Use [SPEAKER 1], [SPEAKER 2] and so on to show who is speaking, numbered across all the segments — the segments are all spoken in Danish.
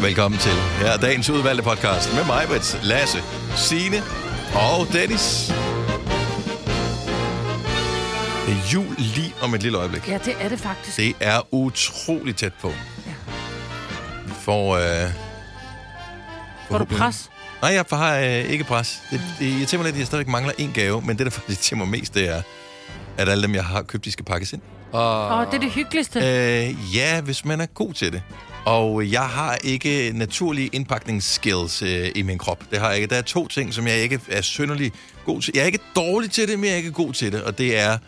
[SPEAKER 1] Velkommen til. Her er dagens udvalgte podcast med mig, Brits, Lasse, Signe og Dennis. Det er jul lige om et lille øjeblik.
[SPEAKER 2] Ja, det er det faktisk.
[SPEAKER 1] Det er utrolig tæt på.
[SPEAKER 2] Ja.
[SPEAKER 1] Vi får... Øh,
[SPEAKER 2] Får du pres?
[SPEAKER 1] Nej, jeg har øh, ikke pres. Det, det irriterer mig lidt, at jeg stadigvæk mangler en gave, men det, der faktisk irriterer mig mest, det er, at alle dem, jeg har købt, de skal pakkes ind.
[SPEAKER 2] Åh, oh, det er det hyggeligste.
[SPEAKER 1] Øh, ja, hvis man er god til det. Og jeg har ikke naturlige indpakningsskills øh, i min krop. Det har jeg ikke. Der er to ting, som jeg ikke er synderlig god til. Jeg er ikke dårlig til det, men jeg er ikke god til det. Og det er, øh,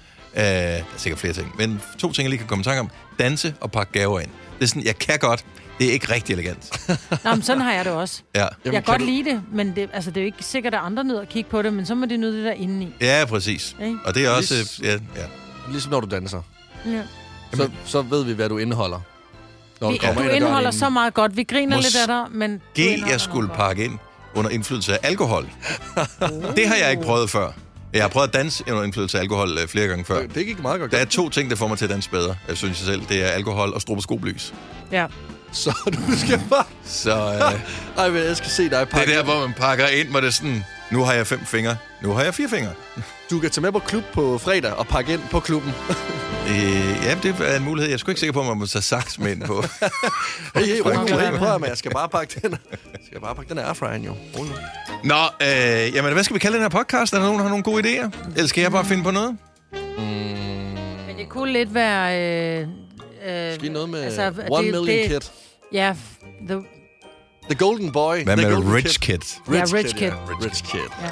[SPEAKER 1] der er sikkert flere ting, men to ting, jeg lige kan komme i tanke om. Danse og pakke gaver ind. Det er sådan, jeg kan godt. Det er ikke rigtig elegant.
[SPEAKER 2] Nå, men sådan har jeg det også.
[SPEAKER 1] Ja,
[SPEAKER 2] Jamen, jeg kan godt du... lide det, men det, altså, det er jo ikke sikkert, at andre nyder at kigge på det, men så må de nyde det der indeni.
[SPEAKER 1] ja præcis.
[SPEAKER 2] Ikke?
[SPEAKER 1] Og det er også...
[SPEAKER 3] Lis-
[SPEAKER 1] Øh, ja, ja.
[SPEAKER 3] Ligesom når du danser.
[SPEAKER 2] Ja.
[SPEAKER 3] Så, så ved vi, hvad du indeholder. Når
[SPEAKER 2] Vi,
[SPEAKER 3] kommer
[SPEAKER 2] du
[SPEAKER 3] ind og gør
[SPEAKER 2] indeholder
[SPEAKER 3] det
[SPEAKER 2] så meget godt. Vi griner
[SPEAKER 1] Mås-
[SPEAKER 2] lidt af dig, men... du
[SPEAKER 1] G,
[SPEAKER 2] indeholder
[SPEAKER 1] jeg skulle
[SPEAKER 2] noget
[SPEAKER 1] pakke ind under indflydelse af alkohol. det har jeg ikke prøvet før. Jeg har prøvet at danse under indflydelse af alkohol øh, flere gange før.
[SPEAKER 3] inden. Det gik meget godt.
[SPEAKER 1] Der er to ting, der får mig til at danse bedre, jeg synes jeg selv. Det er alkohol og stroboskoplys.
[SPEAKER 2] godt. Ja.
[SPEAKER 3] Så du skal bare...
[SPEAKER 1] Så øh, det
[SPEAKER 3] Ej, men jeg skal se dig
[SPEAKER 1] er
[SPEAKER 3] pakke.
[SPEAKER 1] der, hvor man pakker ind, hvor det er sådan, nu har jeg fem fingre, nu har jeg fire fingre.
[SPEAKER 3] Du kan tage med på klub på fredag og pakke ind på klubben.
[SPEAKER 1] Øh, ja, det er en mulighed. Jeg er sgu ikke sikker på, om man må tage saks med ind på.
[SPEAKER 3] Hey, hey, rolig,
[SPEAKER 2] Fuck,
[SPEAKER 3] rolig.
[SPEAKER 2] ja.
[SPEAKER 3] Prøv at, men jeg skal bare pakke den. Jeg skal bare pakke den her airfryen, jo. Rolig nu.
[SPEAKER 1] Nå, øh, jamen, hvad skal vi kalde den her podcast? Er der nogen, der har nogle gode idéer? Eller skal jeg bare finde på
[SPEAKER 3] Mm.
[SPEAKER 1] noget?
[SPEAKER 2] Men det kunne lidt være... Øh, øh,
[SPEAKER 3] Skal vi noget med
[SPEAKER 2] altså, det-
[SPEAKER 3] 1 million
[SPEAKER 2] det-
[SPEAKER 3] kid?
[SPEAKER 2] Ja, f- the,
[SPEAKER 3] The golden boy.
[SPEAKER 1] Hvad
[SPEAKER 3] The
[SPEAKER 1] med
[SPEAKER 3] Golden
[SPEAKER 1] Rich Kid?
[SPEAKER 2] Ja, Rich Kid.
[SPEAKER 3] ja. Rich kid.
[SPEAKER 2] ja.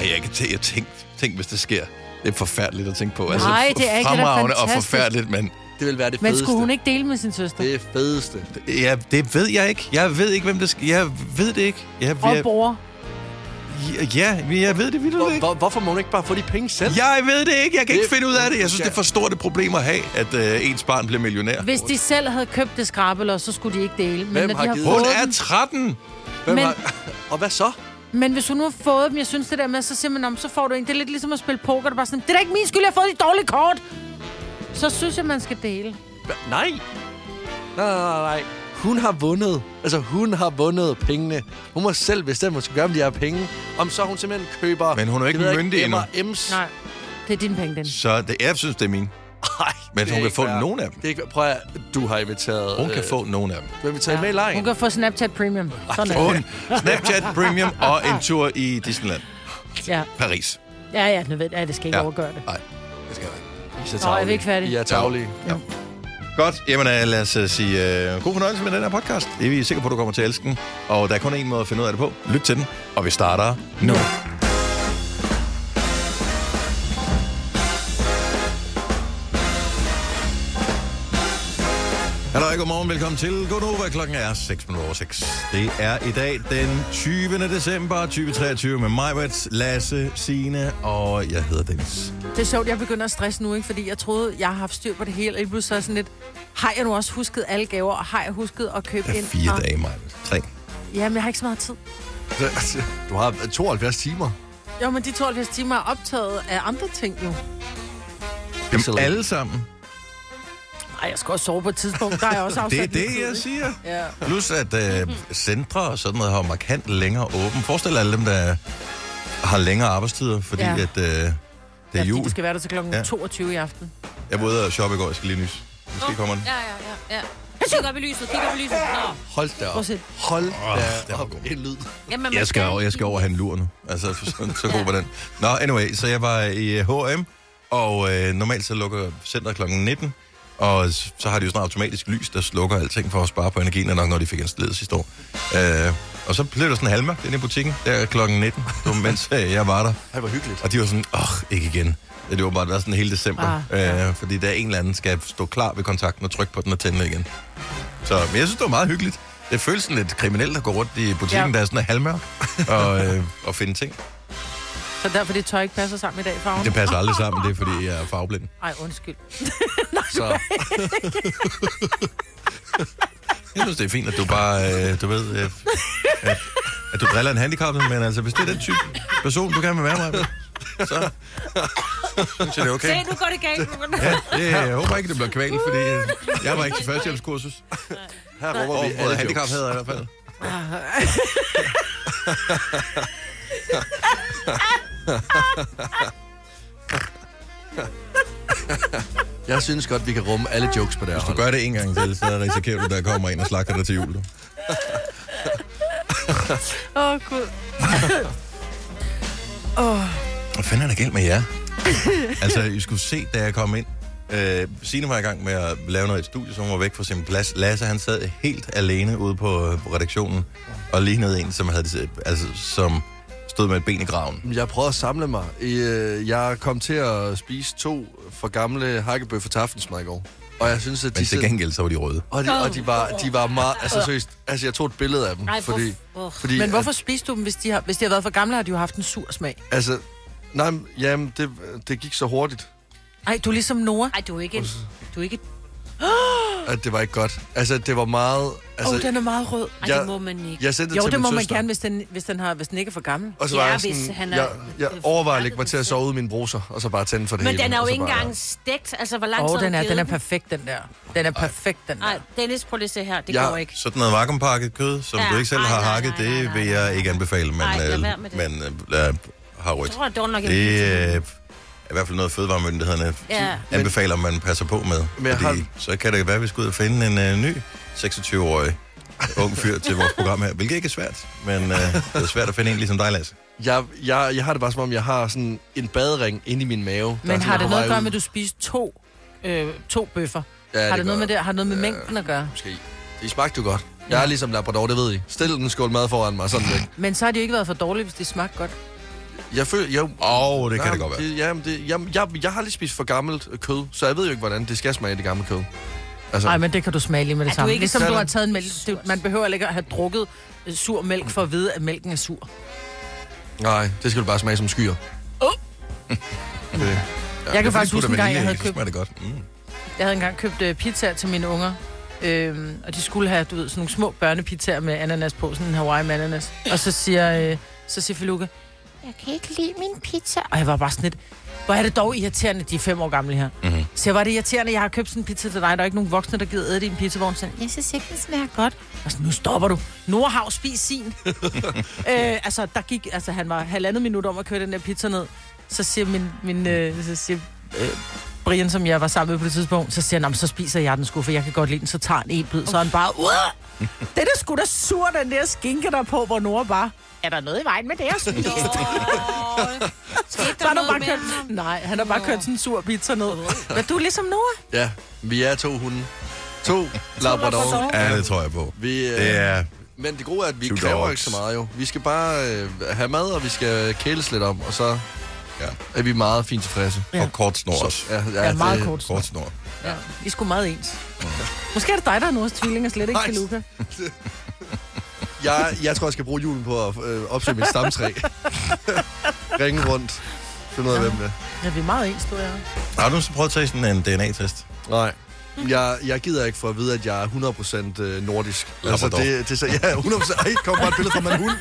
[SPEAKER 1] Ej, jeg kan tæ- jeg tænk, tænk, hvis det sker. Det er forfærdeligt at tænke på. Nej,
[SPEAKER 2] det er ikke. Det er da
[SPEAKER 1] Fremragende og
[SPEAKER 2] fantastisk.
[SPEAKER 1] forfærdeligt, men
[SPEAKER 3] Det vil være det
[SPEAKER 2] Men
[SPEAKER 3] fedeste.
[SPEAKER 2] skulle hun ikke dele med sin søster?
[SPEAKER 3] Det fedeste.
[SPEAKER 1] ja, det ved jeg ikke. Jeg ved ikke, hvem det skal. Jeg ved det ikke. Jeg,
[SPEAKER 2] Og
[SPEAKER 1] jeg,
[SPEAKER 2] bror.
[SPEAKER 1] ja, men jeg ved det vildt
[SPEAKER 3] Hvor,
[SPEAKER 1] ikke.
[SPEAKER 3] hvor, hvorfor må hun ikke bare få de penge selv?
[SPEAKER 1] Jeg ved det ikke. Jeg kan
[SPEAKER 3] Det-
[SPEAKER 1] ikke finde ud af det. Jeg synes,
[SPEAKER 3] Ja.
[SPEAKER 1] det er for stort et problem at have, at øh, ens barn bliver millionær.
[SPEAKER 2] Hvis de selv havde købt det skrabelår, så skulle de ikke dele. Men,
[SPEAKER 3] Hvem
[SPEAKER 2] når de
[SPEAKER 3] har
[SPEAKER 2] har
[SPEAKER 3] givet-
[SPEAKER 1] Hun
[SPEAKER 2] fået
[SPEAKER 1] er
[SPEAKER 2] dem-
[SPEAKER 1] 13.
[SPEAKER 3] Hvem
[SPEAKER 2] men-
[SPEAKER 3] har... Og hvad så?
[SPEAKER 2] Men hvis hun nu har fået dem, jeg synes det der med, så siger man, om, så får du en. Det er lidt ligesom at spille poker. Det er bare sådan, det er da ikke min skyld, jeg har fået de dårlige kort. Så synes jeg, man skal dele.
[SPEAKER 3] Hva? Nej. Nej, nej, nej, nej. Hun har vundet. Altså, hun har vundet pengene. Hun må selv bestemme, hvad hun skal gøre med de her penge. Om så hun simpelthen køber...
[SPEAKER 1] Men hun er jo ikke
[SPEAKER 3] det ved jeg
[SPEAKER 1] myndig endnu.
[SPEAKER 3] M&M's.
[SPEAKER 2] Nej, det er din penge, den.
[SPEAKER 1] Så det, jeg synes, det er min.
[SPEAKER 3] Nej,
[SPEAKER 1] Men
[SPEAKER 3] det
[SPEAKER 1] hun
[SPEAKER 3] er
[SPEAKER 1] kan
[SPEAKER 3] ikke
[SPEAKER 1] få
[SPEAKER 3] fair.
[SPEAKER 1] nogen af dem.
[SPEAKER 3] Det er ikke, prøv at, du har inviteret...
[SPEAKER 1] Hun kan
[SPEAKER 3] øh,
[SPEAKER 1] få nogen af dem.
[SPEAKER 3] Du har inviteret ja. med i
[SPEAKER 2] Hun
[SPEAKER 3] lejen.
[SPEAKER 2] kan få Snapchat Premium. Sådan er
[SPEAKER 1] Hun,
[SPEAKER 2] det.
[SPEAKER 1] Snapchat Premium og en tur i Disneyland.
[SPEAKER 2] Ja,
[SPEAKER 1] Paris.
[SPEAKER 2] ja, ja, nødvendigt. Ja, det skal ikke
[SPEAKER 1] Ja.
[SPEAKER 2] ja. overgøre det.
[SPEAKER 1] Nej, det skal jeg ikke.
[SPEAKER 2] Nå, er vi ikke færdige?
[SPEAKER 3] I er tavlige.
[SPEAKER 1] Godt, jamen øh, lad os øh, sige øh, god fornøjelse med den her podcast. Det er vi sikre på, du kommer til at elske den. Og der er kun én måde at finde ud af det på. Lyt til den, og vi starter nu. Hallo, godmorgen, velkommen til Godnova. Klokken er 6 minutter over 6. Det er i dag den 20. december 2023 med Majbrits, Lasse, Sine og jeg hedder Dennis.
[SPEAKER 4] Det er sjovt, jeg begynder at stresse nu, ikke? fordi jeg troede, jeg har haft styr på det hele, og lige pludselig så er jeg sådan lidt, har jeg nu også husket alle gaver, og har jeg husket at købe
[SPEAKER 1] Der er
[SPEAKER 4] ind?
[SPEAKER 1] fire
[SPEAKER 2] Ah.
[SPEAKER 4] Og-
[SPEAKER 1] dage, Majbrits. Tre.
[SPEAKER 4] Jamen, jeg har ikke så meget tid.
[SPEAKER 3] Du har 72 timer.
[SPEAKER 4] Jo, men de 72 timer er optaget af andre ting jo.
[SPEAKER 1] Dem alle sammen.
[SPEAKER 2] Nej, jeg skal også sove på et tidspunkt. Der er jeg også
[SPEAKER 1] Det
[SPEAKER 2] afsat
[SPEAKER 1] er
[SPEAKER 2] min tid,
[SPEAKER 1] det, jeg
[SPEAKER 2] ikke?
[SPEAKER 1] siger.
[SPEAKER 4] Ja.
[SPEAKER 1] Plus at øh, centre og sådan noget har markant længere åben. Forestil dig alle dem, der har længere arbejdstider, fordi ja.
[SPEAKER 2] Ja.
[SPEAKER 1] at, øh, det er
[SPEAKER 2] Ja, fordi
[SPEAKER 1] jul.
[SPEAKER 2] du skal være der til klokken
[SPEAKER 1] Ja.
[SPEAKER 2] ja. 22 i aften.
[SPEAKER 1] Jeg var ude og shoppe i går, jeg skal lige nys. Måske kommer den.
[SPEAKER 5] Ja, ja, ja. ja. Kig op i lyset, kig op i lyset. Nå.
[SPEAKER 3] Hold da
[SPEAKER 2] Prøv
[SPEAKER 3] op.
[SPEAKER 2] at se.
[SPEAKER 3] Hold
[SPEAKER 1] den
[SPEAKER 3] da
[SPEAKER 1] var
[SPEAKER 3] op.
[SPEAKER 1] god.
[SPEAKER 3] En lyd.
[SPEAKER 5] Jamen, man
[SPEAKER 1] Jeg skal, over, jeg skal over og have en lur nu. Altså, så, så god var den. Nå, anyway, så jeg var i øh, H&M, og øh, normalt så lukker centret kl. 19, og s- så har de jo sådan automatisk lys, der slukker alting for at spare på energien, og nok når de fik installeret sidste år. Øh, og så blev der sådan halvmørkt inde i butikken, der kl. 19, mens øh, jeg var der.
[SPEAKER 3] Ej, hvor hyggeligt.
[SPEAKER 1] Og de var sådan, åh, ikke igen. Det var bare været sådan hele december. Ah,
[SPEAKER 2] Ah,
[SPEAKER 1] ja. øh, fordi der er en eller anden, skal stå klar ved kontakten og trykke på den og tænde igen. Så, men jeg synes, det var meget hyggeligt. Det føles sådan lidt kriminelt at gå rundt i butikken, ja.
[SPEAKER 2] Ja.
[SPEAKER 1] der er sådan halvmørk, og, øh, og finde ting.
[SPEAKER 2] Så derfor det tøj ikke passer sammen i dag, farven.
[SPEAKER 1] Det passer aldrig sammen, det er, fordi jeg er farveblind.
[SPEAKER 2] Ej, undskyld.
[SPEAKER 3] Så
[SPEAKER 1] Jeg synes, det er fint, at du bare, øh, du ved, øh, øh, at du driller en handicappet, men altså, hvis det er den type person, du gerne vil være med, så synes jeg, det er okay.
[SPEAKER 5] Se, nu går det galt.
[SPEAKER 1] Ja, det, jeg håber ikke, det bliver kval, fordi øh, jeg var ikke til førstehjælpskursus.
[SPEAKER 3] Her råber
[SPEAKER 1] Og
[SPEAKER 3] vi alle
[SPEAKER 1] hvor handicap
[SPEAKER 3] jokes.
[SPEAKER 1] havde jeg i hvert fald.
[SPEAKER 3] Jeg synes godt, vi kan rumme alle jokes på det her
[SPEAKER 1] Hvis du
[SPEAKER 3] hold.
[SPEAKER 1] gør det en gang til, så risikerer du, der kommer en og slagter dig til jul. du.
[SPEAKER 2] Åh, oh, gud.
[SPEAKER 1] Hvad fanden er der galt med jer? altså, I skulle se, da jeg kom ind. Øh, Signe var i gang med at lave noget i et studie, som var væk fra sin plads. Lasse, han sad helt alene ude på øh, redaktionen, og lignede en, som, havde, det- altså, som stod med et ben i graven.
[SPEAKER 3] Jeg prøvede at samle mig. Øh, Jeg kom til at spise to for gamle hakkebøffer til aftensmad i går. Og jeg synes, at de...
[SPEAKER 1] Men til
[SPEAKER 3] sid-
[SPEAKER 1] gengæld, så var de røde.
[SPEAKER 3] Og de, og de var, de var meget... Altså, seriøst. Altså, jeg tog et billede af dem.
[SPEAKER 5] Ej, hvor-
[SPEAKER 3] fordi,
[SPEAKER 5] hvor-
[SPEAKER 3] fordi,
[SPEAKER 2] Men hvorfor spiste du dem, hvis de, har, hvis de har været for gamle, har de jo haft en sur smag.
[SPEAKER 3] At, altså, nej, men- jamen, det, det gik så hurtigt,
[SPEAKER 2] Ej, du er ligesom Nora.
[SPEAKER 5] Ej, du er ikke en... Du er ikke...
[SPEAKER 3] at det var ikke godt. Altså, det var meget...
[SPEAKER 2] Åh,
[SPEAKER 3] Altså,
[SPEAKER 2] oh, den er meget rød.
[SPEAKER 5] Ej,
[SPEAKER 3] Jeg-
[SPEAKER 5] det må man ikke.
[SPEAKER 3] jeg sendte det
[SPEAKER 2] Jo,
[SPEAKER 3] til
[SPEAKER 2] det
[SPEAKER 3] min
[SPEAKER 2] må man
[SPEAKER 3] søster.
[SPEAKER 2] gerne, hvis den, hvis den, har, hvis den ikke er for gammel.
[SPEAKER 3] Og så
[SPEAKER 5] Ja,
[SPEAKER 3] var jeg
[SPEAKER 5] hvis
[SPEAKER 3] sådan,
[SPEAKER 5] han er-
[SPEAKER 3] jeg, jeg
[SPEAKER 5] øh,
[SPEAKER 3] overvejer at
[SPEAKER 5] forfærdet,
[SPEAKER 3] lægge mig til at
[SPEAKER 5] hvis
[SPEAKER 3] sove ud i min bruser, og så bare tænde for det
[SPEAKER 5] Men
[SPEAKER 3] hele.
[SPEAKER 5] den er jo
[SPEAKER 3] og så
[SPEAKER 5] ikke
[SPEAKER 3] bare-
[SPEAKER 5] engang stegt. Altså, hvor lang
[SPEAKER 2] Åh,
[SPEAKER 5] tid
[SPEAKER 2] oh,
[SPEAKER 5] har
[SPEAKER 2] den
[SPEAKER 5] du
[SPEAKER 2] er,
[SPEAKER 5] givet
[SPEAKER 2] den er perfekt, den der. Den er perfekt, den
[SPEAKER 5] Nej,
[SPEAKER 2] der.
[SPEAKER 5] Dennis, prøv lige at se her. Det
[SPEAKER 3] Ja.
[SPEAKER 5] går ikke.
[SPEAKER 1] Sådan noget vakuumpakket kød, som
[SPEAKER 5] Ja,
[SPEAKER 1] du ikke selv
[SPEAKER 5] ej,
[SPEAKER 1] har
[SPEAKER 5] nej, nej,
[SPEAKER 1] hakket,
[SPEAKER 5] nej, nej,
[SPEAKER 1] det
[SPEAKER 5] nej,
[SPEAKER 1] vil
[SPEAKER 5] nej,
[SPEAKER 1] jeg ikke anbefale, men,
[SPEAKER 5] Ej, lad
[SPEAKER 1] øh,
[SPEAKER 5] være med det.
[SPEAKER 1] men øh, lad- har rødt.
[SPEAKER 5] Jeg tror, det er nok...
[SPEAKER 1] Det øh, er i hvert fald noget, fødevaremyndighederne
[SPEAKER 5] Ja.
[SPEAKER 1] anbefaler, man passer på med.
[SPEAKER 3] Men jeg
[SPEAKER 1] Fordi
[SPEAKER 3] har-
[SPEAKER 1] så kan det være, at vi skal ud og finde en øh, ny 26-årig ung fyr til vores program her, hvilket ikke er svært, men øh, det er svært at finde en ligesom dig, Lasse.
[SPEAKER 3] Jeg, jeg, jeg har det bare som om, jeg har sådan en badering inde i min mave. der er
[SPEAKER 2] Men
[SPEAKER 3] sådan
[SPEAKER 2] har det
[SPEAKER 3] på
[SPEAKER 2] noget at
[SPEAKER 3] vej
[SPEAKER 2] gøre
[SPEAKER 3] ud.
[SPEAKER 2] med, at du spiste to, øh, to bøffer?
[SPEAKER 3] Ja,
[SPEAKER 2] har det
[SPEAKER 3] gør
[SPEAKER 2] noget
[SPEAKER 3] jeg.
[SPEAKER 2] med det? Har det noget med mængden at gøre?
[SPEAKER 3] Måske. De smagte jo godt. Jeg er ligesom Labrador, det ved I. Stil den skål mad foran mig, sådan væk.
[SPEAKER 2] Men så har de jo ikke været for dårlige, hvis de smagte godt.
[SPEAKER 3] Altså- Jeg føler, jeg...
[SPEAKER 1] Åh, oh, det kan det godt være.
[SPEAKER 3] Det, jamen, det, jamen, jeg, jeg har lige spist for gammelt øh, kød, så jeg ved jo ikke, hvordan det skal smage det gamle kød. Altså,
[SPEAKER 2] Nej, men det kan du smage lige med det
[SPEAKER 5] Er du
[SPEAKER 2] samme.
[SPEAKER 5] ikke
[SPEAKER 2] Ligesom du
[SPEAKER 3] sådan-
[SPEAKER 2] har taget en mælk. Det, man behøver heller ikke at have drukket øh, sur mælk for at vide, at mælken er sur.
[SPEAKER 3] nej, det skal du bare smage som skyer.
[SPEAKER 2] Jeg kan faktisk
[SPEAKER 1] Putter
[SPEAKER 2] huske en gang,
[SPEAKER 1] vanilje
[SPEAKER 2] jeg
[SPEAKER 1] i,
[SPEAKER 2] havde
[SPEAKER 1] så
[SPEAKER 2] købt
[SPEAKER 1] smager det godt. Mm.
[SPEAKER 2] Jeg havde engang købt øh, pizzaer til mine unger, øh, og de skulle have, du ved, sådan nogle små børnepizzaer med ananas på, sådan en Hawaii med ananas. Og så siger, øh, så siger Feluca,
[SPEAKER 6] Jeg kan ikke lide min pizza.
[SPEAKER 2] og jeg var bare sådan lidt, hvor er det dog irriterende, de er fem år gamle her. Mm-hmm. Så jeg var det irriterende, jeg har købt sådan en pizza til dig, der er ikke nogen voksne, der gider æde din pizzavogn. Så jeg
[SPEAKER 6] Jeg synes ikke, den smager godt.
[SPEAKER 2] var sådan, Altså, nu stopper du. Nordhav, spis sin. øh, altså, der gik, altså, han var halvandet minut om at køre den der pizza ned. Så siger min, min øh, så siger, øh, Brian, som jeg var sammen med på det tidspunkt, så siger han, "Nå, men så spiser jeg den sgu, for jeg kan godt lide den. Så tager han en bid, så er han bare, "Uah! det er da sgu da sur, den der skinke der på, hvor Nora bare, er der noget i vejen med det, jeg spiser?
[SPEAKER 5] Skete
[SPEAKER 2] Så han
[SPEAKER 5] der
[SPEAKER 2] har
[SPEAKER 5] noget
[SPEAKER 2] bare
[SPEAKER 5] med...
[SPEAKER 2] kørt, nej, han har bare kørt sådan en sur pizza ned. Men du er ligesom Nora.
[SPEAKER 3] Ja, vi er to hunde. To Labrador.
[SPEAKER 2] Labrador.
[SPEAKER 1] Ja, det tror jeg på.
[SPEAKER 3] Vi, øh,
[SPEAKER 1] Det er...
[SPEAKER 3] Men det gode er, at vi
[SPEAKER 1] Two
[SPEAKER 3] kræver
[SPEAKER 1] dogs.
[SPEAKER 3] ikke så meget jo. Vi skal bare øh, have mad, og vi skal kæles lidt om, og så
[SPEAKER 1] Ja.
[SPEAKER 3] er vi meget fint tilfredse.
[SPEAKER 2] Ja.
[SPEAKER 1] Og kort snor også.
[SPEAKER 3] Ja, ja,
[SPEAKER 2] Ja,
[SPEAKER 3] det-
[SPEAKER 2] meget kort.
[SPEAKER 1] Kort snor.
[SPEAKER 2] Ja. Vi er sgu meget ens. Måske er det dig, der er Noras tvilling, og slet ikke
[SPEAKER 3] Nej.
[SPEAKER 2] Feluca.
[SPEAKER 3] Jeg, jeg tror, jeg skal bruge julen på at øh, opsøge mit stamtræ. Ringe rundt. Finde ud af, hvem det er.
[SPEAKER 2] Ja, vi er meget ens, du og jeg.
[SPEAKER 1] Har du så prøvet at tage sådan en DNA-test?
[SPEAKER 3] Nej. Jeg, jeg gider ikke for at vide, at jeg er 100% øh, nordisk.
[SPEAKER 1] Labrador.
[SPEAKER 3] det, det, er så, ja, 100%. Ej, kom bare et billede fra min hund.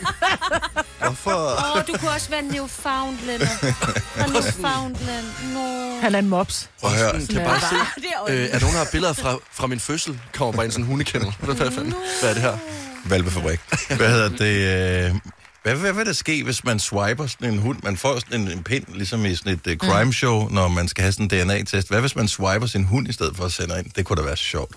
[SPEAKER 3] Hvorfor?
[SPEAKER 5] Åh, du kunne også være Newfoundlander. Fra Newfoundland. Nå.
[SPEAKER 2] Han er en mops.
[SPEAKER 1] Prøv at høre.
[SPEAKER 3] Kan bare se,
[SPEAKER 5] Det er
[SPEAKER 3] øh, at nogen har billeder fra, fra min fødsel, kommer bare i en sådan hundekendel. Hvad, fanden? Hvad er det her?
[SPEAKER 1] Valpefabrik. Hvad hedder det? øh, Hvad, hvad vil der ske, hvis man swiper sådan en hund? Man får sådan en, en pind, ligesom i sådan et uh,
[SPEAKER 2] Mm.
[SPEAKER 1] crime show, når man skal have sådan en DNA-test. Hvad hvis man swiper sin hund i stedet for at sende ind? Det kunne da være sjovt.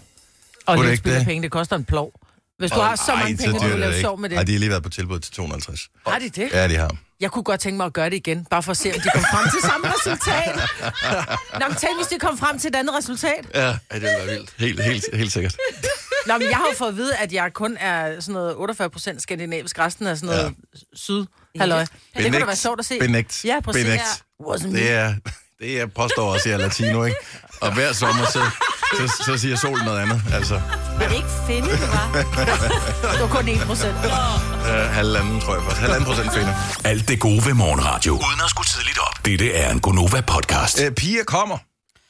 [SPEAKER 2] Og
[SPEAKER 1] Kunne det
[SPEAKER 2] lidt
[SPEAKER 1] ikke
[SPEAKER 2] spild af
[SPEAKER 1] det?
[SPEAKER 2] penge, det koster en plov. Hvis du har så mange penge, at du kan lave sjov med
[SPEAKER 1] Nej,
[SPEAKER 2] det.
[SPEAKER 1] de har lige været på tilbud til 250.
[SPEAKER 2] Har de det?
[SPEAKER 1] Ja, de har.
[SPEAKER 2] Jeg kunne godt tænke mig at gøre det igen, bare for at se, om de kom frem til samme resultat. Nå, men tænk, hvis de kom frem til et andet resultat.
[SPEAKER 1] Ja,
[SPEAKER 3] Ej, det ville være vildt. Øh,
[SPEAKER 1] helt, helt, helt sikkert.
[SPEAKER 2] Nå, men jeg har jo fået at vide, at jeg kun er sådan noget 48 procent skandinavisk, resten er sådan noget syd. Halløj. Det kunne da være sjovt at se.
[SPEAKER 1] Benægt.
[SPEAKER 2] Ja, præcis.
[SPEAKER 1] Benægt.
[SPEAKER 2] Wasn't me.
[SPEAKER 1] Det er, det er påstår også, at jeg er latino, ikke? Og hver sommer, så, så, så siger solen noget andet. Altså,
[SPEAKER 5] Er det ikke finde, du var?
[SPEAKER 2] Det var kun 1 procent.
[SPEAKER 1] øh, halvanden, tror jeg faktisk. Halvanden procent finder.
[SPEAKER 7] Alt det gode ved morgenradio. Uden at skulle tidligt op. Dette er en Gonova-podcast.
[SPEAKER 1] Øh, piger kommer.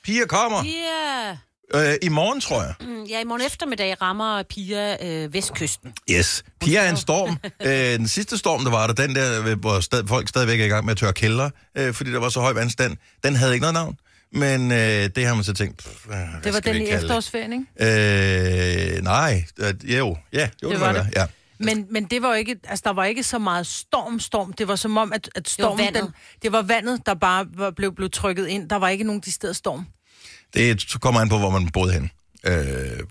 [SPEAKER 1] Piger kommer.
[SPEAKER 5] Ja.
[SPEAKER 1] Øh, I morgen, tror jeg.
[SPEAKER 5] Mm, Ja, i morgen eftermiddag rammer Pia øh, Vestkysten.
[SPEAKER 1] Yes. Pia er en storm. Øh, den sidste storm, der var der, den der, øh, hvor stad, folk stadigvæk er i gang med at tørre kældre, øh, fordi der var så høj vandstand, den havde ikke noget navn. Men øh, det har man så tænkt, pff, øh, hvad
[SPEAKER 2] Det var
[SPEAKER 1] skal
[SPEAKER 2] den
[SPEAKER 1] vi
[SPEAKER 2] i
[SPEAKER 1] kalde det?
[SPEAKER 2] efterårsferien, ikke?
[SPEAKER 1] Øh, nej, øh, jo, ja, jo, det, var det. Ja.
[SPEAKER 2] Men, men det var jo ikke, altså, der var ikke så meget storm, storm. Det var som om, at, at
[SPEAKER 5] var
[SPEAKER 2] stormen, det var,
[SPEAKER 5] vandet.
[SPEAKER 2] den, det var vandet, der bare var, blev, blev trykket ind. Der var ikke nogen de steder storm.
[SPEAKER 1] Det kommer an på, hvor man boede hen. Øh,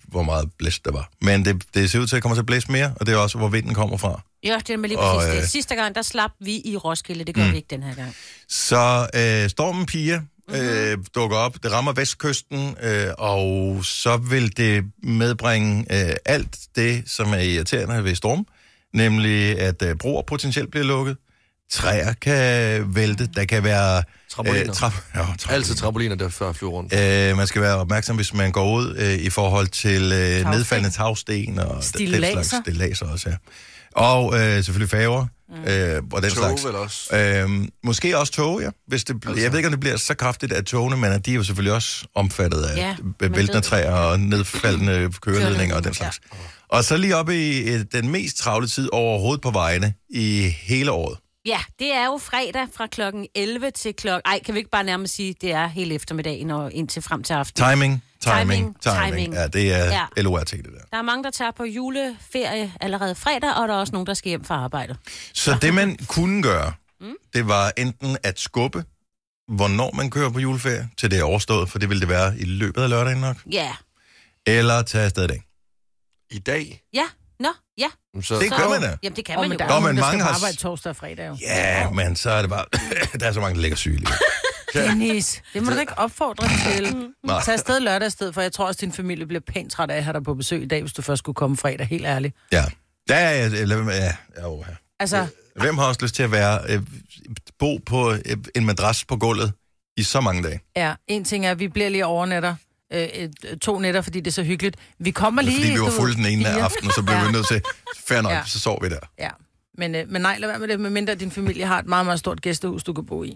[SPEAKER 1] hvor meget blæst der var. Men det, det ser ud til, at det kommer til at blæse mere, og det er også, hvor vinden kommer fra.
[SPEAKER 5] Ja, det er med lige
[SPEAKER 1] Og,
[SPEAKER 5] præcis
[SPEAKER 1] øh,
[SPEAKER 5] det. Sidste gang, der slap vi i Roskilde. Det gør mm. vi ikke den her gang.
[SPEAKER 1] Så øh, stormen Pia øh, dukker op, det rammer vestkysten, øh, og så vil det medbringe øh, alt det, som er irriterende ved storm, nemlig at øh, broer potentielt bliver lukket, træer kan vælte, der kan være...
[SPEAKER 3] Trampoliner.
[SPEAKER 1] tra- ja, trampoliner.
[SPEAKER 3] Altid trampoliner, der før flyver rundt.
[SPEAKER 1] Øh, man skal være opmærksom, hvis man går ud øh, i forhold til øh, nedfaldende tagsten og stilaser. den
[SPEAKER 2] Stilladser.
[SPEAKER 1] slags. Stilaser også, ja. Og øh, selvfølgelig færger
[SPEAKER 5] Mm.
[SPEAKER 1] øh, og den
[SPEAKER 3] Tog
[SPEAKER 1] slags.
[SPEAKER 3] vel også. Altså.
[SPEAKER 1] Øh, måske også tog, ja. Hvis det, bl- Jeg ved ikke, om det bliver så kraftigt af togene, men at de er jo selvfølgelig også omfattet af
[SPEAKER 5] Ja,
[SPEAKER 1] ja,
[SPEAKER 5] man ved
[SPEAKER 1] væltende
[SPEAKER 5] det.
[SPEAKER 1] træer og nedfaldende køreledninger og den slags. Og så lige oppe i øh, den mest travle tid overhovedet på vejene i hele året.
[SPEAKER 5] Ja, det er jo fredag fra klokken 11 til klokken... Ej, kan vi ikke bare nærmest sige, det er hele eftermiddagen og indtil frem til aften.
[SPEAKER 1] Timing, timing,
[SPEAKER 5] Timing,
[SPEAKER 1] timing. timing.
[SPEAKER 5] timing.
[SPEAKER 1] Ja, det er ja.
[SPEAKER 5] Ja.
[SPEAKER 1] LORT, det der.
[SPEAKER 5] Der er mange, der tager på juleferie allerede fredag, og der er også nogen, der skal hjem fra arbejde.
[SPEAKER 1] Så det, man kunne gøre, det var enten at skubbe, hvornår man kører på juleferie, til det er overstået, for det ville det være i løbet af lørdagen nok,
[SPEAKER 5] Ja.
[SPEAKER 1] eller tage afsted i dag.
[SPEAKER 3] I dag?
[SPEAKER 5] Ja. Nå, ja.
[SPEAKER 3] Så,
[SPEAKER 1] Det gør man da.
[SPEAKER 5] Jamen, det kan
[SPEAKER 2] Og
[SPEAKER 5] man
[SPEAKER 2] men
[SPEAKER 5] jo.
[SPEAKER 2] der er
[SPEAKER 1] Nå,
[SPEAKER 2] nogen,
[SPEAKER 1] men
[SPEAKER 2] der
[SPEAKER 1] mange
[SPEAKER 2] skal
[SPEAKER 1] har
[SPEAKER 2] på
[SPEAKER 1] s-
[SPEAKER 2] arbejde torsdag og fredag jo.
[SPEAKER 1] Ja, yeah, men så er det bare, der er så mange, der ligger syge lige. nu.
[SPEAKER 2] Dennis, det må du da ikke opfordre til.
[SPEAKER 1] Nej.
[SPEAKER 2] Tag afsted lørdag i stedet, for jeg tror også, din familie bliver pænt træt af at have dig på besøg i dag, hvis du først skulle komme fredag, helt ærligt.
[SPEAKER 1] Ja. Ja, ja, ja, lad være med- ja, ja, åh, ja.
[SPEAKER 2] Altså,
[SPEAKER 1] Hvem har også lyst til at være, øh, bo på øh, en madras på gulvet i så mange dage?
[SPEAKER 2] ja, en ting er, at vi bliver lige overnetter. Øh, øh, to nætter, fordi det er så hyggeligt. Vi kommer lige...
[SPEAKER 1] Fordi vi var
[SPEAKER 2] du ved,
[SPEAKER 1] fulde den ene
[SPEAKER 2] fire.
[SPEAKER 1] aften, og så blev vi nødt til, fair nok,
[SPEAKER 2] Ja.
[SPEAKER 1] så sov vi der.
[SPEAKER 2] Ja, men, øh, men nej, lad være med det, medmindre din familie har et meget, meget stort gæstehus, du kan bo i.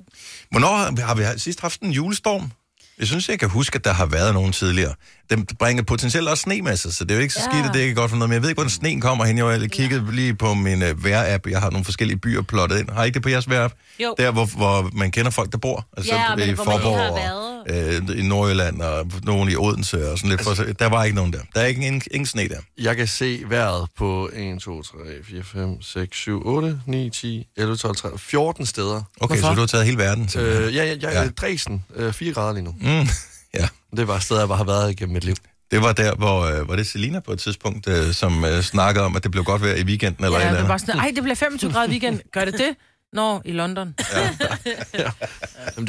[SPEAKER 1] Hvornår har- har vi sidst haft en julestorm? Jeg synes, jeg kan huske, at der har været nogen tidligere. Den bringer potentielt også sne med sig, så det er jo ikke så skidt, at det ikke er godt for noget. Men jeg ved ikke, hvordan sneen kommer hen. Jeg har kigget lige på min uh, vejr-app. Jeg har nogle forskellige byer plottet ind. Har I ikke det på jeres vejr-app?
[SPEAKER 5] Jo.
[SPEAKER 1] Der, hvor, hvor man kender folk, der bor. Altså
[SPEAKER 5] Ja,
[SPEAKER 1] øh,
[SPEAKER 5] men hvor man lige har
[SPEAKER 1] og, øh, i Nordjylland og nogen i Odense og sådan lidt.
[SPEAKER 3] Altså-
[SPEAKER 1] For, der var ikke nogen der. Der er ikke ingen, ingen sne der.
[SPEAKER 3] Jeg kan se vejret på 1, 2, 3, 4, 5, 6, 7, 8, 9, 10, 11, 12, 13, 14 steder.
[SPEAKER 1] Okay, Hvorfor? så du har taget hele verden. Så. Øh.
[SPEAKER 3] Øh, ja, ja, ja,
[SPEAKER 1] Ja.
[SPEAKER 3] ja. Dresden, øh, 4 grader lige nu.
[SPEAKER 1] Mm, ja.
[SPEAKER 3] Det var et sted, jeg bare har været igennem mit liv.
[SPEAKER 1] Det var der, hvor øh, var det Selina på et tidspunkt, øh, som øh, snakkede om, at det blev godt vejr i weekenden eller et
[SPEAKER 2] Ja,
[SPEAKER 1] eller
[SPEAKER 2] det er
[SPEAKER 1] andet.
[SPEAKER 2] bare sådan, ej, det bliver 25 grader i weekend. Gør det det? Nå, i London.
[SPEAKER 3] Jamen, det er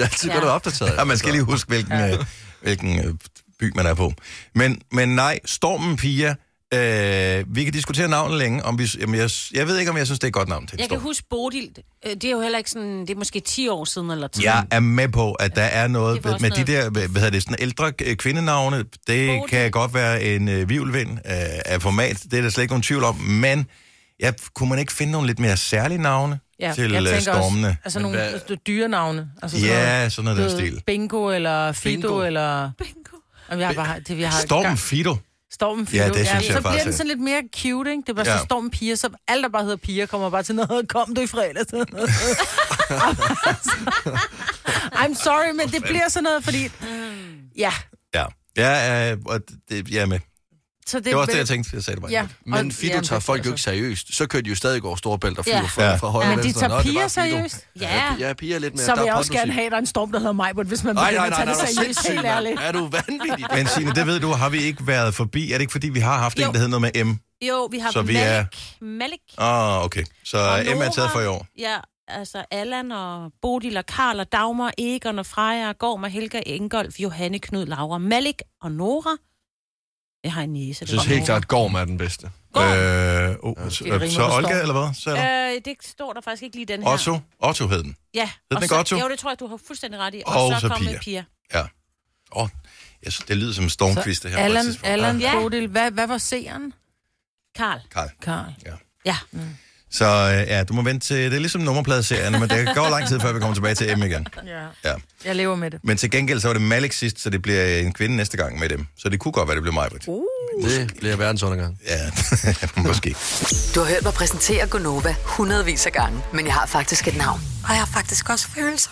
[SPEAKER 3] altid ja. godt
[SPEAKER 5] Ja.
[SPEAKER 3] at være opdateret.
[SPEAKER 1] Ja, man skal lige huske, hvilken, ja. øh, hvilken øh, by man er på. Men, men nej, Stormen Pia, øh, vi kan diskutere navnet længe. Om vi, jamen jeg, jeg ved ikke, om jeg synes, det er et godt navn til en
[SPEAKER 5] Jeg kan
[SPEAKER 1] storm.
[SPEAKER 5] huske Bodil, øh, det er jo heller ikke sådan, det er måske 10 år siden eller 10.
[SPEAKER 1] Jeg er med på, at der er noget
[SPEAKER 5] Det var
[SPEAKER 1] med,
[SPEAKER 5] også
[SPEAKER 1] med de der hvad hvad hedder det, sådan ældre øh, kvindenavne. Det
[SPEAKER 5] Bodil.
[SPEAKER 1] kan godt være en øh, vivlvind øh, af format. Det er der slet ikke nogen tvivl om. Men ja, kunne man ikke finde nogle lidt mere særlige navne ja, til øh, stormene?
[SPEAKER 2] Også, altså nogle hvad... dyrenavne. Altså sådan
[SPEAKER 1] ja, sådan noget
[SPEAKER 2] noget,
[SPEAKER 1] den stil.
[SPEAKER 2] Bingo eller Fido
[SPEAKER 3] Bingo.
[SPEAKER 2] bingo. eller... Bingo. Jamen, jeg har bare, det, vi har
[SPEAKER 1] Stormen Fido.
[SPEAKER 2] Stormen Fido.
[SPEAKER 1] Ja, det synes jeg
[SPEAKER 2] så
[SPEAKER 1] faktisk
[SPEAKER 2] bliver den sådan lidt mere cute, ikke? Det er bare
[SPEAKER 1] Ja.
[SPEAKER 2] ja. så Stormen Piger, så alt, der bare hedder Piger, kommer bare til noget. Kom du i fredags. I'm sorry, men det bliver sådan noget, fordi... Ja,
[SPEAKER 1] Ja, ja øh, og det, jeg er med.
[SPEAKER 2] så det,
[SPEAKER 1] Det var også det, jeg tænkte. Jeg sagde det bare.
[SPEAKER 2] Ja.
[SPEAKER 3] Men
[SPEAKER 2] Og-
[SPEAKER 3] Fido
[SPEAKER 2] jamen,
[SPEAKER 3] tager
[SPEAKER 2] det-
[SPEAKER 3] folk jo ikke seriøst. Så kører de jo stadig over Storebælt og flyver
[SPEAKER 5] Ja.
[SPEAKER 3] ja. fra,
[SPEAKER 1] Ja.
[SPEAKER 3] fra højre
[SPEAKER 2] Men
[SPEAKER 3] og
[SPEAKER 2] de
[SPEAKER 3] venstre.
[SPEAKER 2] tager
[SPEAKER 3] Nå, det var
[SPEAKER 2] piger
[SPEAKER 3] Fido.
[SPEAKER 2] seriøst.
[SPEAKER 5] Ja.
[SPEAKER 3] Ja, piger er lidt mere.
[SPEAKER 2] Så
[SPEAKER 3] Der
[SPEAKER 2] vil
[SPEAKER 3] er
[SPEAKER 2] jeg også
[SPEAKER 3] pondus i.
[SPEAKER 2] gerne have, at der er en storm, der hedder Majbert, hvis man
[SPEAKER 3] Nej,
[SPEAKER 2] begynder
[SPEAKER 3] nej,
[SPEAKER 2] at
[SPEAKER 3] nej, nej,
[SPEAKER 2] tage det
[SPEAKER 3] er du
[SPEAKER 2] seriøst,
[SPEAKER 3] sindssyg,
[SPEAKER 2] helt
[SPEAKER 3] mand?
[SPEAKER 2] ærligt.
[SPEAKER 3] Er du vanvittig?
[SPEAKER 1] Men Signe, det ved du, har vi ikke været forbi? Er det ikke, fordi vi har haft jo.
[SPEAKER 5] Jo.
[SPEAKER 1] en, der hed noget med M?
[SPEAKER 5] Jo, vi har
[SPEAKER 1] Så
[SPEAKER 5] så
[SPEAKER 1] vi
[SPEAKER 5] vi
[SPEAKER 1] er-
[SPEAKER 5] Malik. Er...
[SPEAKER 1] Åh,
[SPEAKER 5] Malik.
[SPEAKER 1] oh, okay. Så
[SPEAKER 5] Og
[SPEAKER 1] M er taget
[SPEAKER 5] Nora.
[SPEAKER 1] for i år.
[SPEAKER 5] Ja, altså Allan og Bodil og Karl og Dagmar, Egon og Freja, Gorm og Helga, Ingolf, Johanne, Knud, Laura, Malik og Nora. Jeg har en næse.
[SPEAKER 3] Jeg synes helt klart, at Gorm er den bedste.
[SPEAKER 1] Øh, oh, så,
[SPEAKER 2] Det rimer på Øh,
[SPEAKER 1] så Olga,
[SPEAKER 2] storm.
[SPEAKER 1] eller hvad? Så er der.
[SPEAKER 5] Øh, det står der faktisk ikke lige i den her.
[SPEAKER 1] Otto. Otto hed den.
[SPEAKER 5] Ja.
[SPEAKER 1] den
[SPEAKER 5] og
[SPEAKER 1] ikke
[SPEAKER 5] så,
[SPEAKER 1] Otto?
[SPEAKER 5] Jo, det tror jeg, du har fuldstændig ret i. Og,
[SPEAKER 1] Og
[SPEAKER 5] og så,
[SPEAKER 1] så
[SPEAKER 5] kom
[SPEAKER 1] Pia.
[SPEAKER 5] med Pia.
[SPEAKER 1] Åh, oh, jeg synes, det lyder som en stormquiz, det her. på et
[SPEAKER 2] Allan,
[SPEAKER 1] tidspunkt. Ah.
[SPEAKER 2] Allan,
[SPEAKER 5] Ja.
[SPEAKER 2] Bodil, hvad, hvad var seeren?
[SPEAKER 5] Karl.
[SPEAKER 1] Karl.
[SPEAKER 2] Karl.
[SPEAKER 5] Ja.
[SPEAKER 1] Så øh, ja, du må vente til, det er ligesom nummerpladeserien, men det går lang tid, før vi kommer tilbage til M igen.
[SPEAKER 2] Ja.
[SPEAKER 1] Ja.
[SPEAKER 2] Jeg lever med det.
[SPEAKER 1] Men til gengæld, så var det Malik sidst, så det bliver en kvinde næste gang med dem. Så det kunne godt være, det blev mig, Britt. Uh.
[SPEAKER 3] Det bliver verdensundergang.
[SPEAKER 1] Ja, måske.
[SPEAKER 8] Du har hørt mig præsentere Gonova hundredvis af gange, men jeg har faktisk et navn.
[SPEAKER 9] Og jeg har faktisk også følelser.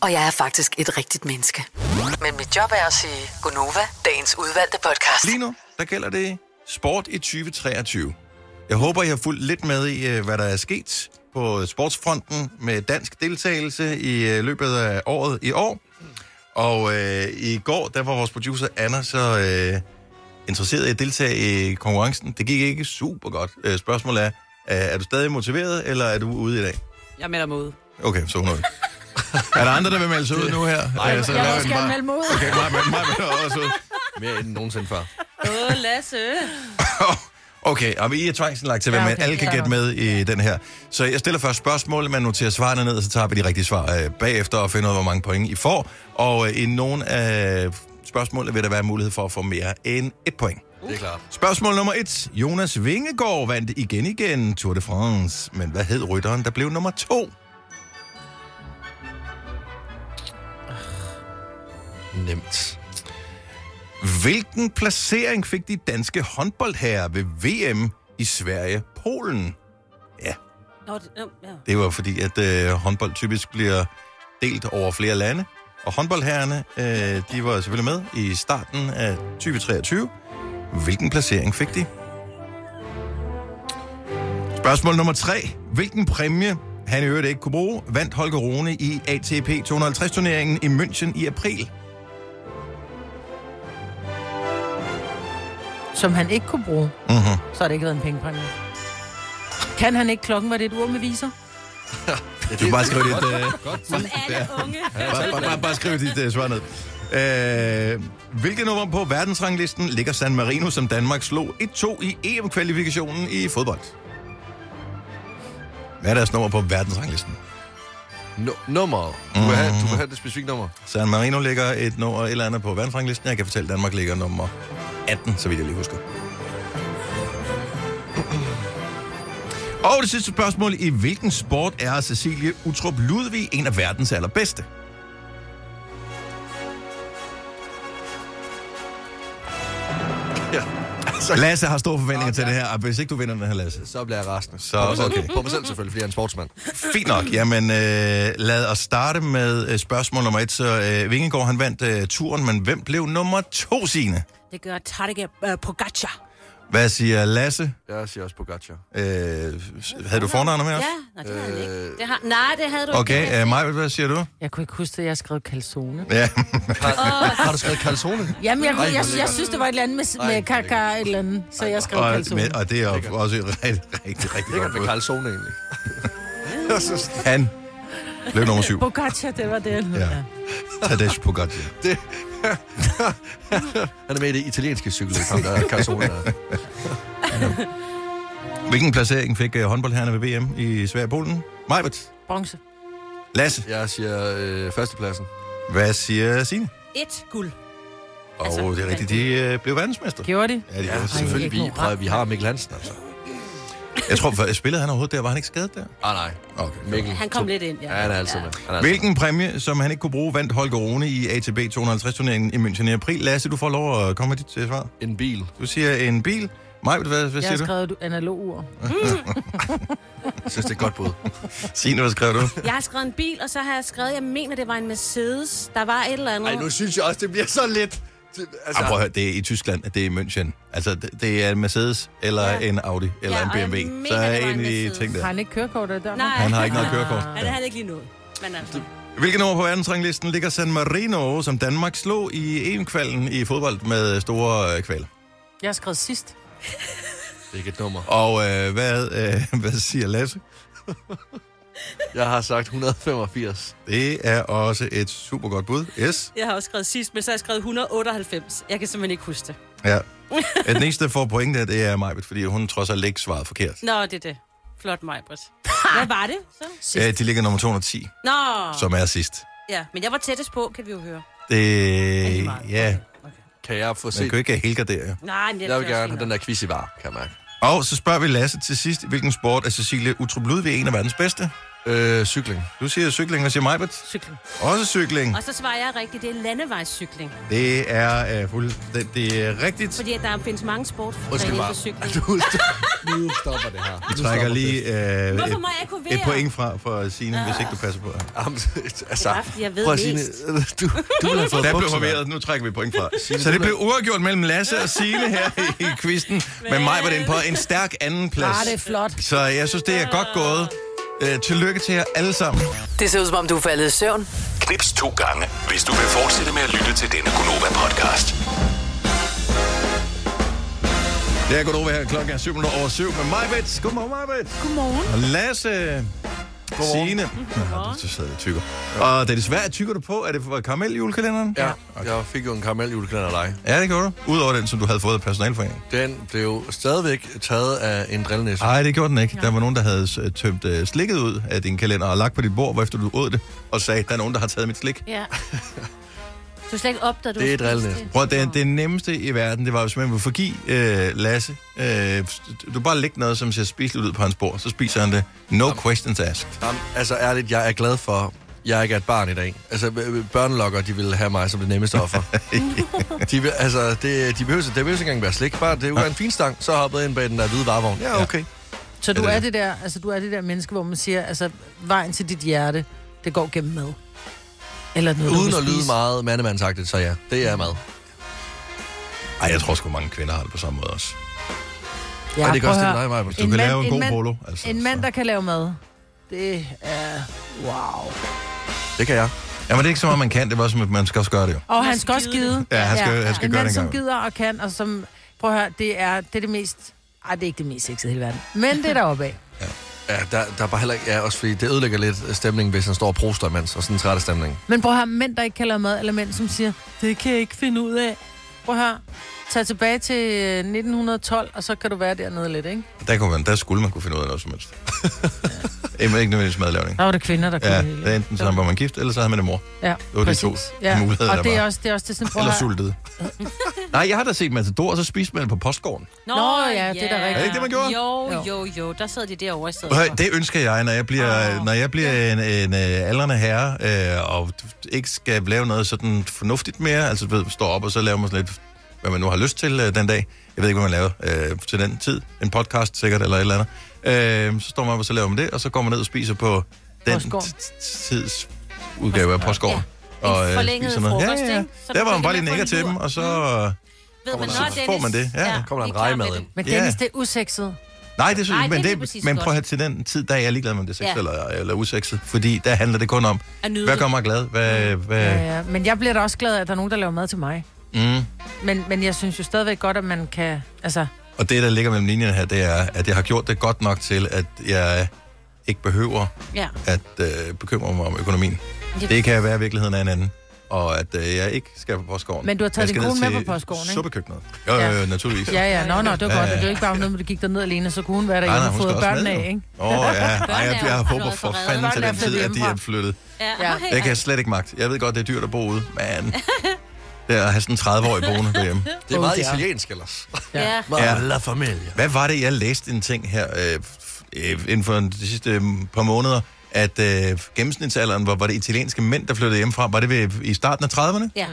[SPEAKER 8] Og jeg er faktisk et rigtigt menneske. Men mit job er at sige Gonova, dagens udvalgte podcast.
[SPEAKER 1] Lige nu, der gælder det sport i 2023. Jeg håber, I har fulgt lidt med i, øh, hvad der er sket på sportsfronten med dansk deltagelse i øh, løbet af året i år. Og øh, i går, der var vores producer Anna så øh, interesseret i at deltage i konkurrencen. Det gik ikke super godt. Øh, spørgsmålet er, øh, er du stadig motiveret, eller er du ude i dag?
[SPEAKER 5] Jeg melder mig ud.
[SPEAKER 1] Okay, så hun er ude. Er der andre, der vil melde sig ud nu her? Nej, så
[SPEAKER 2] Jeg vil
[SPEAKER 1] laver
[SPEAKER 2] også
[SPEAKER 1] vi den
[SPEAKER 2] gerne
[SPEAKER 1] bare-
[SPEAKER 2] melde mig ud.
[SPEAKER 1] Okay, mig, mig, mig, mig, også ud.
[SPEAKER 3] Mere end nogensinde før.
[SPEAKER 5] Åh, Lasse.
[SPEAKER 1] Okay, og I er tvangsindlagt til, hvad
[SPEAKER 2] Ja,
[SPEAKER 1] ja,
[SPEAKER 2] okay,
[SPEAKER 1] okay, alle kan
[SPEAKER 2] fair
[SPEAKER 1] gætte
[SPEAKER 2] nok.
[SPEAKER 1] med i den her. Så jeg stiller først spørgsmål, man noterer svarene ned, og så tager vi de rigtige svar øh, bagefter og finder ud af, hvor mange point I får. Og øh, i nogle af spørgsmålene vil der være mulighed for at få mere end et point.
[SPEAKER 3] Det er klart.
[SPEAKER 1] Spørgsmål nummer et. Jonas Vingegaard vandt igen igen Tour de France. Men hvad hed rytteren, der blev nummer to?
[SPEAKER 3] Nemt.
[SPEAKER 1] Hvilken placering fik de danske håndboldherrer ved VM i Sverige-Polen?
[SPEAKER 5] Nå, det- nå, ja.
[SPEAKER 1] Det var fordi, at øh, håndbold typisk bliver delt over flere lande. Og håndboldherrerne, øh, de var selvfølgelig med i starten af 2023. Hvilken placering fik de? Spørgsmål nummer tre. Hvilken præmie, han i øvrigt ikke kunne bruge, vandt Holger Rune i ATP 250-turneringen i München i april?
[SPEAKER 2] Som han ikke kunne bruge,
[SPEAKER 1] Mm-hmm.
[SPEAKER 2] så har det ikke været en pengepræmie. Kan han ikke klokken? Var det et ur med viser?
[SPEAKER 3] Ja,
[SPEAKER 1] Du kan bare skrive dit, øh,
[SPEAKER 3] Godt.
[SPEAKER 5] Som alle unge.
[SPEAKER 1] bare, bare, bare, bare skriv dit uh, svar ned. Uh, hvilket nummer på verdensranglisten ligger San Marino, som Danmark slog 1-2 i EM-kvalifikationen i fodbold? Hvad er deres nummer på verdensranglisten? Mhm.
[SPEAKER 3] Nu- nummeret. Du vil, have, du vil have det specifikke nummer.
[SPEAKER 1] San Marino ligger et nummer et eller andet på verdensranglisten. Jeg kan fortælle, at Danmark ligger nummer 18, så vidt jeg lige husker. Og det sidste spørgsmål. I hvilken sport er Cecilie Utrup Ludvig en af verdens allerbedste?
[SPEAKER 3] Ja. Så,
[SPEAKER 1] Lasse har store forventninger til det her, og hvis ikke du vinder den her, Lasse,
[SPEAKER 3] så bliver jeg resten.
[SPEAKER 1] Så-
[SPEAKER 3] på mig selv,
[SPEAKER 1] okay.
[SPEAKER 3] på mig selv selvfølgelig, fordi jeg er en sportsmand.
[SPEAKER 1] Fint nok. Jamen, øh, lad os starte med øh, spørgsmål nummer et. Så øh, Vingegaard, han vandt øh, turen, men hvem blev nummer to sine?
[SPEAKER 5] Det gør Tarek øh, Pogacar.
[SPEAKER 1] Hvad siger Lasse?
[SPEAKER 3] Jeg siger også Pogacar.
[SPEAKER 1] Øh, s- havde du fornavnet med os?
[SPEAKER 5] Ja, nej, det havde han
[SPEAKER 3] Øh.
[SPEAKER 5] ikke. Det har, nej, det havde du ikke.
[SPEAKER 1] Okay, øh, Maja, hvad siger du?
[SPEAKER 2] Jeg kunne ikke huske, at jeg skrev calzone.
[SPEAKER 1] Ja,
[SPEAKER 3] Har du skrevet Calzone?
[SPEAKER 2] Jamen, jeg,
[SPEAKER 3] Ej,
[SPEAKER 2] jeg, jeg,
[SPEAKER 3] hvor
[SPEAKER 2] jeg synes, det var et eller andet med,
[SPEAKER 3] Ej,
[SPEAKER 2] med kaka et eller andet, så jeg skrev
[SPEAKER 1] og,
[SPEAKER 2] calzone.
[SPEAKER 1] men, og det er jo også et rigtig, rigtig, rigtig
[SPEAKER 3] Det kan
[SPEAKER 1] godt
[SPEAKER 3] være
[SPEAKER 1] bud.
[SPEAKER 3] Calzone egentlig.
[SPEAKER 1] Han blev nummer syv.
[SPEAKER 2] Bocaccia, det var det.
[SPEAKER 1] Ja. Tadej Pogacar.
[SPEAKER 3] Han er med i det italienske cykeløb, ham der er Calzone. der.
[SPEAKER 1] Hvilken placering fik øh, håndboldherrerne ved VM i Sverige og Polen? Majbert.
[SPEAKER 2] Bronze.
[SPEAKER 1] Lasse.
[SPEAKER 3] Jeg siger øh, førstepladsen.
[SPEAKER 1] Hvad siger Signe?
[SPEAKER 5] Et guld.
[SPEAKER 1] Og
[SPEAKER 5] Altså,
[SPEAKER 1] det er rigtigt, de øh, blev verdensmester.
[SPEAKER 2] Gjorde de?
[SPEAKER 1] Ja, de
[SPEAKER 3] Ja,
[SPEAKER 1] gjorde.
[SPEAKER 3] selvfølgelig. Vi,
[SPEAKER 2] ikke
[SPEAKER 3] prøv, at- vi har Mikkel Hansen, altså.
[SPEAKER 1] Jeg tror, for, spillede han overhovedet der? Var han ikke skadet der?
[SPEAKER 3] Ah, nej.
[SPEAKER 1] Okay.
[SPEAKER 3] Mikkel.
[SPEAKER 5] Han kom lidt ind, ja.
[SPEAKER 3] Ja, han er altså- altid med. Han er altid
[SPEAKER 1] Hvilken præmie, som han ikke kunne bruge, vandt Holger Rune i ATB 250-turneringen i München i april? Lasse, du får lov at komme med dit øh, svar.
[SPEAKER 3] med. En bil.
[SPEAKER 1] Du siger en bil. Maj, hvad, hvad
[SPEAKER 2] Jeg
[SPEAKER 1] siger
[SPEAKER 2] har
[SPEAKER 1] du?
[SPEAKER 2] skrevet et analog ur.
[SPEAKER 5] Mm.
[SPEAKER 3] Jeg synes, det er et godt bud.
[SPEAKER 1] Signe, hvad skrev du?
[SPEAKER 5] Jeg har skrevet en bil, og så har jeg skrevet, jeg mener, det var en Mercedes. Der var et eller andet.
[SPEAKER 3] Nej, nu synes jeg også, det bliver så lidt. Det- Altså,
[SPEAKER 1] Ah, prøv at høre, det er i Tyskland, at det er i München. Altså, det, det er en Mercedes, eller ja.
[SPEAKER 5] Ja.
[SPEAKER 1] en Audi, eller
[SPEAKER 5] Ja, og
[SPEAKER 1] ja, en
[SPEAKER 5] jeg
[SPEAKER 1] BMW.
[SPEAKER 5] mener,
[SPEAKER 1] Så er
[SPEAKER 5] det var en
[SPEAKER 1] en i
[SPEAKER 5] Mercedes.
[SPEAKER 1] ting
[SPEAKER 2] Har
[SPEAKER 1] der.
[SPEAKER 2] han ikke kørekort der?
[SPEAKER 5] Nej.
[SPEAKER 1] Han har ikke noget kørekort.
[SPEAKER 5] Ja, det havde jeg ikke lige nået. Men altså,
[SPEAKER 1] Hvilket nummer på verdensranglisten ligger San Marino, som Danmark slog i EM-kvalden i fodbold med store øh, kvaler?
[SPEAKER 2] Jeg har skrevet sidst.
[SPEAKER 3] det er ikke et nummer.
[SPEAKER 1] Og øh, hvad, øh, hvad siger Lasse?
[SPEAKER 3] Jeg har sagt 185.
[SPEAKER 1] Det er også et super godt bud. Yes.
[SPEAKER 5] jeg har også skrevet sidst, men så har jeg skrevet 198. Jeg kan simpelthen ikke huske det.
[SPEAKER 1] Ja. At den eneste, der får point der, det er Majbet, fordi hun trods alt ikke svarede forkert.
[SPEAKER 5] Nå, det er det. Flot mig, Britt. Hvad var det så?
[SPEAKER 1] Ja, de ligger nummer 210,
[SPEAKER 5] Nå,
[SPEAKER 1] som er sidst.
[SPEAKER 5] ja. Men jeg var tættest på, kan vi jo høre.
[SPEAKER 1] Det,
[SPEAKER 5] lige meget.
[SPEAKER 1] ja,
[SPEAKER 3] Kan jeg få
[SPEAKER 1] man
[SPEAKER 3] set?
[SPEAKER 1] kan jo ikke have helgardere.
[SPEAKER 5] Nej, men det er
[SPEAKER 3] Jeg vil
[SPEAKER 5] også
[SPEAKER 3] gerne
[SPEAKER 5] fint
[SPEAKER 3] have den
[SPEAKER 5] nok.
[SPEAKER 3] der quiz i var, kan jeg mærke.
[SPEAKER 1] Og så spørger vi Lasse til sidst, hvilken sport er Cecilie Utrup Ludvig en af verdens bedste?
[SPEAKER 3] Øh, cykling.
[SPEAKER 1] Du siger cykling, og siger Majbert?
[SPEAKER 5] Cykling.
[SPEAKER 1] Også cykling.
[SPEAKER 5] Og så svarer jeg rigtigt, det er landevejscykling.
[SPEAKER 1] Det er øh, fuldstændig det er rigtigt.
[SPEAKER 5] Fordi at der findes mange sportsgrene
[SPEAKER 3] Undskyld
[SPEAKER 5] inden
[SPEAKER 3] bare.
[SPEAKER 5] for cykling.
[SPEAKER 3] Nu stopper, nu stopper det her.
[SPEAKER 1] Vi trækker lige øh,
[SPEAKER 5] Hvorfor må
[SPEAKER 1] et,
[SPEAKER 5] jeg kunne
[SPEAKER 1] et
[SPEAKER 5] være?
[SPEAKER 1] point fra for Signe, hvis ikke du passer på.
[SPEAKER 3] Jamen, altså,
[SPEAKER 5] Det er fordi, jeg ved
[SPEAKER 3] prøv at sige,
[SPEAKER 5] mest.
[SPEAKER 3] du, du ville have fået
[SPEAKER 1] Der blev
[SPEAKER 3] bukser,
[SPEAKER 1] forvirret, nu trækker vi point fra. Så det blev uafgjort mellem Lasse og Signe her i quizzen. Men mig var den på en stærk anden plads.
[SPEAKER 2] Ah, det er flot.
[SPEAKER 1] Så jeg synes, det er godt gået. Øh, tillykke til jer alle sammen.
[SPEAKER 8] Det ser ud som om, du er faldet i søvn.
[SPEAKER 7] Knips to gange, hvis du vil fortsætte med at lytte til denne Gunova-podcast.
[SPEAKER 1] Det er godt over her. Klokken er 7 over 7 med Majbet. Godmorgen, Majbet.
[SPEAKER 2] Godmorgen.
[SPEAKER 1] Og Lasse. Signe. Ja, så sidder jeg og tykker. Og da det svært, tykker du på, er det for karamel i julekalenderen?
[SPEAKER 3] Ja, jeg fik jo en karameljulekalender af dig.
[SPEAKER 1] Ja, det gjorde du. Udover den, som du havde fået af personalforeningen.
[SPEAKER 3] Den blev jo stadigvæk taget af en drillnæse.
[SPEAKER 1] Nej, det gjorde den ikke. Der var nogen, der havde øh, tømt øh, slikket ud af din kalender og lagt på dit bord, efter du åd det, og sagde, der er nogen, der har taget mit slik.
[SPEAKER 5] Ja. Du slet ikke opdager, du
[SPEAKER 3] Det er
[SPEAKER 5] har spist
[SPEAKER 3] drillende.
[SPEAKER 1] Prøv at, det, det nemmeste i verden, det var, hvis man ville forgive øh, Lasse. Øh, du bare lægge noget, som ser spiseligt ud på hans bord, så spiser han det. No questions asked.
[SPEAKER 3] Jamen, altså ærligt, jeg er glad for, jeg ikke er et barn i dag. Altså, b- b- børnelokker, de ville have mig som det nemmeste offer. de, vil- altså, det, de behøver, det behøver ikke engang være slik. Bare det var en fin stang, så hoppede jeg ind bag den der hvide varevogn. Ja, okay.
[SPEAKER 2] Så du
[SPEAKER 1] det
[SPEAKER 2] er
[SPEAKER 1] det?
[SPEAKER 2] det der, altså, du er det der menneske, hvor man siger, altså, vejen til dit hjerte, det går gennem mad. Eller noget, du
[SPEAKER 3] Uden
[SPEAKER 2] vil
[SPEAKER 3] at lyde
[SPEAKER 2] spise.
[SPEAKER 3] meget mandemandsagtigt, så ja, det er mad.
[SPEAKER 1] Ej, jeg tror sgu mange kvinder har det på samme måde også.
[SPEAKER 2] Ja,
[SPEAKER 3] Og det gør
[SPEAKER 2] prøv
[SPEAKER 3] også
[SPEAKER 2] at
[SPEAKER 3] det
[SPEAKER 2] høre.
[SPEAKER 3] med dig, Maja.
[SPEAKER 1] Du
[SPEAKER 2] En
[SPEAKER 1] kan
[SPEAKER 2] mand-
[SPEAKER 1] lave en,
[SPEAKER 2] en
[SPEAKER 1] god
[SPEAKER 2] mand-
[SPEAKER 1] polo. Altså,
[SPEAKER 2] En mand,
[SPEAKER 1] så.
[SPEAKER 2] der kan lave mad, det er... Wow.
[SPEAKER 3] Det kan jeg.
[SPEAKER 1] Jamen, det er ikke så meget, man kan. Det var som, at man skal også gøre det jo.
[SPEAKER 2] Og han skal også gide.
[SPEAKER 1] Ja, han skal- han skal
[SPEAKER 2] en
[SPEAKER 1] gøre
[SPEAKER 2] mand,
[SPEAKER 1] det en
[SPEAKER 2] som
[SPEAKER 1] gang.
[SPEAKER 2] gider og kan, og som... Prøv at høre, det er det, er det mest... Ej, det er ikke det mest sexede i hele verden. Men det er deroppe af.
[SPEAKER 3] Ja, der, der er bare heller ikke... Ja, også fordi det ødelægger lidt stemningen, hvis han står og proster imens, og sådan en trætte stemning.
[SPEAKER 2] Men prøv at høre, mænd, der ikke kan lave mad, eller mænd, som siger, det kan jeg ikke finde ud af. Prøv at høre, tag tilbage til øh, 1912, og så kan du være dernede lidt, ikke?
[SPEAKER 1] Der, kunne man, der skulle man kunne finde ud af noget som helst. ja. Ikke nødvendigvis madlavning.
[SPEAKER 2] Der var det kvinder, der kunne
[SPEAKER 1] Ja,
[SPEAKER 2] det hele.
[SPEAKER 1] det er enten så var man gift, eller så havde man en mor.
[SPEAKER 2] Ja,
[SPEAKER 1] Det var de to muligheder,
[SPEAKER 2] Og
[SPEAKER 1] der
[SPEAKER 2] det er
[SPEAKER 1] var.
[SPEAKER 2] også, det er også det, sådan, prøv at
[SPEAKER 1] Eller
[SPEAKER 2] høre.
[SPEAKER 1] sultede. Nej, jeg har da set Matador, og så spiste man det på postgården.
[SPEAKER 5] Nå,
[SPEAKER 2] Nå, ja, det er da rigtigt.
[SPEAKER 1] Er det ikke det, man gjorde?
[SPEAKER 5] Jo,
[SPEAKER 2] Jo.
[SPEAKER 5] jo, jo. Der sad de derovre i stedet
[SPEAKER 1] Hør,
[SPEAKER 5] for.
[SPEAKER 1] det ønsker jeg, når jeg bliver, oh, når jeg bliver en, en øh, aldrende herre, øh, og ikke skal lave noget sådan fornuftigt mere, altså du ved, står op og så laver man sådan lidt, hvad man nu har lyst til øh, den dag. Jeg ved ikke, hvad man laver øh, til den tid. En podcast sikkert, eller et eller andet. Øh, så står man op, og så laver man det, og så går man ned og spiser på den
[SPEAKER 2] Postgården.
[SPEAKER 1] t- t- tids udgave af Postgården. øh,
[SPEAKER 5] Ja. En forlænget
[SPEAKER 1] spiser noget.
[SPEAKER 5] frokost,
[SPEAKER 1] ja, ja.
[SPEAKER 5] ikke? Så
[SPEAKER 1] Der var
[SPEAKER 5] du
[SPEAKER 1] man
[SPEAKER 5] kan
[SPEAKER 1] bare
[SPEAKER 5] ikke
[SPEAKER 1] lige nikker
[SPEAKER 5] mere få
[SPEAKER 1] til
[SPEAKER 5] en
[SPEAKER 1] dem,
[SPEAKER 5] lur.
[SPEAKER 1] og så...
[SPEAKER 5] Ved man,
[SPEAKER 1] så
[SPEAKER 5] når Dennis-
[SPEAKER 1] får man det. Ja,
[SPEAKER 5] vi
[SPEAKER 3] Kommer der en
[SPEAKER 5] er klar
[SPEAKER 3] rejemad
[SPEAKER 5] med
[SPEAKER 3] ind?
[SPEAKER 5] det.
[SPEAKER 2] Men
[SPEAKER 1] Ja.
[SPEAKER 2] Dennis, det er usekset.
[SPEAKER 1] Nej, det synes
[SPEAKER 5] Nej,
[SPEAKER 1] jeg,
[SPEAKER 5] det
[SPEAKER 1] men,
[SPEAKER 5] er lige
[SPEAKER 1] det,
[SPEAKER 5] præcis
[SPEAKER 1] men
[SPEAKER 5] godt.
[SPEAKER 1] prøv at høre til den tid, der er jeg ligeglad med, om det er sex ja.
[SPEAKER 5] Ja.
[SPEAKER 1] eller, eller usexet, fordi der handler det kun om,
[SPEAKER 5] At nyde
[SPEAKER 1] hvad
[SPEAKER 5] det.
[SPEAKER 1] gør mig glad, hvad,
[SPEAKER 2] Mm.
[SPEAKER 1] hvad, ja, ja.
[SPEAKER 2] Ja, ja. Øh, Men jeg bliver da også glad af, at der er nogen, der laver mad til mig.
[SPEAKER 1] Mm.
[SPEAKER 2] Men, men jeg synes jo stadigvæk godt, at man kan... Altså,
[SPEAKER 1] Og det, der ligger mellem linjerne her, det er, at jeg har gjort det godt nok til, at jeg ikke behøver
[SPEAKER 5] Ja.
[SPEAKER 1] at øh, bekymre mig om økonomien.
[SPEAKER 5] Yep.
[SPEAKER 1] Det kan være, at virkeligheden er en anden. Og at øh, jeg ikke skal på postgården.
[SPEAKER 2] Men du har taget
[SPEAKER 1] Jeg
[SPEAKER 2] din
[SPEAKER 1] skal ned
[SPEAKER 2] kone med
[SPEAKER 1] til
[SPEAKER 2] på postgården, ikke?
[SPEAKER 1] Suppekøkkenet. Jo, jo, jo,
[SPEAKER 2] Ja.
[SPEAKER 1] naturligvis.
[SPEAKER 2] ja, ja, nå, nå, det var
[SPEAKER 1] Ja,
[SPEAKER 2] godt.
[SPEAKER 1] ja.
[SPEAKER 2] Det er jo ikke bare noget, med, at du gik derned alene, så kunne hun være derhjemme og fået børnene af, ikke?
[SPEAKER 1] Åh, oh, ja. Ej, jeg, jeg,
[SPEAKER 5] er jo
[SPEAKER 1] håber for
[SPEAKER 5] allerede forredet.
[SPEAKER 1] fanden til
[SPEAKER 2] Børnene er
[SPEAKER 1] den tid,
[SPEAKER 2] flyttet
[SPEAKER 1] at de er
[SPEAKER 2] hjemmefra.
[SPEAKER 1] flyttet.
[SPEAKER 5] Ja. Okay.
[SPEAKER 1] Det kan jeg slet ikke magt. Jeg ved godt, det er dyrt at bo ude, men det er at have sådan en 30-årig boende derhjemme.
[SPEAKER 3] Det er meget
[SPEAKER 2] Oh, det er.
[SPEAKER 3] italiensk ellers.
[SPEAKER 5] Ja.
[SPEAKER 1] Ja.
[SPEAKER 3] Meget la familia.
[SPEAKER 1] Hvad var det, jeg læste en ting her øh, f- øh, inden for de sidste øh, par måneder, at øh, gennemsnitsalderen, hvor var det italienske mænd, der flyttede hjemmefra, var det ved, i starten af 30'erne?
[SPEAKER 5] Ja.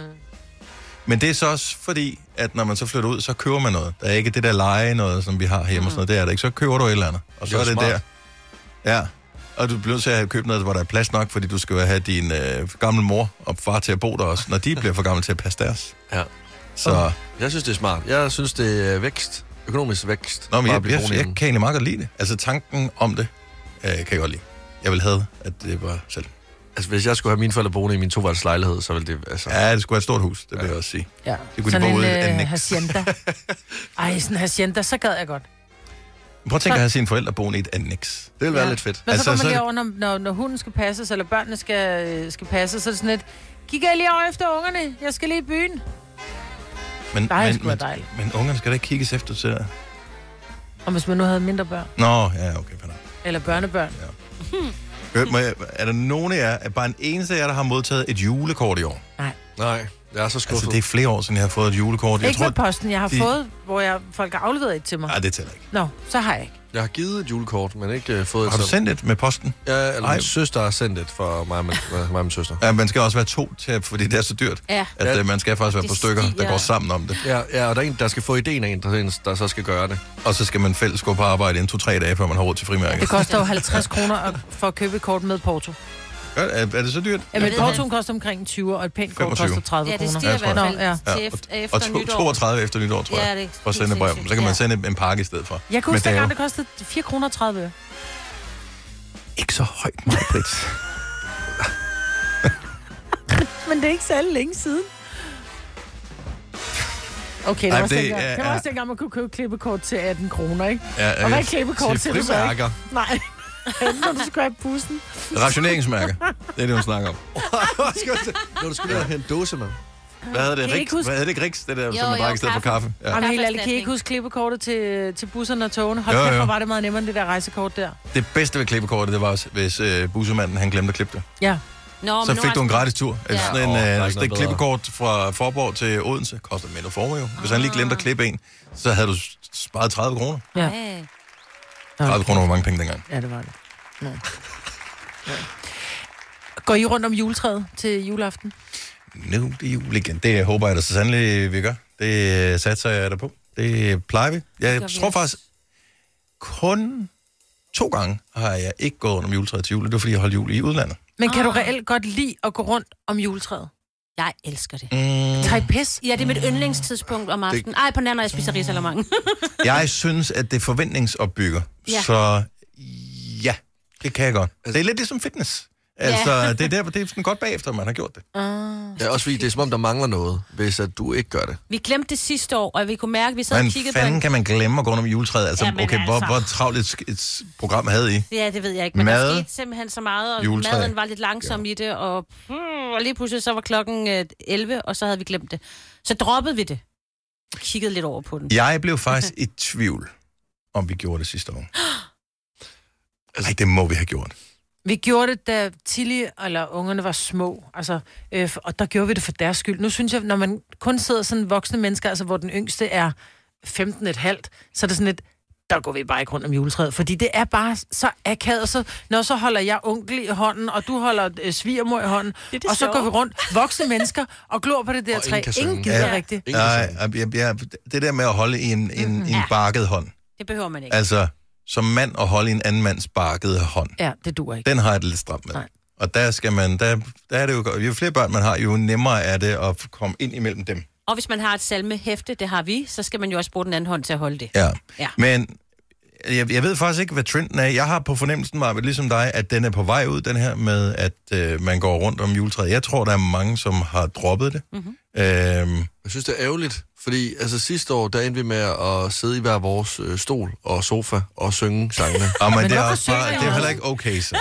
[SPEAKER 1] Men det er så også fordi, at når man så flytter ud, så køber man noget. Der er ikke det der leje noget, som vi har hjemme mm. og sådan noget. Det er der ikke. Så køber du et eller andet. Og så
[SPEAKER 3] Det
[SPEAKER 1] det
[SPEAKER 3] er
[SPEAKER 1] er det
[SPEAKER 3] smart.
[SPEAKER 1] der. Ja. Og du bliver nødt til at have købt noget, hvor der er plads nok, fordi du skal jo have din øh, gamle mor og far til at bo der også, når de bliver for gamle til at passe deres.
[SPEAKER 3] Ja.
[SPEAKER 1] Så,
[SPEAKER 3] Jeg synes, det er smart. Jeg synes, det er vækst. Økonomisk vækst.
[SPEAKER 1] nå, men
[SPEAKER 3] Bare
[SPEAKER 1] jeg,
[SPEAKER 3] blive
[SPEAKER 1] jeg,
[SPEAKER 3] boende
[SPEAKER 1] jeg,
[SPEAKER 3] hjemme.
[SPEAKER 1] kan egentlig meget godt lide det. Altså tanken om det, øh, kan jeg godt lide. Jeg vil have, at det var selv.
[SPEAKER 3] Altså, hvis jeg skulle have mine forældre boende i min toværelses lejlighed, så ville det... Altså, ja.
[SPEAKER 1] Ja, det skulle være et stort hus, det vil jeg også sige.
[SPEAKER 2] Ja.
[SPEAKER 1] Det kunne de
[SPEAKER 2] sådan
[SPEAKER 1] bare
[SPEAKER 2] en
[SPEAKER 1] ud i et
[SPEAKER 2] øh,
[SPEAKER 1] annex.
[SPEAKER 2] hacienda. Ej, sådan en hacienda, så gad jeg godt.
[SPEAKER 1] Prøv at tænke at have sine forældre boende i et annex.
[SPEAKER 3] Det ville være
[SPEAKER 2] Ja.
[SPEAKER 3] lidt fedt.
[SPEAKER 2] Men altså,
[SPEAKER 1] Altså,
[SPEAKER 2] så kommer man
[SPEAKER 1] så-
[SPEAKER 2] lige over, når, når, når hunden skal passes, eller børnene skal, øh, skal passes, så er det sådan lidt, kigger jeg lige over efter ungerne, jeg skal lige i byen.
[SPEAKER 1] Men,
[SPEAKER 2] Ej, det
[SPEAKER 1] men,
[SPEAKER 2] skulle være
[SPEAKER 1] men,
[SPEAKER 2] dejligt.
[SPEAKER 1] men ungerne skal da ikke kigges efter til det.
[SPEAKER 2] Og hvis man nu havde mindre børn,
[SPEAKER 1] Nå, ja, okay, fair nok.
[SPEAKER 2] eller børnebørn. Hm.
[SPEAKER 1] Øh, må jeg, er der nogen af jer, er bare en eneste af jer, der har modtaget et julekort i år?
[SPEAKER 3] Nej. Jeg er så skuffet.
[SPEAKER 1] Altså, det er flere år siden, jeg har fået et julekort. Jeg
[SPEAKER 2] Ikke med posten, jeg har
[SPEAKER 1] de-
[SPEAKER 2] fået, hvor jeg, folk har afleveret et til mig.
[SPEAKER 1] Nej, det tæller ikke.
[SPEAKER 2] Nå, så har jeg ikke.
[SPEAKER 3] Jeg har givet et julekort, men ikke øh, fået et
[SPEAKER 1] Har du
[SPEAKER 3] selv.
[SPEAKER 1] sendt et med posten?
[SPEAKER 3] Ja, eller
[SPEAKER 1] Ej.
[SPEAKER 3] min søster har sendt et for mig og min, mig og min søster.
[SPEAKER 1] Ja, man skal også være to til, at- fordi det er så dyrt,
[SPEAKER 5] Ja.
[SPEAKER 1] at
[SPEAKER 3] Ja.
[SPEAKER 1] øh, man skal faktisk være
[SPEAKER 5] Det
[SPEAKER 1] på stykker, der
[SPEAKER 5] stiger.
[SPEAKER 1] går sammen om det.
[SPEAKER 3] Ja, ja, og der er en, der skal få ideen af en, der, en, der så skal gøre det.
[SPEAKER 1] Og så skal man fælles gå på arbejde inden to-tre dage, før man har råd til frimærket.
[SPEAKER 2] Det koster jo 50 kroner at- for at købe et kort med porto.
[SPEAKER 1] Gør- Er, er det så dyrt?
[SPEAKER 2] Ja, men
[SPEAKER 5] ved
[SPEAKER 2] portoen koster omkring en 20, og et pænt kort
[SPEAKER 1] 25.
[SPEAKER 2] koster 30
[SPEAKER 5] Ja, det
[SPEAKER 2] kroner.
[SPEAKER 5] stiger i
[SPEAKER 1] Ja, jeg
[SPEAKER 5] hvert
[SPEAKER 1] tror
[SPEAKER 5] fald
[SPEAKER 2] jeg.
[SPEAKER 5] til efter, efter
[SPEAKER 1] og to,
[SPEAKER 5] nytår.
[SPEAKER 1] 32 efter nytår, tror
[SPEAKER 5] Ja,
[SPEAKER 1] jeg.
[SPEAKER 5] det er
[SPEAKER 1] for at
[SPEAKER 5] helt
[SPEAKER 1] sende et brev.
[SPEAKER 5] sindssygt.
[SPEAKER 1] Så kan man
[SPEAKER 5] Ja.
[SPEAKER 1] sende en- en pakke i stedet for.
[SPEAKER 2] Jeg kunne
[SPEAKER 1] Men
[SPEAKER 2] huske,
[SPEAKER 1] det er
[SPEAKER 2] dengang
[SPEAKER 1] jo
[SPEAKER 2] det kostede 4 kroner 30 øre.
[SPEAKER 1] ikke så højt meget pris.
[SPEAKER 2] Men det er ikke særlig længe siden. Okay, det
[SPEAKER 1] Ej,
[SPEAKER 2] var også
[SPEAKER 1] det
[SPEAKER 2] dengang.
[SPEAKER 1] er-
[SPEAKER 2] Det var også dengang, man kunne købe klippekort til 18 kroner, ikke?
[SPEAKER 1] Ja,
[SPEAKER 2] Og hvad er
[SPEAKER 1] øh,
[SPEAKER 2] klippekort til, du så ikke?
[SPEAKER 3] frimærker.
[SPEAKER 2] Nej. Når du skal have bussen.
[SPEAKER 1] rationeringsmærker. Det er det, hun snakker om.
[SPEAKER 3] Når du skulle ned og hente dåse med.
[SPEAKER 1] Hvad hedder det?
[SPEAKER 2] Kan I ikke
[SPEAKER 1] Riks?
[SPEAKER 2] huske-
[SPEAKER 1] Hvad hedder det? Griks? Det der,
[SPEAKER 5] Jo,
[SPEAKER 1] som man
[SPEAKER 5] jo,
[SPEAKER 1] bare i stedet for kaffe. Ja.
[SPEAKER 2] Jamen helt ærligt, kan I
[SPEAKER 5] Kaffeerstatning.
[SPEAKER 2] ikke huske klippekortet til, til busserne og togene? Hold
[SPEAKER 1] Jo,
[SPEAKER 2] kæft,
[SPEAKER 1] jo.
[SPEAKER 2] hvor var det meget nemmere end det der rejsekort der.
[SPEAKER 1] Det bedste ved klippekortet, det var også, hvis øh, bussemanden han glemte at klippe det.
[SPEAKER 2] Ja.
[SPEAKER 5] Nå, men
[SPEAKER 1] Så
[SPEAKER 5] nu
[SPEAKER 1] fik
[SPEAKER 5] har-
[SPEAKER 1] du en gratis tur. Ja.
[SPEAKER 5] Ja.
[SPEAKER 1] Sådan
[SPEAKER 3] Åh, der er
[SPEAKER 1] en,
[SPEAKER 3] ikke
[SPEAKER 1] øh,
[SPEAKER 3] noget
[SPEAKER 1] sådan et
[SPEAKER 3] bedre.
[SPEAKER 1] klippekort fra Forborg til Odense. Koster mindre formål jo. Hvis han lige glemte at klippe en, så havde du s- sparet 30 kroner.
[SPEAKER 5] Ja.
[SPEAKER 1] 30 kroner var mange penge dengang.
[SPEAKER 2] Ja, det var det. Nå. Ja. Går I rundt om juletræet til juleaften?
[SPEAKER 1] Nu er det jul igen. Det håber jeg da så sandelig, vi gør. Det øh, satser jeg da på. Det plejer vi. Jeg
[SPEAKER 5] gør vi
[SPEAKER 1] tror
[SPEAKER 5] også.
[SPEAKER 1] faktisk, kun to gange har jeg ikke gået rundt om juletræet til jul. og Det var, fordi jeg holdt jul i udlandet.
[SPEAKER 2] Men kan
[SPEAKER 5] Ah.
[SPEAKER 2] du reelt godt lide at gå rundt om juletræet?
[SPEAKER 5] Jeg elsker det.
[SPEAKER 1] Mm.
[SPEAKER 2] Tag pis.
[SPEAKER 5] Ja, det er mit yndlingstidspunkt om aftenen. Ej, på den anden, når jeg
[SPEAKER 1] Mm.
[SPEAKER 5] spiser risalamange.
[SPEAKER 1] Jeg synes, at det er forventningsopbygger. Ja.
[SPEAKER 5] Ja.
[SPEAKER 1] Så ja, det kan jeg godt.
[SPEAKER 3] Altså-
[SPEAKER 1] Det er lidt ligesom fitness. Altså, ja. det, er der, det er sådan godt bagefter, man har gjort det. Ah.
[SPEAKER 3] Ja, også fordi det er som om, der mangler noget, hvis at du ikke gør det.
[SPEAKER 5] vi glemte det sidste år, og vi kunne mærke, at vi sad og
[SPEAKER 1] Hvordan
[SPEAKER 5] kiggede på
[SPEAKER 1] fanden
[SPEAKER 5] en...
[SPEAKER 1] kan man glemme at gå rundt om juletræet? Altså,
[SPEAKER 5] Jamen,
[SPEAKER 1] okay, hvor,
[SPEAKER 5] altså.
[SPEAKER 1] hvor travlt et, sk- et s- program havde I?
[SPEAKER 5] Ja, det ved jeg ikke, men
[SPEAKER 1] Mad.
[SPEAKER 5] der skete simpelthen så meget, og
[SPEAKER 1] Juletræ.
[SPEAKER 5] maden var lidt langsom ja. i det, og, mm, og lige pludselig så var klokken øh, 11, og så havde vi glemt det. Så droppede vi det. Kiggede lidt over på den.
[SPEAKER 1] Jeg blev faktisk i tvivl, om vi gjorde det sidste år. Altså, Ej, det må vi have gjort.
[SPEAKER 2] Vi gjorde det, da Tilly eller ungerne var små, altså, øh, f- og der gjorde vi det for deres skyld. Nu synes jeg, når man kun sidder sådan voksne mennesker, altså hvor den yngste er 15 et halvt, så er det sådan lidt, der går vi bare ikke rundt om juletræet, fordi det er bare så akavet, og så, når så holder jeg onkel i hånden, og du holder øh, svigermor i hånden, det
[SPEAKER 5] det
[SPEAKER 2] og så
[SPEAKER 5] sjove.
[SPEAKER 2] går vi rundt, voksne mennesker, og glor på det der
[SPEAKER 3] Og
[SPEAKER 2] træ.
[SPEAKER 3] ingen kan
[SPEAKER 2] Ingen,
[SPEAKER 3] synge.
[SPEAKER 2] ingen gider
[SPEAKER 5] Ja.
[SPEAKER 2] ja. rigtigt.
[SPEAKER 3] Ingen
[SPEAKER 1] Nej,
[SPEAKER 3] sådan.
[SPEAKER 1] jeg, jeg, jeg, det der med at holde i en, en, en
[SPEAKER 5] Mhm. Ja.
[SPEAKER 1] barket hånd,
[SPEAKER 5] Det behøver man ikke.
[SPEAKER 1] altså som mand at holde i en anden mands barkede hånd,
[SPEAKER 2] Ja, det duer ikke.
[SPEAKER 1] den har jeg det lidt stramt med.
[SPEAKER 2] Nej.
[SPEAKER 1] Og der skal man, der, der er det jo godt. Jo flere børn man har, jo nemmere er det at komme ind imellem dem.
[SPEAKER 5] Og hvis man har et salmehæfte, det har vi, så skal man jo også bruge den anden hånd til at holde det.
[SPEAKER 1] Ja.
[SPEAKER 5] Ja.
[SPEAKER 1] Men jeg, jeg ved faktisk ikke, hvad trenden er. Jeg har på fornemmelsen, Marvind, ligesom dig, at den er på vej ud, den her med, at øh, man går rundt om juletræet. Jeg tror, der er mange, som har droppet det. Mm-hmm. Øhm,
[SPEAKER 3] Jeg synes, det er ærgerligt, fordi altså, sidste år, der endte vi med at sidde i hver vores øh, stol og sofa og synge sangene.
[SPEAKER 1] og men, men det, er
[SPEAKER 2] hvorfor
[SPEAKER 1] også bare,
[SPEAKER 2] synger I
[SPEAKER 1] det er jo heller
[SPEAKER 2] også?
[SPEAKER 1] ikke okay, så.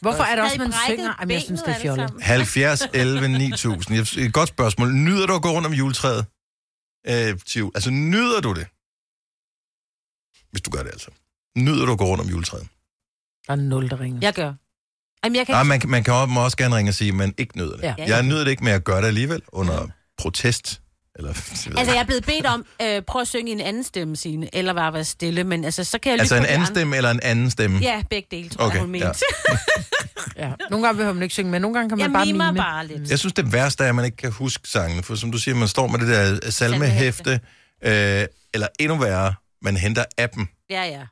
[SPEAKER 2] Hvorfor er det også,
[SPEAKER 5] I
[SPEAKER 2] man
[SPEAKER 5] brækket
[SPEAKER 2] synger? Jamen, jeg synes, det
[SPEAKER 5] benet
[SPEAKER 2] er fjollet.
[SPEAKER 5] alle
[SPEAKER 1] 70, 11, 9000. Jeg- Et godt spørgsmål. Nyder du at gå rundt om juletræet? Øh, til jul? Altså, nyder du det? Hvis du gør det, altså. Nyder du at gå rundt om juletræet?
[SPEAKER 2] Der er nul, der ringer.
[SPEAKER 5] sammen? Jeg gør. Jamen, jeg kan
[SPEAKER 1] Nej,
[SPEAKER 5] ikke...
[SPEAKER 1] man, kan- man kan også, må også gerne ringe og sige, men ikke nyder det.
[SPEAKER 2] Ja.
[SPEAKER 1] Jeg nyder det ikke, men jeg gør det alligevel under protest. Eller, jeg ved
[SPEAKER 5] Altså,
[SPEAKER 1] ikke.
[SPEAKER 5] jeg er blevet bedt om, øh, prøv at synge i en anden stemme, Signe, eller bare være stille, men altså, så kan jeg lytte
[SPEAKER 1] altså
[SPEAKER 5] på
[SPEAKER 1] en
[SPEAKER 5] de
[SPEAKER 1] anden
[SPEAKER 5] andre.
[SPEAKER 1] stemme eller en anden stemme?
[SPEAKER 5] Ja, begge dele, tror okay,
[SPEAKER 1] Okay,
[SPEAKER 5] jeg, hun mente.
[SPEAKER 1] ja.
[SPEAKER 5] Ja.
[SPEAKER 2] Ja. Nogle gange behøver man ikke synge, men nogle gange kan man
[SPEAKER 5] Jeg
[SPEAKER 2] bare
[SPEAKER 5] mimer
[SPEAKER 2] mime.
[SPEAKER 5] bare lidt.
[SPEAKER 1] Jeg synes, det værste er, at man ikke kan huske sangene. For som du siger, man står med det der salmehæfte, øh, eller endnu værre, man henter appen.
[SPEAKER 5] Ja, ja.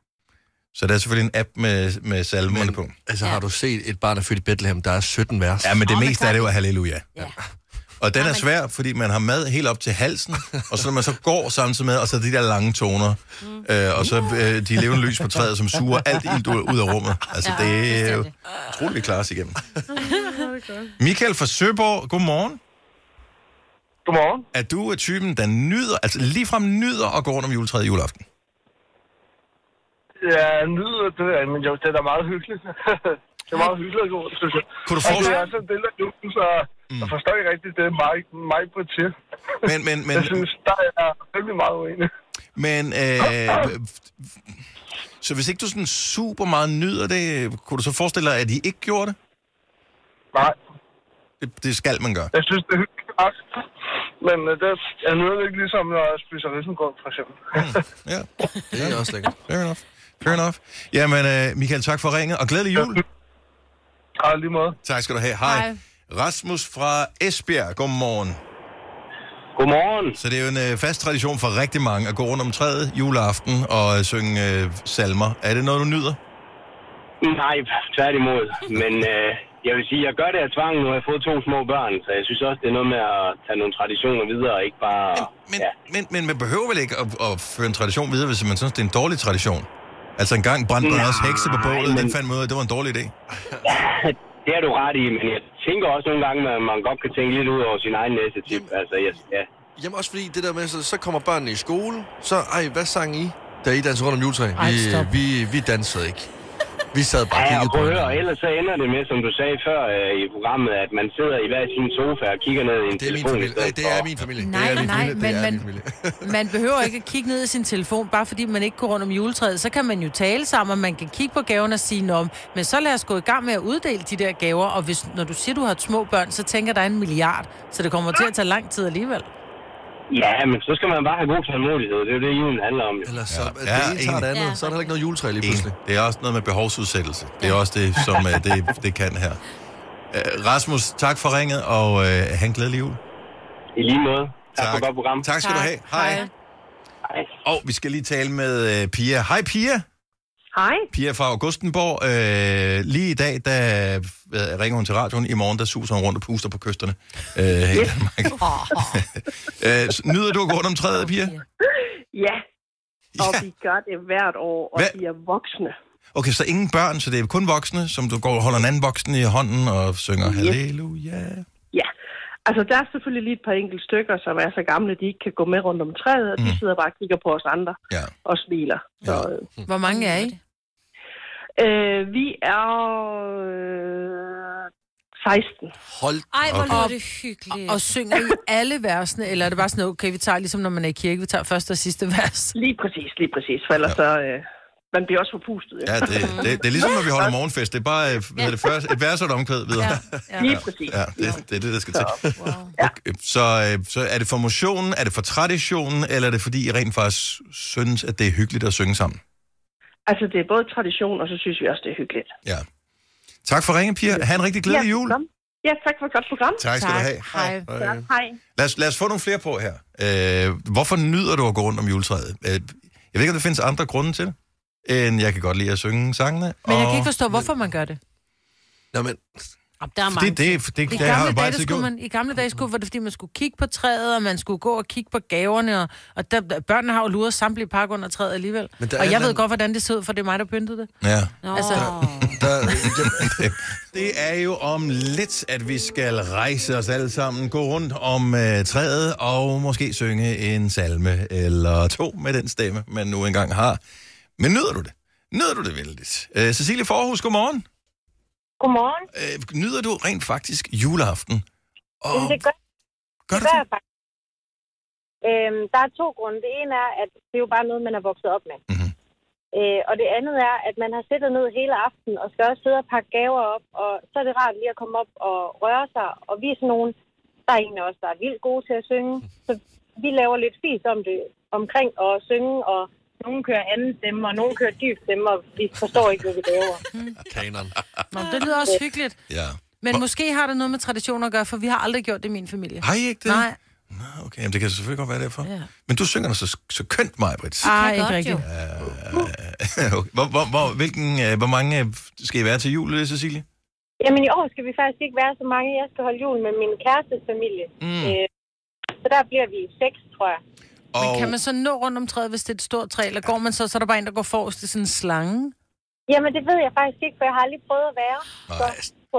[SPEAKER 1] Så der er selvfølgelig en app med, med salmerne
[SPEAKER 3] Men-
[SPEAKER 1] på.
[SPEAKER 3] Altså,
[SPEAKER 5] Ja.
[SPEAKER 3] har du set et barn, der er født i Bethlehem, der er 17 vers?
[SPEAKER 1] Ja, men det
[SPEAKER 5] Åh,
[SPEAKER 1] oh,
[SPEAKER 5] men
[SPEAKER 1] meste er det jo halleluja.
[SPEAKER 5] Ja.
[SPEAKER 1] Og den
[SPEAKER 5] Ja,
[SPEAKER 1] er
[SPEAKER 5] men-
[SPEAKER 1] svær, fordi man har mad helt op til halsen, og så når man så går samtidig med, og så de der lange toner,
[SPEAKER 5] Mm.
[SPEAKER 1] øh, og så øh, de levende lys på træet, som suger alt ilt ud ud af rummet. Altså,
[SPEAKER 5] Ja,
[SPEAKER 1] det
[SPEAKER 5] det
[SPEAKER 1] er
[SPEAKER 5] er
[SPEAKER 1] jo
[SPEAKER 5] det.
[SPEAKER 1] utroligt, vi klarer os igennem. Michael fra Søborg, godmorgen.
[SPEAKER 9] Godmorgen.
[SPEAKER 1] Er du øh, typen, der nyder, altså ligefrem nyder at gå rundt om juletræet i juleaften?
[SPEAKER 9] Ja, nyder det, ja, men jo, det er da meget hyggeligt. det er meget hyggeligt at gå, synes jeg.
[SPEAKER 1] Kunne du
[SPEAKER 9] Og det
[SPEAKER 1] forestille-
[SPEAKER 9] er sådan en del af julen, så mm. jeg forstår ikke rigtigt det, mig, mig på til.
[SPEAKER 1] Men, men, men,
[SPEAKER 9] Jeg synes, der er jeg rimelig meget uenig.
[SPEAKER 1] men øh, så hvis ikke du sådan super meget nyder det, kunne du så forestille dig, at I ikke gjorde det?
[SPEAKER 9] Nej,
[SPEAKER 1] Det, det skal man gøre.
[SPEAKER 9] jeg synes, det er hyggeligt. nok.
[SPEAKER 10] Men øh, det er noget ikke ligesom, når jeg spiser risengrød, for eksempel.
[SPEAKER 1] Ja,
[SPEAKER 3] Mm. Det er også lækkert.
[SPEAKER 1] fair enough. Fair enough. Jamen, øh, Michael, tak for ringet, og glædelig jul.
[SPEAKER 10] Har lige måde.
[SPEAKER 1] Tak skal du have. Hej.
[SPEAKER 2] Hej.
[SPEAKER 1] Rasmus fra Esbjerg, godmorgen.
[SPEAKER 10] Godmorgen.
[SPEAKER 1] Så det er jo en øh, fast tradition for rigtig mange at gå rundt om træet juleaften og øh, synge øh, salmer. Er det noget, du nyder?
[SPEAKER 10] Nej, tværtimod. Men øh, jeg vil sige, jeg gør det af tvang. Nu har jeg fået to små børn, så jeg synes også, det er noget med at tage nogle traditioner videre, og ikke bare...
[SPEAKER 1] Men, men, men man behøver vel ikke at, at føre en tradition videre, hvis man synes, det er en dårlig tradition? Altså engang brændte man også hekse på
[SPEAKER 10] Nej,
[SPEAKER 1] bålet,
[SPEAKER 10] men-
[SPEAKER 1] den fandt man ud af, det var en dårlig idé.
[SPEAKER 10] Det har du ret i, men jeg tænker også nogle gange, at man godt kan tænke lidt ud over sin egen næste tip. Altså, jeg, ja.
[SPEAKER 3] Jamen også fordi det der med, så, så kommer børnene i skole, så, ej, hvad sang I, da I dansede rundt om juletræet?
[SPEAKER 2] Ej,
[SPEAKER 3] Vi,
[SPEAKER 2] stop.
[SPEAKER 3] vi, vi dansede ikke. Vi sad bare og
[SPEAKER 10] Ja,
[SPEAKER 3] kiggede
[SPEAKER 10] og prøv
[SPEAKER 3] på
[SPEAKER 10] at høre, og
[SPEAKER 3] hinanden.
[SPEAKER 10] ellers så ender det med, som du sagde før øh, i programmet, at man sidder i hver sin sofa og kigger ned i en
[SPEAKER 3] Det er min
[SPEAKER 10] telefon. i
[SPEAKER 3] familie.
[SPEAKER 10] stedet
[SPEAKER 3] Ej, det er
[SPEAKER 10] for.
[SPEAKER 3] min familie.
[SPEAKER 2] Nej,
[SPEAKER 3] det er min
[SPEAKER 2] nej,
[SPEAKER 3] familie. det
[SPEAKER 2] men-
[SPEAKER 3] er
[SPEAKER 2] men-
[SPEAKER 3] min familie.
[SPEAKER 2] Man behøver ikke at kigge ned i sin telefon, bare fordi man ikke går rundt om juletræet. Så kan man jo tale sammen, og man kan kigge på gaven og sige, Nå, men så lad os gå i gang med at uddele de der gaver. Og hvis, når du siger, du har små børn, så tænker der er en milliard. Så det kommer til at tage lang tid alligevel.
[SPEAKER 10] Ja, men så skal man bare have god tålmodighed. Det er jo det, julen handler om. Jo.
[SPEAKER 3] Eller så,
[SPEAKER 1] Ja,
[SPEAKER 3] at
[SPEAKER 1] ja,
[SPEAKER 3] det ene tager
[SPEAKER 1] enig.
[SPEAKER 3] det andet,
[SPEAKER 5] Ja.
[SPEAKER 3] så er der heller ikke noget juletræ lige
[SPEAKER 1] En.
[SPEAKER 3] pludselig.
[SPEAKER 1] Det er også noget med behovsudsættelse. Det er også det, som øh, det, det kan her. Øh, Rasmus, tak for ringet, og øh, have en glædelig jul.
[SPEAKER 10] I lige måde. Tak, for et godt program.
[SPEAKER 1] Tak skal du have. Hej. Hej.
[SPEAKER 10] Hej.
[SPEAKER 1] Og vi skal lige tale med øh, Pia. Hej Pia.
[SPEAKER 4] Hej.
[SPEAKER 1] Pia fra Augustenborg. Øh, lige i dag, der øh, ringer hun til radioen. I morgen, der suser hun rundt og puster på kysterne. Øh, her i Danmark. øh, s- nyder du at gå rundt om træet, Pia?
[SPEAKER 4] Ja, og
[SPEAKER 1] Ja.
[SPEAKER 4] vi gør det hvert år, og
[SPEAKER 1] Hvad-
[SPEAKER 4] vi er voksne.
[SPEAKER 1] Okay, så ingen børn, så det er kun voksne, som du går og holder en anden voksen i hånden og synger halleluja.
[SPEAKER 4] Ja. Altså, der er selvfølgelig lige et par enkelte stykker, som er så gamle, de ikke kan gå med rundt om træet, og de
[SPEAKER 1] Mm.
[SPEAKER 4] sidder bare og kigger på os andre
[SPEAKER 1] Ja.
[SPEAKER 4] og smiler. Så, øh,
[SPEAKER 2] Hvor mange er I?
[SPEAKER 4] øh, vi er øh, 16.
[SPEAKER 3] Hold
[SPEAKER 5] Ej, hvor
[SPEAKER 1] Okay.
[SPEAKER 5] okay. det hyggeligt.
[SPEAKER 2] Og synger I alle versene, eller er det bare sådan, okay, vi tager ligesom, når man er i kirke, vi tager første og sidste vers?
[SPEAKER 4] Lige præcis, lige præcis. For ellers så... Øh, man bliver også forpustet. Ja.
[SPEAKER 1] Ja, det, det, det er ligesom, når vi holder morgenfest. Det er bare øh, hvad er det første, et vers og et omkvæd videre. Ja.
[SPEAKER 4] Lige præcis.
[SPEAKER 1] Ja, det, det er det, der skal til. Okay, så, øh, så er det for motionen, er det for traditionen, eller er det fordi, I rent faktisk synes, at det er hyggeligt at synge sammen?
[SPEAKER 4] Altså, det er både tradition, og så synes vi også, det er hyggeligt.
[SPEAKER 1] Ja. Tak for ringen, Pia. Ha' en rigtig glædelig jul.
[SPEAKER 4] velkommen. Ja, tak for et godt program.
[SPEAKER 1] Tak skal du have.
[SPEAKER 2] Hej.
[SPEAKER 4] Ja, hej.
[SPEAKER 1] Lad os, lad os få nogle flere på her. Øh, hvorfor nyder du at gå rundt om juletræet? Øh, jeg ved ikke, om der findes andre grunde til det, end jeg kan godt lide at synge sangene.
[SPEAKER 2] Men jeg kan ikke forstå, hvorfor man gør det.
[SPEAKER 3] Nå, men,
[SPEAKER 5] Jamen, der er mange.
[SPEAKER 1] det, det, det, det,
[SPEAKER 2] I
[SPEAKER 1] det har
[SPEAKER 2] gamle,
[SPEAKER 1] jeg bare
[SPEAKER 2] dage, der
[SPEAKER 1] altid
[SPEAKER 2] skulle
[SPEAKER 1] gjort.
[SPEAKER 2] man, I gamle dage skulle, var det fordi, man skulle kigge på træet, og man skulle gå og kigge på gaverne, og, og der, der, børnene har jo luret samtlige pakker under træet alligevel.
[SPEAKER 3] Men
[SPEAKER 2] Og
[SPEAKER 3] der er
[SPEAKER 2] jeg
[SPEAKER 3] en
[SPEAKER 2] ved
[SPEAKER 3] anden-
[SPEAKER 2] godt, hvordan det ser ud, for det er mig, der pyntede det.
[SPEAKER 1] Ja.
[SPEAKER 5] Nå.
[SPEAKER 2] altså-
[SPEAKER 3] der, jamen,
[SPEAKER 1] Det er jo om lidt, at vi skal rejse os alle sammen, gå rundt om øh, træet og måske synge en salme eller to med den stemme, man nu engang har. Men nyder du det? Nyder du det vældigt? Øh, Cecilie Forhus, godmorgen.
[SPEAKER 4] Godmorgen.
[SPEAKER 1] Øh, nyder du rent faktisk juleaften? Og
[SPEAKER 4] Jamen, det
[SPEAKER 1] gør
[SPEAKER 4] gør, det
[SPEAKER 1] du
[SPEAKER 4] gør
[SPEAKER 1] det?
[SPEAKER 4] jeg faktisk. Øhm, der er to grunde. Det ene er, at det er jo bare noget, man er vokset op med.
[SPEAKER 1] Mhm.
[SPEAKER 4] Øh, og det andet er, at man har siddet ned hele aften og skal også sidde og pakke gaver op, og så er det rart lige at komme op og røre sig. Og vi er sådan nogen, der er en af os, der er vildt gode til at synge. Så vi laver lidt fis om det, omkring at synge, og nogen kører anden stemme, og nogen kører dyb stemme, og vi forstår ikke, hvad vi laver.
[SPEAKER 3] kanon.
[SPEAKER 2] Nå, det lyder også hyggeligt.
[SPEAKER 1] Ja.
[SPEAKER 2] Men måske har det noget med traditioner at gøre, for vi har aldrig gjort det i min familie.
[SPEAKER 1] Har I ikke det?
[SPEAKER 2] Nej,
[SPEAKER 1] Nå, okay, jamen, det kan selvfølgelig godt være derfor.
[SPEAKER 2] Ja.
[SPEAKER 1] Men du synger da så, så kønt, mig, Britt.
[SPEAKER 2] Ej,
[SPEAKER 5] kan
[SPEAKER 2] ikke
[SPEAKER 5] godt
[SPEAKER 2] rigtigt.
[SPEAKER 5] jo.
[SPEAKER 1] okay. hvor, hvor, hvor, hvilken, øh, hvor mange øh, skal I være til jul, øh, Cecilie?
[SPEAKER 4] Jamen i år skal vi faktisk ikke være så mange. Jeg skal holde jul med min kærestes familie.
[SPEAKER 1] Mm.
[SPEAKER 4] Øh, så der bliver vi seks, tror jeg.
[SPEAKER 2] Men kan man så nå rundt om træet, hvis det er et stort træ, eller går man så, så er der bare en, der går forrest i sådan en slange?
[SPEAKER 4] Jamen det ved jeg faktisk ikke, for jeg har aldrig prøvet at være. Så,
[SPEAKER 1] Nej,
[SPEAKER 4] så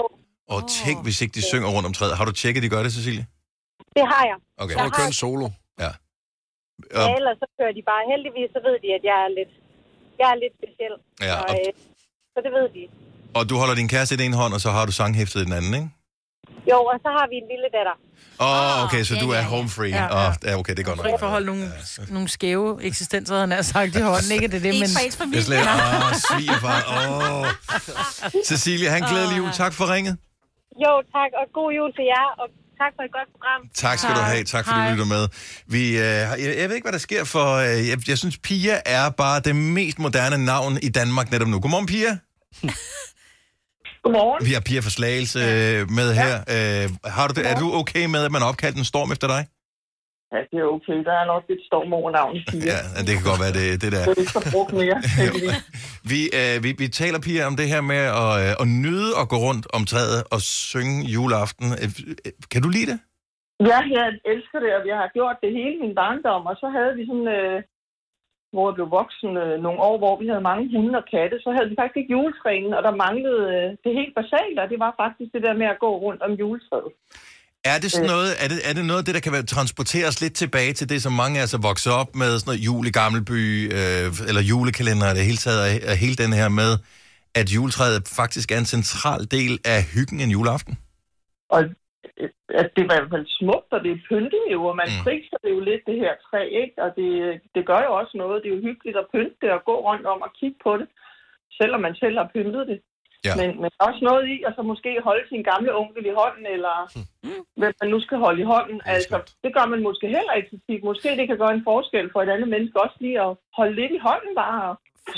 [SPEAKER 1] Og tænk, hvis ikke de synger rundt om træet. Har du tjekket, de gør det, Cecilie?
[SPEAKER 4] det har jeg.
[SPEAKER 1] Okay.
[SPEAKER 3] Prøv at køre en solo.
[SPEAKER 4] Ja,
[SPEAKER 1] Og,
[SPEAKER 4] ellers så kører de bare. Heldigvis så ved de, at jeg er lidt, jeg er lidt speciel.
[SPEAKER 1] ja,
[SPEAKER 4] Og,
[SPEAKER 1] og,
[SPEAKER 4] øh, så det ved de.
[SPEAKER 1] og du holder din kæreste i den ene hånd, og så har du sanghæftet i den anden, ikke?
[SPEAKER 4] Jo, og så har vi en lille datter.
[SPEAKER 1] Åh, oh, okay, så
[SPEAKER 5] ja,
[SPEAKER 1] du
[SPEAKER 5] ja,
[SPEAKER 1] er
[SPEAKER 5] ja.
[SPEAKER 1] home free.
[SPEAKER 2] Ah, Ja,
[SPEAKER 1] Ja, ja. okay, det er godt
[SPEAKER 2] Fri for at
[SPEAKER 1] nok.
[SPEAKER 2] holde nogle, nogle skæve eksistenser, han har sagt i hånden. Ikke at det er det,
[SPEAKER 5] Ikke
[SPEAKER 2] men...
[SPEAKER 5] fra ens
[SPEAKER 1] Jeg
[SPEAKER 5] familie.
[SPEAKER 1] slet, åh, svigerfar. Åh. Cecilie, han glæder jul. Tak for ringet.
[SPEAKER 4] Jo, tak, og god jul til jer, og
[SPEAKER 11] Tak for et godt program.
[SPEAKER 1] Tak skal du have. Tak fordi du lytter med. Vi, øh, har- jeg, jeg ved ikke, hvad der sker, for øh, jeg, jeg synes, Pia er bare det mest moderne navn i Danmark netop nu. Godmorgen, Pia.
[SPEAKER 11] Godmorgen.
[SPEAKER 1] Vi har Pia fra Slagelse øh, med her. Øh, har du det, er du okay med, at man har opkaldt en storm efter dig?
[SPEAKER 11] Ja, det er okay. Der er nok lidt storm over navnet, Pia.
[SPEAKER 1] Ja, det kan godt være, det, det der.
[SPEAKER 11] Det er ikke så brugt mere, heldigvis.
[SPEAKER 1] Vi, øh, vi, vi taler, Pia, om det her med at, øh, at nyde at gå rundt om træet og synge juleaften. Øh, øh, kan du lide det?
[SPEAKER 11] Ja, jeg elsker det, og jeg har gjort det hele min barndom. Og så havde vi sådan, øh, hvor jeg blev voksen, øh, nogle år, hvor vi havde mange hunde og katte, så havde vi faktisk ikke juletrænen, og der manglede øh, det helt basale, og det var faktisk det der med at gå rundt om juletræet.
[SPEAKER 1] Er det, sådan noget, er, det, er det noget af det, der kan være, transportere os lidt tilbage til det, som mange af os er vokset op med, sådan noget jul i Gammelby, øh, eller julekalender, og det hele taget, og- og hele den her med, at juletræet faktisk er en central del af hyggen en juleaften?
[SPEAKER 11] Og øh, at det var i hvert fald smukt, og det er pyntet jo, og man
[SPEAKER 1] Mm.
[SPEAKER 11] mm. prikser det jo lidt, det her træ, ikke? Og det, det gør jo også noget. Det er jo hyggeligt at pynte det og gå rundt om og kigge på det, selvom man selv har pyntet det.
[SPEAKER 1] Ja.
[SPEAKER 11] Ja. Men, men også noget i, at så måske holde sin gamle onkel i hånden, eller hvem man nu skal holde i hånden.
[SPEAKER 1] Mm. er
[SPEAKER 11] altså,
[SPEAKER 1] skønt.
[SPEAKER 11] det gør man måske heller ikke så tit. Måske det kan gøre en forskel for et andet menneske også lige at holde lidt i hånden bare, og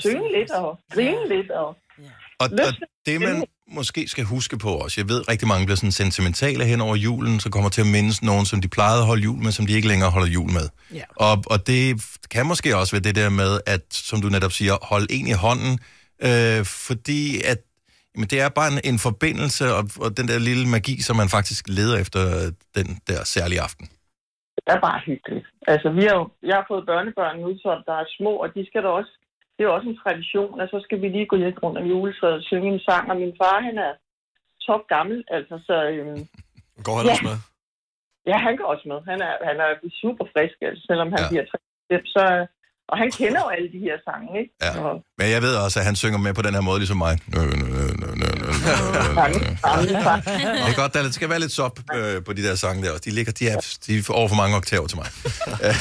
[SPEAKER 11] synge lidt, og grine lidt, og
[SPEAKER 1] Og, og
[SPEAKER 11] Løfte.
[SPEAKER 1] det, man måske skal huske på også, jeg ved, rigtig mange bliver sådan sentimentale hen over julen, så kommer til at mindes nogen, som de plejede at holde jul med, som de ikke længere holder jul med.
[SPEAKER 2] Ja.
[SPEAKER 1] Og, og det kan måske også være det der med, at, som du netop siger, holde en i hånden, øh, fordi at jamen, det er bare en, en forbindelse, og, og den der lille magi, som man faktisk leder efter øh, den der særlige aften.
[SPEAKER 11] det er bare hyggeligt. Altså, vi har jo, jeg har fået børnebørn nu, som der er små, og de skal da også, det er jo også en tradition, at så skal vi lige gå lidt rundt om juletræet og synge en sang, og min far, han er top gammel, altså, så øhm,
[SPEAKER 3] Går han
[SPEAKER 11] Ja.
[SPEAKER 3] også med?
[SPEAKER 11] ja, han går også med. Han er, han er super frisk, altså, selvom han
[SPEAKER 1] Ja.
[SPEAKER 11] ja. bliver 3 så og han kender jo alle de her sange, ikke?
[SPEAKER 1] Ja.
[SPEAKER 11] Og,
[SPEAKER 1] Men jeg ved også, at han synger med på den her måde, ligesom mig. Nø, nø, nø, nø, nø, nø, nø, nø, nø. Det er godt, der skal være lidt sop øh, på de der sange der også. De ligger de er, de er over for mange oktaver til mig.
[SPEAKER 11] der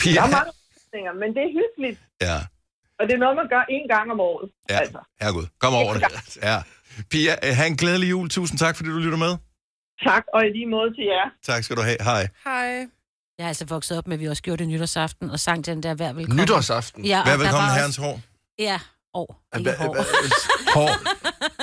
[SPEAKER 1] Pia,
[SPEAKER 11] er mange ting, men det er hyggeligt,
[SPEAKER 1] ja,
[SPEAKER 11] og det er noget, man gør en gang om året.
[SPEAKER 1] Ja.
[SPEAKER 11] Altså,
[SPEAKER 1] herregud, kom over det. Ja. Pia, øh, have en glædelig jul. Tusind tak, fordi du lytter med.
[SPEAKER 11] tak, og i lige måde til jer.
[SPEAKER 1] Tak skal du have. Hej.
[SPEAKER 2] Hej.
[SPEAKER 5] Jeg er altså vokset op med, at vi også gjorde det nytårsaften, og sang den der hver velkommen.
[SPEAKER 3] Nytårsaften.
[SPEAKER 5] Ja, og
[SPEAKER 1] Vær
[SPEAKER 5] der
[SPEAKER 1] velkommen,
[SPEAKER 5] var
[SPEAKER 1] herrens
[SPEAKER 5] Også,
[SPEAKER 1] hår.
[SPEAKER 5] ja, år. Ikke
[SPEAKER 3] Hva-
[SPEAKER 5] hår.
[SPEAKER 3] hva-
[SPEAKER 1] Hår.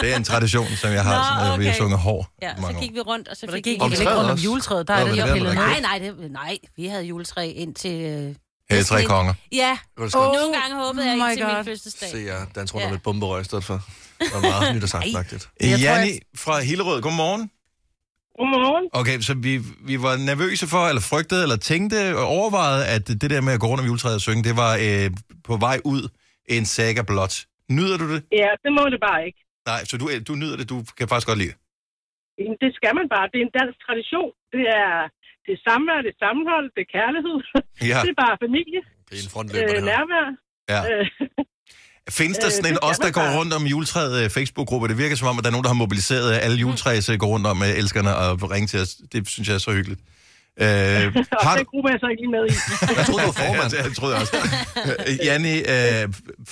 [SPEAKER 1] Det er en tradition, som jeg har,
[SPEAKER 5] Nå,
[SPEAKER 1] som jeg- vi har
[SPEAKER 5] okay.
[SPEAKER 1] sunget hår i
[SPEAKER 5] Ja,
[SPEAKER 1] mange
[SPEAKER 5] så
[SPEAKER 1] år.
[SPEAKER 5] gik vi rundt, og så
[SPEAKER 2] Men der
[SPEAKER 5] fik
[SPEAKER 2] gik
[SPEAKER 5] vi...
[SPEAKER 3] Om
[SPEAKER 2] ikke
[SPEAKER 3] træet
[SPEAKER 2] rundt om
[SPEAKER 3] også?
[SPEAKER 2] juletræet, der
[SPEAKER 1] Nå,
[SPEAKER 2] er
[SPEAKER 1] men
[SPEAKER 2] det
[SPEAKER 1] det
[SPEAKER 2] lige
[SPEAKER 1] er
[SPEAKER 2] pillet
[SPEAKER 1] vel
[SPEAKER 2] ned.
[SPEAKER 5] Nej, nej, det, nej, vi havde juletræ indtil... Øh,
[SPEAKER 1] Hey, tre konger.
[SPEAKER 5] ja,
[SPEAKER 3] Godt
[SPEAKER 5] oh,
[SPEAKER 3] skrevet.
[SPEAKER 5] nogle gange håbede jeg
[SPEAKER 2] my
[SPEAKER 5] indtil min
[SPEAKER 2] God.
[SPEAKER 5] fødselsdag.
[SPEAKER 3] Se jer danse rundt om
[SPEAKER 5] Ja.
[SPEAKER 3] et bomberøg i stedet for. Det var meget nytårsaftenagtigt.
[SPEAKER 2] Jeg tror,
[SPEAKER 1] Janni fra Hillerød, godmorgen.
[SPEAKER 11] Godmorgen.
[SPEAKER 1] Okay, så vi, vi var nervøse for, eller frygtede, eller tænkte og overvejede, at det der med at gå rundt om juletræet og synge, det var øh, på vej ud en saga blot. Nyder du det?
[SPEAKER 11] Ja, det må det bare ikke.
[SPEAKER 1] Nej, så du, du nyder det, du kan faktisk godt lide det.
[SPEAKER 11] Jamen, det skal man bare. Det er en dansk tradition. Det er det samvær, det er sammenhold, det er kærlighed.
[SPEAKER 1] Ja,
[SPEAKER 11] Det er bare familie,
[SPEAKER 3] Det er en
[SPEAKER 11] øh,
[SPEAKER 3] frontløber, det her.
[SPEAKER 11] nærvær.
[SPEAKER 1] ja.
[SPEAKER 11] Øh,
[SPEAKER 1] Findes der
[SPEAKER 11] øh,
[SPEAKER 1] sådan en
[SPEAKER 11] det skal
[SPEAKER 1] os, der
[SPEAKER 11] man
[SPEAKER 1] går
[SPEAKER 11] bare.
[SPEAKER 1] rundt om juletræet øh, Facebook-gruppe? Det virker som om, at der er nogen, der har mobiliseret
[SPEAKER 11] Mm.
[SPEAKER 1] alle juletræs øh, går rundt om øh, elskerne og ringe til os. Det synes jeg er så hyggeligt.
[SPEAKER 11] og
[SPEAKER 1] Øh, har du...
[SPEAKER 11] den gruppe er jeg så ikke lige med i.
[SPEAKER 3] Jeg troede, du var
[SPEAKER 1] Ja,
[SPEAKER 3] formand.
[SPEAKER 1] det jeg troede jeg også. Øh, Janni, øh,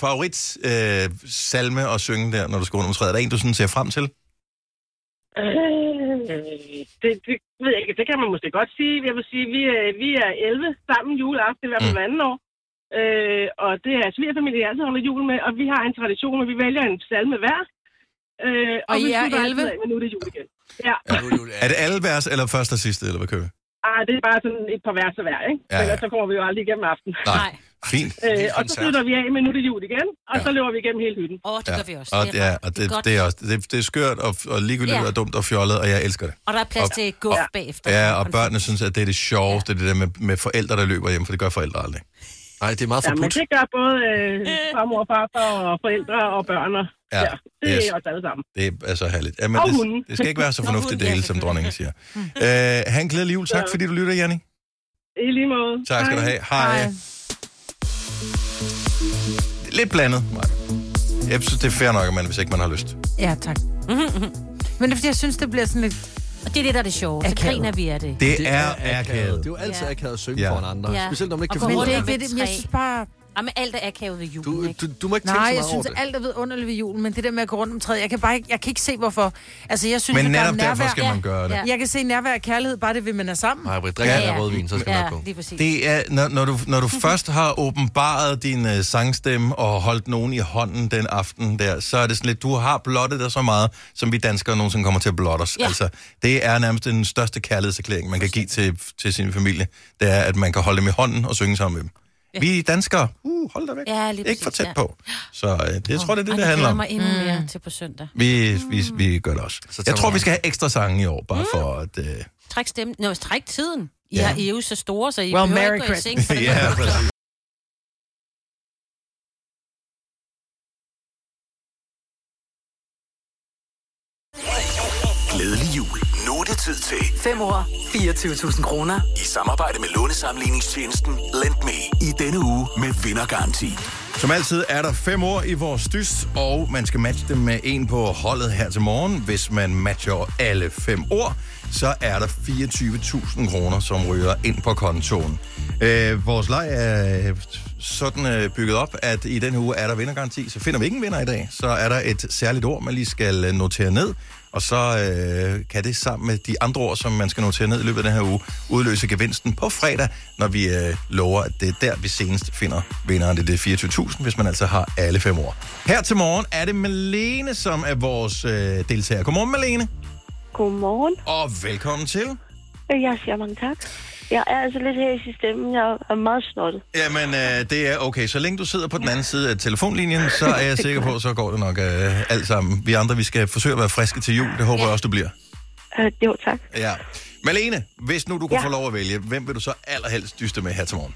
[SPEAKER 1] favorit øh, salme at synge der, når du skal rundt om træet? Er der en, du sådan ser frem til?
[SPEAKER 11] Øh, det, det, ved jeg ikke. det kan man måske godt sige. Jeg vil sige, vi, er, vi er 11 sammen juleaften, i hvert fald
[SPEAKER 1] Mm.
[SPEAKER 11] mm. anden år. Øh, og det er svigerfamilien, jeg altid holder jul med, og vi har en tradition, at vi vælger en salme hver. Øh,
[SPEAKER 2] Og I
[SPEAKER 11] vi
[SPEAKER 2] er
[SPEAKER 11] slutter
[SPEAKER 2] 11?
[SPEAKER 11] altid af med, Nu er det jul igen. Ja,
[SPEAKER 3] Ja, nu er det jul-
[SPEAKER 1] Er det alle vers, eller første og sidste, eller hvad kører vi?
[SPEAKER 11] ah, det er bare sådan et par vers af hver, ikke?
[SPEAKER 1] Ja,
[SPEAKER 11] Ja,
[SPEAKER 1] ja.
[SPEAKER 11] ja. Ellers så kommer vi jo aldrig igennem aftenen.
[SPEAKER 5] Nej,
[SPEAKER 1] Fint.
[SPEAKER 11] Øh, og så
[SPEAKER 3] koncert.
[SPEAKER 11] slutter vi af med, nu er det jul igen, og
[SPEAKER 1] Ja.
[SPEAKER 11] ja. så løber vi igennem hele hytten.
[SPEAKER 5] åh, det
[SPEAKER 1] Ja.
[SPEAKER 5] gør vi også.
[SPEAKER 1] Og, ja, og det, det,
[SPEAKER 5] godt.
[SPEAKER 1] det, er også, det, det er skørt og, og ligegyldigt
[SPEAKER 5] Ja.
[SPEAKER 1] og dumt og fjollet, og jeg elsker det.
[SPEAKER 5] Og der er plads
[SPEAKER 1] Og-
[SPEAKER 5] til guf
[SPEAKER 1] og-
[SPEAKER 5] bagefter.
[SPEAKER 1] Ja, og
[SPEAKER 5] den-
[SPEAKER 1] børnene synes, at det er det sjoveste, det der med, med forældre, der løber hjem, for det gør forældre aldrig.
[SPEAKER 3] Nej, det er meget
[SPEAKER 11] Ja, men
[SPEAKER 3] forbudt.
[SPEAKER 11] det gør både øh, farmor, farfar og forældre og børn. Og,
[SPEAKER 1] Ja,
[SPEAKER 11] ja, det
[SPEAKER 1] yes.
[SPEAKER 11] er os alle sammen.
[SPEAKER 1] Det er så herligt. Ja, men
[SPEAKER 11] Og
[SPEAKER 1] det,
[SPEAKER 11] hunden. Mm.
[SPEAKER 1] det skal ikke være så
[SPEAKER 5] Og
[SPEAKER 1] fornuftigt
[SPEAKER 5] hunden, ja,
[SPEAKER 1] dele, som dronningen siger. Øh, han glæder jul. Tak,
[SPEAKER 11] Ja.
[SPEAKER 1] fordi du lytter, Janni.
[SPEAKER 11] I lige måde.
[SPEAKER 1] Tak skal du
[SPEAKER 11] Hej.
[SPEAKER 1] have. Hej. Lidt blandet, Maja. Jeg synes, det er fair nok, at man, hvis ikke man har lyst.
[SPEAKER 2] Ja, tak. Men det er, fordi jeg synes, det bliver sådan lidt...
[SPEAKER 5] Og det er det, der er det sjove. Så
[SPEAKER 2] Akavet.
[SPEAKER 5] griner vi af det.
[SPEAKER 1] Det, er akavet.
[SPEAKER 3] Det er jo altid
[SPEAKER 5] Ja.
[SPEAKER 3] akavet at synge
[SPEAKER 1] Ja.
[SPEAKER 3] foran andre.
[SPEAKER 5] Ja.
[SPEAKER 3] Specielt når man ikke
[SPEAKER 5] Og
[SPEAKER 3] kan
[SPEAKER 5] gå
[SPEAKER 2] Men
[SPEAKER 3] finde ud
[SPEAKER 2] det er
[SPEAKER 3] af
[SPEAKER 2] ikke
[SPEAKER 3] det.
[SPEAKER 2] ved det. Men jeg synes bare...
[SPEAKER 5] Jamen, alt er akavet ved julen,
[SPEAKER 3] Du, du,
[SPEAKER 5] ikke?
[SPEAKER 3] du må ikke
[SPEAKER 2] Nej,
[SPEAKER 3] tænke så
[SPEAKER 2] jeg
[SPEAKER 3] meget
[SPEAKER 2] synes,
[SPEAKER 3] over det.
[SPEAKER 2] alt er vidunderligt ved julen, men det der med at gå rundt om træet, jeg kan bare ikke, jeg kan ikke se, hvorfor. Altså, jeg synes,
[SPEAKER 1] Men
[SPEAKER 2] at der er
[SPEAKER 1] netop
[SPEAKER 2] nærvær.
[SPEAKER 1] derfor skal man gøre det.
[SPEAKER 5] Ja.
[SPEAKER 2] Jeg kan se nærvær og kærlighed, bare det ved, at man er sammen.
[SPEAKER 3] Nej, Britt, drik ja, ja. rødvin, så skal ja.
[SPEAKER 5] ja,
[SPEAKER 3] nok gå.
[SPEAKER 5] lige præcis.
[SPEAKER 1] Det er, når, når, du, når du først har åbenbaret din øh, sangstemme og holdt nogen i hånden den aften der, så er det sådan lidt, du har blottet dig så meget, som vi danskere nogensinde kommer til at blotte os. Ja.
[SPEAKER 5] Ja.
[SPEAKER 1] Altså, det er nærmest den største kærlighedserklæring, man kan give til, til sin familie. Det er, at man kan holde dem i hånden og synge sammen med dem. Ja. Vi danskere, uh, hold dig væk.
[SPEAKER 5] Ja, lige
[SPEAKER 1] Ikke
[SPEAKER 5] præcis,
[SPEAKER 1] for tæt
[SPEAKER 5] ja.
[SPEAKER 1] på. Så øh, det, jeg tror, det er det,
[SPEAKER 5] Ej,
[SPEAKER 1] det handler
[SPEAKER 5] glæder
[SPEAKER 1] om.
[SPEAKER 5] mig endnu mere
[SPEAKER 2] Mm.
[SPEAKER 5] til på søndag.
[SPEAKER 1] Vi, vi, vi gør det også.
[SPEAKER 3] Så tager
[SPEAKER 1] Jeg tror,
[SPEAKER 3] vi-
[SPEAKER 1] vi skal have ekstra sange i år,
[SPEAKER 5] Mm.
[SPEAKER 1] bare for at... Øh,
[SPEAKER 5] Træk stemmen. Nå, træk tiden. I,
[SPEAKER 1] Ja.
[SPEAKER 5] ja. er, I er jo så store, så I
[SPEAKER 2] Well,
[SPEAKER 5] behøver
[SPEAKER 2] Merry
[SPEAKER 5] ikke gå i seng. for det
[SPEAKER 1] ja, præcis.
[SPEAKER 7] Glædelig jul. Nu er det tid til,
[SPEAKER 8] 5 år, 24.000 kroner.
[SPEAKER 7] i samarbejde med lånesamligningstjenesten LendMe, i denne uge med vindergaranti.
[SPEAKER 1] Som altid er der fem år i vores dyst, og man skal matche dem med en på holdet her til morgen. Hvis man matcher alle fem år, så er der 24.000 kroner, som ryger ind på kontoen. Øh, vores leg er sådan øh, bygget op, at i den her uge er der vindergaranti. Så finder vi ikke en vinder i dag, så er der et særligt ord, man lige skal øh, notere ned. Og så øh, kan det sammen med de andre ord, som man skal notere ned i løbet af den her uge, udløse gevinsten på fredag, når vi øh, lover, at det er der, vi senest finder vinderen. Det er det 24.000, hvis man altså har alle fem år. Her til morgen er det Malene, som er vores øh, deltager. Godmorgen, Malene,
[SPEAKER 11] Godmorgen.
[SPEAKER 1] og velkommen til.
[SPEAKER 11] Jeg siger mange tak. Jeg er altså lidt her i stemmen. Jeg er meget snottet.
[SPEAKER 1] Jamen, øh, det er okay. Så længe du sidder på den anden side af telefonlinjen, så er jeg sikker på, så går det nok øh, alt sammen. Vi andre, vi skal forsøge at være friske til jul. Det håber jeg også, du bliver.
[SPEAKER 11] Øh, jo, tak.
[SPEAKER 1] Ja. Malene, hvis nu du kunne ja.
[SPEAKER 11] Ja.
[SPEAKER 1] få lov at vælge, hvem vil du så allerhelst dyste med her til morgen?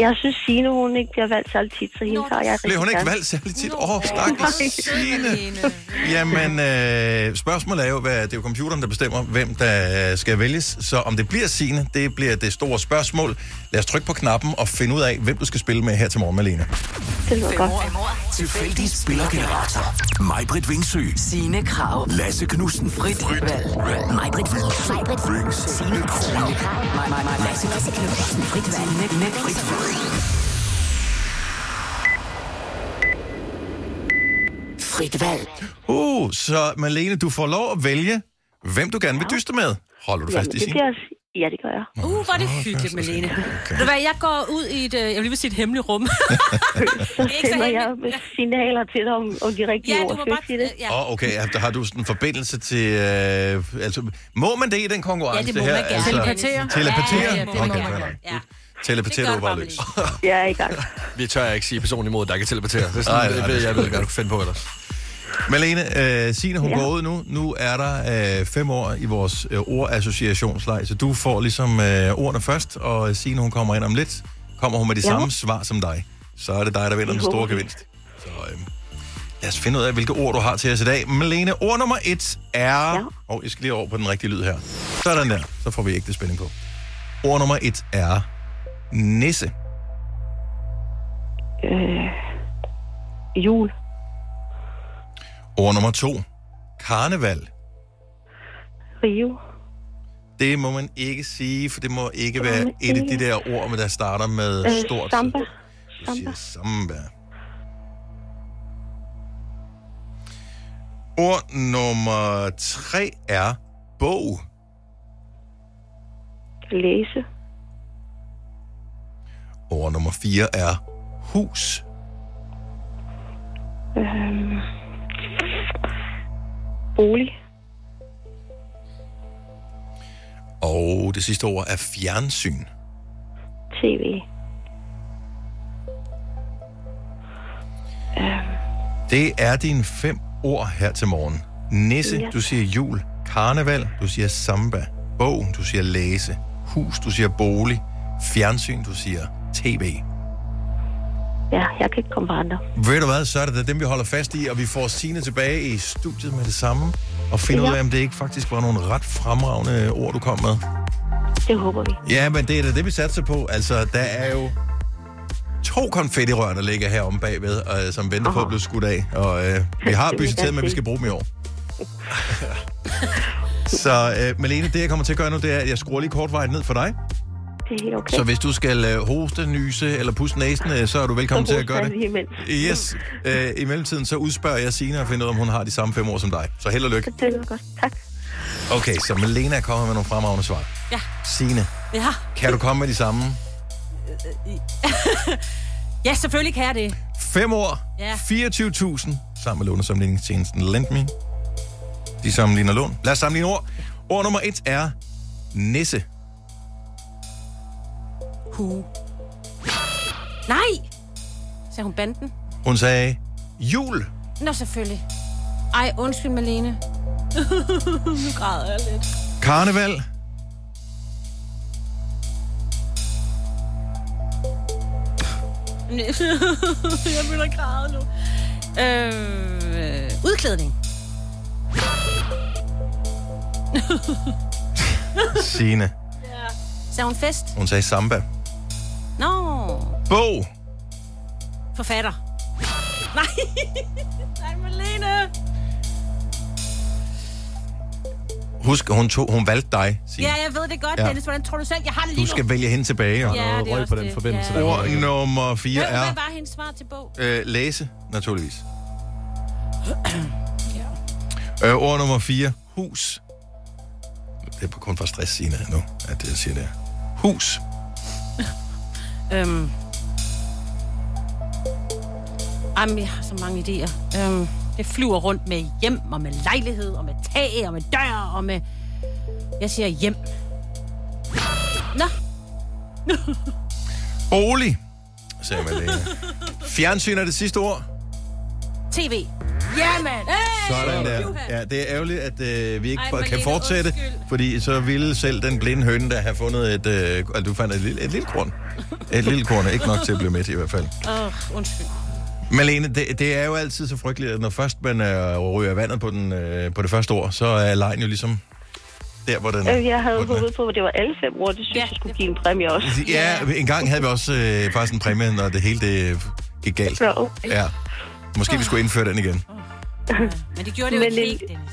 [SPEAKER 11] Jeg synes, Signe, hun ikke bliver valgt særlig tit, så hende tager jeg
[SPEAKER 12] Altså,
[SPEAKER 11] rigtig
[SPEAKER 1] Blev hun ikke
[SPEAKER 11] gerne.
[SPEAKER 1] valgt særlig tit? Åh, oh, stakkels Signe.
[SPEAKER 5] Signe.
[SPEAKER 1] Jamen, øh, spørgsmålet er jo, hvad, det er jo computeren, der bestemmer, hvem der skal vælges. Så om det bliver Signe, det bliver det store spørgsmål. Lad os trykke på knappen og finde ud af, hvem du skal spille med her til morgen, Malene.
[SPEAKER 11] Det lyder
[SPEAKER 8] 5
[SPEAKER 11] godt.
[SPEAKER 8] år, 5 år.
[SPEAKER 7] Tilfældig spillergenerator. Majbrit Vingsø.
[SPEAKER 8] Signe Krav.
[SPEAKER 7] Lasse Knudsen.
[SPEAKER 8] Britt Valg. Majbrit Valg. Signe Krav. Maj- Maj- Maj- Lasse Knudsen. Britt Valg. Signe Krav. Frit valg.
[SPEAKER 1] Uh, så Malene, du får lov at vælge, hvem du gerne vil dyste med. Holder du fast
[SPEAKER 11] Jamen,
[SPEAKER 1] i
[SPEAKER 11] det
[SPEAKER 1] Signe?
[SPEAKER 11] bliver... Ja, det gør jeg.
[SPEAKER 5] Uh, hvor er det hyggeligt, Malene. Okay. Ved du hvad, jeg går ud i et, øh, jeg vil lige vil sige et hemmeligt rum.
[SPEAKER 11] Så
[SPEAKER 5] er ikke så
[SPEAKER 11] sender jeg
[SPEAKER 5] heldigt.
[SPEAKER 11] med signaler til dig om, om de rigtige
[SPEAKER 5] ja,
[SPEAKER 11] ord.
[SPEAKER 5] du må
[SPEAKER 11] Skal vi
[SPEAKER 5] bare...
[SPEAKER 11] ikke sige det?
[SPEAKER 5] Ja.
[SPEAKER 1] Åh, oh, okay. Har- Har du sådan en forbindelse til... Øh, altså, må man det i den konkurrence?
[SPEAKER 5] Ja, det må
[SPEAKER 1] her? altså-
[SPEAKER 5] man
[SPEAKER 2] Teleportere?
[SPEAKER 5] gerne.
[SPEAKER 1] Teleportere?
[SPEAKER 5] Ja, ja, det må
[SPEAKER 1] okay,
[SPEAKER 5] man
[SPEAKER 1] fair
[SPEAKER 5] gerne.
[SPEAKER 1] nok.
[SPEAKER 5] Ja.
[SPEAKER 1] Teleportere,
[SPEAKER 5] Det
[SPEAKER 1] du
[SPEAKER 5] gør du
[SPEAKER 1] bare
[SPEAKER 5] bare,
[SPEAKER 1] løs.
[SPEAKER 11] Jeg er i gang.
[SPEAKER 3] Vi tør ikke sige personen imod, der kan teleportere. Det er sådan,
[SPEAKER 1] Nej,
[SPEAKER 3] Ej,
[SPEAKER 1] nej,
[SPEAKER 3] jeg,
[SPEAKER 1] det
[SPEAKER 3] ved,
[SPEAKER 1] skal
[SPEAKER 3] jeg
[SPEAKER 1] vi
[SPEAKER 3] ved, hvad du kan finde på ellers.
[SPEAKER 1] Malene, øh, Signe, hun ja.
[SPEAKER 11] Ja.
[SPEAKER 1] går ud nu. Nu er der øh, fem år i vores øh, ordassociationsleg, så du får ligesom øh, ordene først, og Signe, hun kommer ind om lidt. Kommer hun med de ja.
[SPEAKER 11] Ja.
[SPEAKER 1] samme svar som dig, så er det dig, der vinder den store
[SPEAKER 11] håber det.
[SPEAKER 1] gevinst. Så øh, lad os finde ud af, hvilke ord du har til os i dag. Malene, ord nummer et er... Ja.
[SPEAKER 11] Ja.
[SPEAKER 1] Og jeg skal lige over på den rigtige lyd her. Sådan der, så får vi ægte spænding på. Ord nummer et er nisse.
[SPEAKER 11] Øh, jul.
[SPEAKER 1] Ord nummer to, karneval.
[SPEAKER 11] Rio.
[SPEAKER 1] Det må man ikke sige, for det må ikke være
[SPEAKER 11] man
[SPEAKER 1] et af de
[SPEAKER 11] ikke.
[SPEAKER 1] der ord, men der starter med
[SPEAKER 11] Øh,
[SPEAKER 1] stort.
[SPEAKER 11] samba.
[SPEAKER 1] Du siger
[SPEAKER 11] Samba.
[SPEAKER 1] samba. Ord nummer tre er bog.
[SPEAKER 11] Læse.
[SPEAKER 1] Ord nummer fire er hus.
[SPEAKER 11] Øhm, bolig.
[SPEAKER 1] Og det sidste ord er fjernsyn.
[SPEAKER 11] TV.
[SPEAKER 1] Det er dine fem ord her til morgen. Nisse,
[SPEAKER 11] Ja.
[SPEAKER 1] du siger jul. Karneval, du siger samba. Bog, du siger læse. Hus, du siger bolig. Fjernsyn, du siger tv.
[SPEAKER 11] Ja, jeg kan ikke komme på andre.
[SPEAKER 1] Ved du hvad, så er det da dem, vi holder fast i, og vi får Signe tilbage i studiet med det samme, og finder ja.
[SPEAKER 11] Ja.
[SPEAKER 1] ud af, om det ikke faktisk var nogle ret fremragende ord, du kom med.
[SPEAKER 11] Det håber vi.
[SPEAKER 1] Ja, men det er da det, vi satser på. Altså, der er jo to konfettirør, der ligger her om bagved, øh, som venter på at blive skudt af. Og øh, vi har
[SPEAKER 11] vil jeg
[SPEAKER 1] budgetteret
[SPEAKER 11] gerne
[SPEAKER 1] med, at vi
[SPEAKER 11] se.
[SPEAKER 1] skal bruge dem i år. så øh, Malene, det jeg kommer til at gøre nu, det er, at jeg skruer lige kort vej ned for dig.
[SPEAKER 11] det er helt okay.
[SPEAKER 1] Så hvis du skal øh, hoste, nyse eller puste næsen, øh, så er du velkommen
[SPEAKER 11] Så
[SPEAKER 1] til at gøre
[SPEAKER 11] hoster jeg lige
[SPEAKER 1] det.
[SPEAKER 11] imens.
[SPEAKER 1] Yes. Øh, I mellemtiden, så udspørger jeg Signe og finder ud af, om hun har de samme fem ord som dig. Så held og lykke.
[SPEAKER 11] Det lyder godt. Tak.
[SPEAKER 1] Okay, så Malena er kommet med nogle fremragende svar.
[SPEAKER 5] Ja.
[SPEAKER 1] Signe,
[SPEAKER 5] Ja.
[SPEAKER 1] kan du komme med de samme?
[SPEAKER 5] ja, selvfølgelig kan jeg det.
[SPEAKER 1] Fem år,
[SPEAKER 5] Ja.
[SPEAKER 1] 24.000, sammen med lånesamligningstjenesten LendMe. De sammenligner lån. Lad os sammenligne ord. Ord nummer et er nisse.
[SPEAKER 5] Hu. Nej! Sagde hun banden?
[SPEAKER 1] Hun sagde jul.
[SPEAKER 5] Nå, selvfølgelig. Ej, undskyld, Malene. nu græder jeg lidt.
[SPEAKER 1] Karneval.
[SPEAKER 5] jeg begynder at græde nu. Øh, udklædning.
[SPEAKER 1] Signe.
[SPEAKER 5] Sagde hun fest?
[SPEAKER 1] Hun sagde samba.
[SPEAKER 5] Nå,
[SPEAKER 1] Bog.
[SPEAKER 5] forfatter. Nej, nej, Malene.
[SPEAKER 1] Husk, hun, tog, hun valgte dig, Signe.
[SPEAKER 5] Ja, jeg ved det godt,
[SPEAKER 1] Ja.
[SPEAKER 5] ja. Dennis. Hvordan tror du selv? Jeg har det lige
[SPEAKER 1] Du
[SPEAKER 5] nu.
[SPEAKER 1] skal vælge hende tilbage. Og...
[SPEAKER 5] Ja,
[SPEAKER 1] Ja.
[SPEAKER 5] det er
[SPEAKER 3] røg
[SPEAKER 5] også
[SPEAKER 3] på den
[SPEAKER 5] det.
[SPEAKER 3] forbindelse
[SPEAKER 5] ja.
[SPEAKER 3] der.
[SPEAKER 1] Ord nummer 4
[SPEAKER 5] Hvad,
[SPEAKER 1] er
[SPEAKER 5] hvad var hendes svar til bog?
[SPEAKER 1] øh, læse, naturligvis. ja. øh, ord nummer 4, hus. Det er på kun for stress, Signe, nu, at jeg siger det her. Hus.
[SPEAKER 5] Øhm. Jamen, jeg har så mange idéer. Øhm, det flyver rundt med hjem, og med lejlighed, og med tag, og med dør, og med... Jeg siger hjem. Nå,
[SPEAKER 1] Bolig, sagde Malene. Fjernsyn er det sidste ord.
[SPEAKER 5] tv. Ja, mand! Hey!
[SPEAKER 1] Sådan der.
[SPEAKER 5] Juha.
[SPEAKER 1] Ja, det er ærgerligt, at øh, vi ikke
[SPEAKER 5] Ej,
[SPEAKER 1] Ej, kan
[SPEAKER 5] Malene,
[SPEAKER 1] fortsætte,
[SPEAKER 5] undskyld.
[SPEAKER 1] fordi så ville selv den blinde høne, der har fundet et... Øh, altså, du fandt et, lille- et lille korn. Et lille korn er ikke nok til at blive med i hvert fald.
[SPEAKER 5] Åh, oh, undskyld.
[SPEAKER 1] Malene, det, det er jo altid så frygteligt, at når først man øh, ryger vandet på, den, øh, på det første ord, så er lejen jo ligesom der, hvor den er.
[SPEAKER 11] Øh, Jeg havde
[SPEAKER 1] hvor den er.
[SPEAKER 11] håbet på, at det var alle fem ord. Det synes
[SPEAKER 5] Ja,
[SPEAKER 11] ja, jeg skulle give en præmie også.
[SPEAKER 1] Ja, en gang havde vi også øh, faktisk en præmie, når det hele det øh, gik galt.
[SPEAKER 11] Nå.
[SPEAKER 1] Ja. Måske vi skulle indføre den igen.
[SPEAKER 5] Men det gjorde det jo
[SPEAKER 11] Men
[SPEAKER 5] ikke
[SPEAKER 11] en-
[SPEAKER 5] helt, Dennis.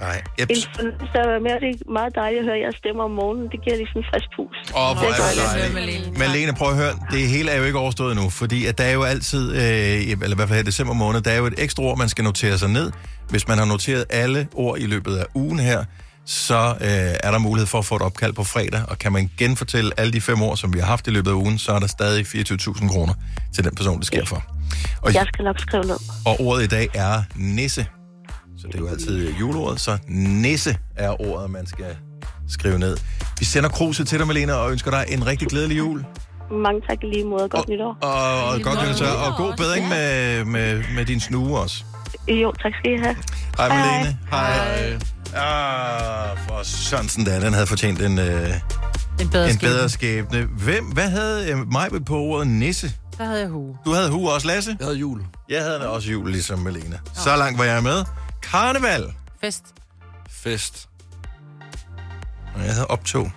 [SPEAKER 1] Nej. Yep.
[SPEAKER 11] En fornemmelse af at være med, og det er meget dejligt at høre jeres stemmer om morgenen. Det giver lige sådan en frisk pus.
[SPEAKER 1] Åh, hvor er
[SPEAKER 11] dejligt
[SPEAKER 1] det
[SPEAKER 11] at høre,
[SPEAKER 1] dejligt. Malene, prøv at høre, det hele er jo ikke overstået endnu, fordi at der er jo altid, øh, eller i hvert fald her i december måned, der er jo et ekstra ord, man skal notere sig ned. Hvis man har noteret alle ord i løbet af ugen her, så øh, er der mulighed for at få et opkald på fredag, og kan man genfortælle alle de fem ord, som vi har haft i løbet af ugen, så er der stadig 24.000 kroner til den person, det sker for. Og,
[SPEAKER 11] Jeg skal nok skrive ned.
[SPEAKER 1] og ordet i dag er nisse. Så det er jo altid juleordet, så nisse er ordet, man skal skrive ned. Vi sender kruset til dig, Malene, og ønsker dig en rigtig glædelig jul.
[SPEAKER 11] Mange tak i lige måde, og godt nytår.
[SPEAKER 1] Og, og godt
[SPEAKER 5] måde.
[SPEAKER 1] nytår, og god bedring med, med, med din snue også.
[SPEAKER 11] Jo, tak skal I have.
[SPEAKER 1] Hej,
[SPEAKER 11] Hej.
[SPEAKER 1] Malene. Hej. Ah, for Sørensen da, den havde fortjent en, øh,
[SPEAKER 2] En bedre,
[SPEAKER 1] en
[SPEAKER 2] skæbne.
[SPEAKER 1] bedre skæbne. Hvem, hvad havde øh, mig på ordet nisse?
[SPEAKER 2] Der havde jeg hue.
[SPEAKER 1] Du havde Hu også, Lasse?
[SPEAKER 3] Jeg havde jul.
[SPEAKER 1] Jeg havde da også jul, ligesom Malene. Så langt var jeg med. Karneval.
[SPEAKER 2] Fest.
[SPEAKER 3] Fest.
[SPEAKER 1] Og jeg havde optog,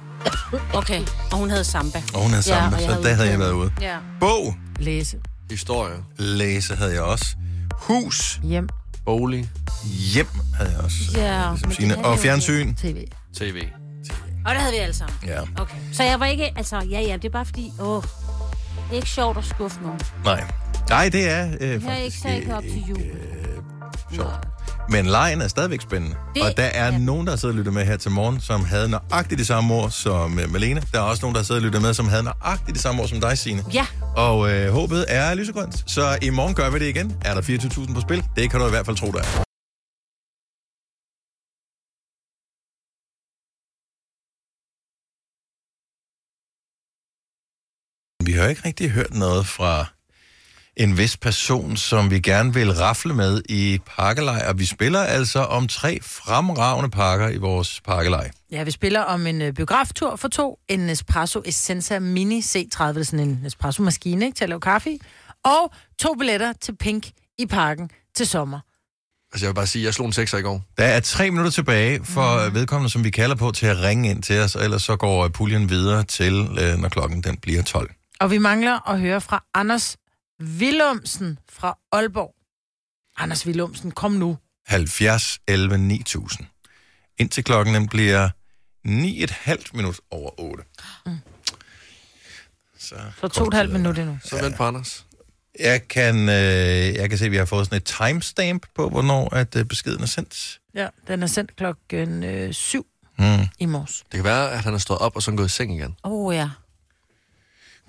[SPEAKER 5] Okay, og hun havde samba.
[SPEAKER 1] og hun havde
[SPEAKER 5] Ja,
[SPEAKER 1] samba,
[SPEAKER 5] og jeg
[SPEAKER 1] så
[SPEAKER 5] havde
[SPEAKER 1] der havde jeg
[SPEAKER 5] udklædning.
[SPEAKER 1] været ude.
[SPEAKER 5] Ja.
[SPEAKER 1] Bog,
[SPEAKER 2] Læse.
[SPEAKER 3] Historie.
[SPEAKER 1] læse havde jeg også. Hus,
[SPEAKER 2] Hjem.
[SPEAKER 3] Bolig.
[SPEAKER 1] hjem havde jeg også.
[SPEAKER 5] Ja,
[SPEAKER 1] ligesom
[SPEAKER 5] men
[SPEAKER 1] Signe.
[SPEAKER 5] det havde jeg
[SPEAKER 1] Og
[SPEAKER 5] jo.
[SPEAKER 1] fjernsyn.
[SPEAKER 2] TV.
[SPEAKER 3] TV.
[SPEAKER 5] Og det havde vi alle sammen.
[SPEAKER 1] Ja.
[SPEAKER 5] Okay. Så jeg var ikke... Altså, ja, ja, det er bare fordi... Åh, det er ikke sjovt at skuffe nogen.
[SPEAKER 1] Nej. Nej, det er øh,
[SPEAKER 5] Jeg er ikke
[SPEAKER 1] faktisk
[SPEAKER 5] særlig op til jul.
[SPEAKER 1] sjovt. Men lejen er stadigvæk spændende. Det,
[SPEAKER 5] Det-
[SPEAKER 1] og der er ja.
[SPEAKER 5] ja.
[SPEAKER 1] nogen, der har siddet og lyttet med her til morgen, som havde nøjagtigt det samme ord som øh, Malene. Der er også nogen, der har siddet og lyttet med, som havde nøjagtigt det samme ord som dig, Signe.
[SPEAKER 5] Ja.
[SPEAKER 1] Og øh, håbet er lysegrønt. Så i morgen gør vi det igen. Er der 24.000 på spil? Det kan du i hvert fald tro, der er. Vi har ikke rigtig hørt noget fra en vis person, som vi gerne vil rafle med i pakkelej, og vi spiller altså om tre fremragende pakker i vores pakkelej.
[SPEAKER 2] Ja, vi spiller om en øh, biograftur for to. En Nespresso Essenza Mini C30, det er sådan en Nespresso-maskine ikke, til at lave kaffe i. Og to billetter til Pink i parken til sommer.
[SPEAKER 3] Altså, jeg vil bare sige, jeg slog en sekser i går.
[SPEAKER 1] Der er tre minutter tilbage for mm. vedkommende, som vi kalder på til at ringe ind til os, og ellers så går øh, puljen videre til, øh, når klokken den bliver 12.
[SPEAKER 2] Og vi mangler at høre fra Anders Willumsen fra Aalborg. Anders Willumsen, kom nu.
[SPEAKER 1] 70 11 9000. Indtil klokken den bliver 9,5 minut over 8. Mm. så...
[SPEAKER 2] Så to og et halvt minut endnu.
[SPEAKER 3] Så vent på Anders.
[SPEAKER 1] Jeg kan, øh, jeg kan se, at vi har fået sådan et timestamp på, hvornår at øh, beskeden er sendt.
[SPEAKER 2] Ja, den er sendt klokken øh, syv
[SPEAKER 1] Mm.
[SPEAKER 2] i morges.
[SPEAKER 3] Det kan være, at han har stået op og så er han gået i seng igen.
[SPEAKER 5] Åh, oh, ja.
[SPEAKER 2] Hvad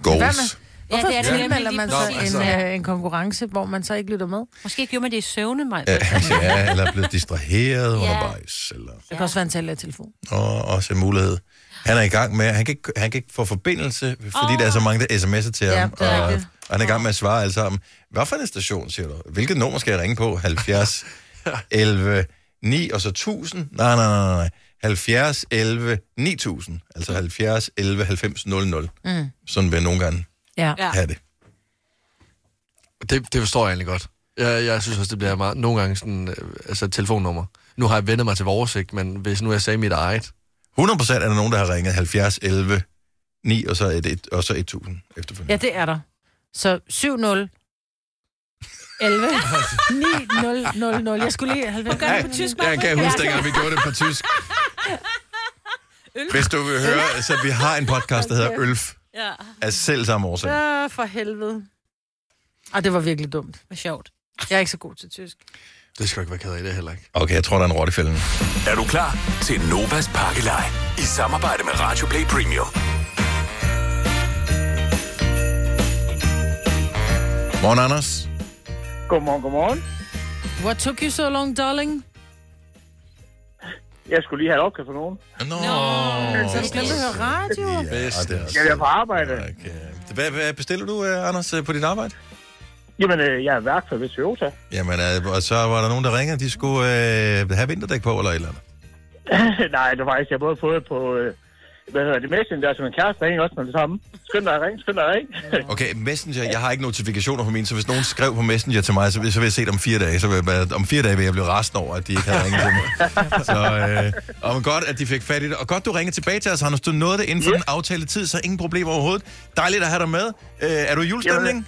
[SPEAKER 1] Goals.
[SPEAKER 2] med-
[SPEAKER 5] Ja,
[SPEAKER 2] Hvorfor
[SPEAKER 5] det er det nemlig
[SPEAKER 2] tilmelder
[SPEAKER 5] lige
[SPEAKER 2] man
[SPEAKER 3] Nå,
[SPEAKER 2] så
[SPEAKER 3] altså.
[SPEAKER 2] en, øh, en konkurrence, hvor man så ikke lytter med?
[SPEAKER 5] Måske gjorde man det i søvne, mig.
[SPEAKER 1] ja, eller er blevet distraheret undervejs, eller
[SPEAKER 2] Det kan også være en tal af telefon.
[SPEAKER 1] og også en mulighed. Han er i gang med, han kan ikke, han kan ikke få forbindelse, fordi oh. der er så mange, der sms'er til
[SPEAKER 2] Ja,
[SPEAKER 1] ham,
[SPEAKER 2] det er
[SPEAKER 1] og, og
[SPEAKER 2] rigtigt.
[SPEAKER 1] han er i gang med at svare alle sammen. Hvad for en station, siger du? Hvilket nummer skal jeg ringe på? 70, 11, 9 og så 1000? Nej, nej, nej, nej. 70, 11, 9000. Altså 70, 11, 90, 00. Mm. Sådan vil jeg nogle gange
[SPEAKER 2] Ja.
[SPEAKER 5] Ja.
[SPEAKER 1] have det.
[SPEAKER 3] Det, det forstår jeg egentlig godt. Jeg, jeg synes også, det bliver meget, nogle gange sådan, øh, altså et telefonnummer. Nu har jeg vendet mig til vores, ikke? men hvis nu jeg sagde mit eget,
[SPEAKER 1] 100% er der nogen, der har ringet 70, 11, 9 og så, et, et, og så 1000 efterfølgende.
[SPEAKER 2] ja, det er der. Så 7-0. 11. 9 0 0 Jeg skulle lige... Du
[SPEAKER 5] gør det på tysk,
[SPEAKER 1] Jeg kan huske, dengang vi gjorde det på tysk. Hvis du vil høre, så vi har en podcast, der hedder Ølf,
[SPEAKER 5] Ja,
[SPEAKER 1] af selv samme årsag.
[SPEAKER 2] Ja, for helvede. Ah, det var virkelig dumt.
[SPEAKER 5] hvor sjovt.
[SPEAKER 2] Jeg er ikke så god til tysk.
[SPEAKER 3] det skal jeg ikke være ked af, det er heller ikke.
[SPEAKER 1] Okay, jeg tror, der er en rotte i fælden.
[SPEAKER 7] Er du klar til Novas pakkelej? I samarbejde med Radio Play Premium.
[SPEAKER 1] Morgen, Anders.
[SPEAKER 9] Godmorgen, godmorgen.
[SPEAKER 2] What took you so long, darling?
[SPEAKER 9] Jeg skulle lige have et opkald for nogen.
[SPEAKER 1] Nå,
[SPEAKER 2] Så du glemte at høre radio?
[SPEAKER 1] det er
[SPEAKER 9] Jeg er på arbejde.
[SPEAKER 1] okay. Hvad, hvad bestiller du, øh, Anders, øh, på dit arbejde?
[SPEAKER 9] Jamen, øh, jeg er værktøj ved Toyota.
[SPEAKER 1] Jamen, øh, og så var der nogen, der ringede, de skulle øh, have vinterdæk på, eller et eller andet.
[SPEAKER 9] Nej, det var faktisk, jeg har både fået på, øh, hvad hedder det, Messenger, som en kæreste ringer også med det samme. Skynd dig at ringe, skynd dig at ringe.
[SPEAKER 1] Okay, Messenger, jeg har ikke notifikationer på min, så hvis nogen skrev på Messenger til mig, så, vil- så vil jeg se det om fire dage. Så vil jeg, være- om fire dage vil jeg blive rasende over, at de ikke havde ringet til mig. Så øh, og men godt, at de fik fat i det. Og godt, du ringede tilbage til os, Anders. Du nåede det inden for den aftalte tid, så ingen problemer overhovedet. Dejligt at have dig med. Øh, er du i julestemning?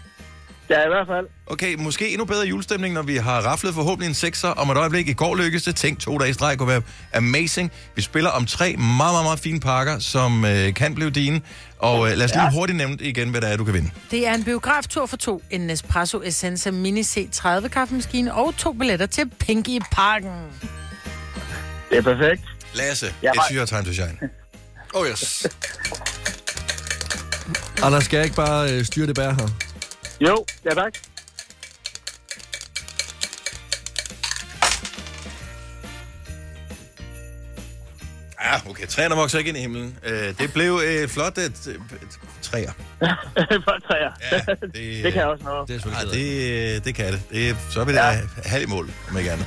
[SPEAKER 9] Ja, i hvert fald.
[SPEAKER 1] Okay, måske endnu bedre julestemning, når vi har raflet forhåbentlig en sekser. Om et øjeblik i går lykkedes det. Tænk, to dage i streg kunne være amazing. Vi spiller om tre meget, meget, meget fine pakker, som øh, kan blive dine. Og øh, lad os lige hurtigt nævne igen, hvad der er, du kan vinde.
[SPEAKER 2] Det er en biograftur for to, en Nespresso Essenza Mini C30 kaffemaskine og to billetter til Pinky i Parken.
[SPEAKER 9] Det er perfekt.
[SPEAKER 1] Lasse,
[SPEAKER 9] Jeg har-
[SPEAKER 1] it's your time to shine.
[SPEAKER 3] Oh yes. Anders, skal jeg ikke bare øh, styre det bær her?
[SPEAKER 9] Jo, ja tak.
[SPEAKER 1] Ah, okay. Træerne vokser ikke ind i himlen. Uh, det blev et flot et, et, et træer.
[SPEAKER 9] Godt træer.
[SPEAKER 1] Ja, det,
[SPEAKER 9] Det kan jeg også noget.
[SPEAKER 3] Det er
[SPEAKER 1] Ah,
[SPEAKER 3] selvfølgelig ked af.
[SPEAKER 1] det, øh, det kan det. det er- så er vi da ja. halv i mål, om ikke andet.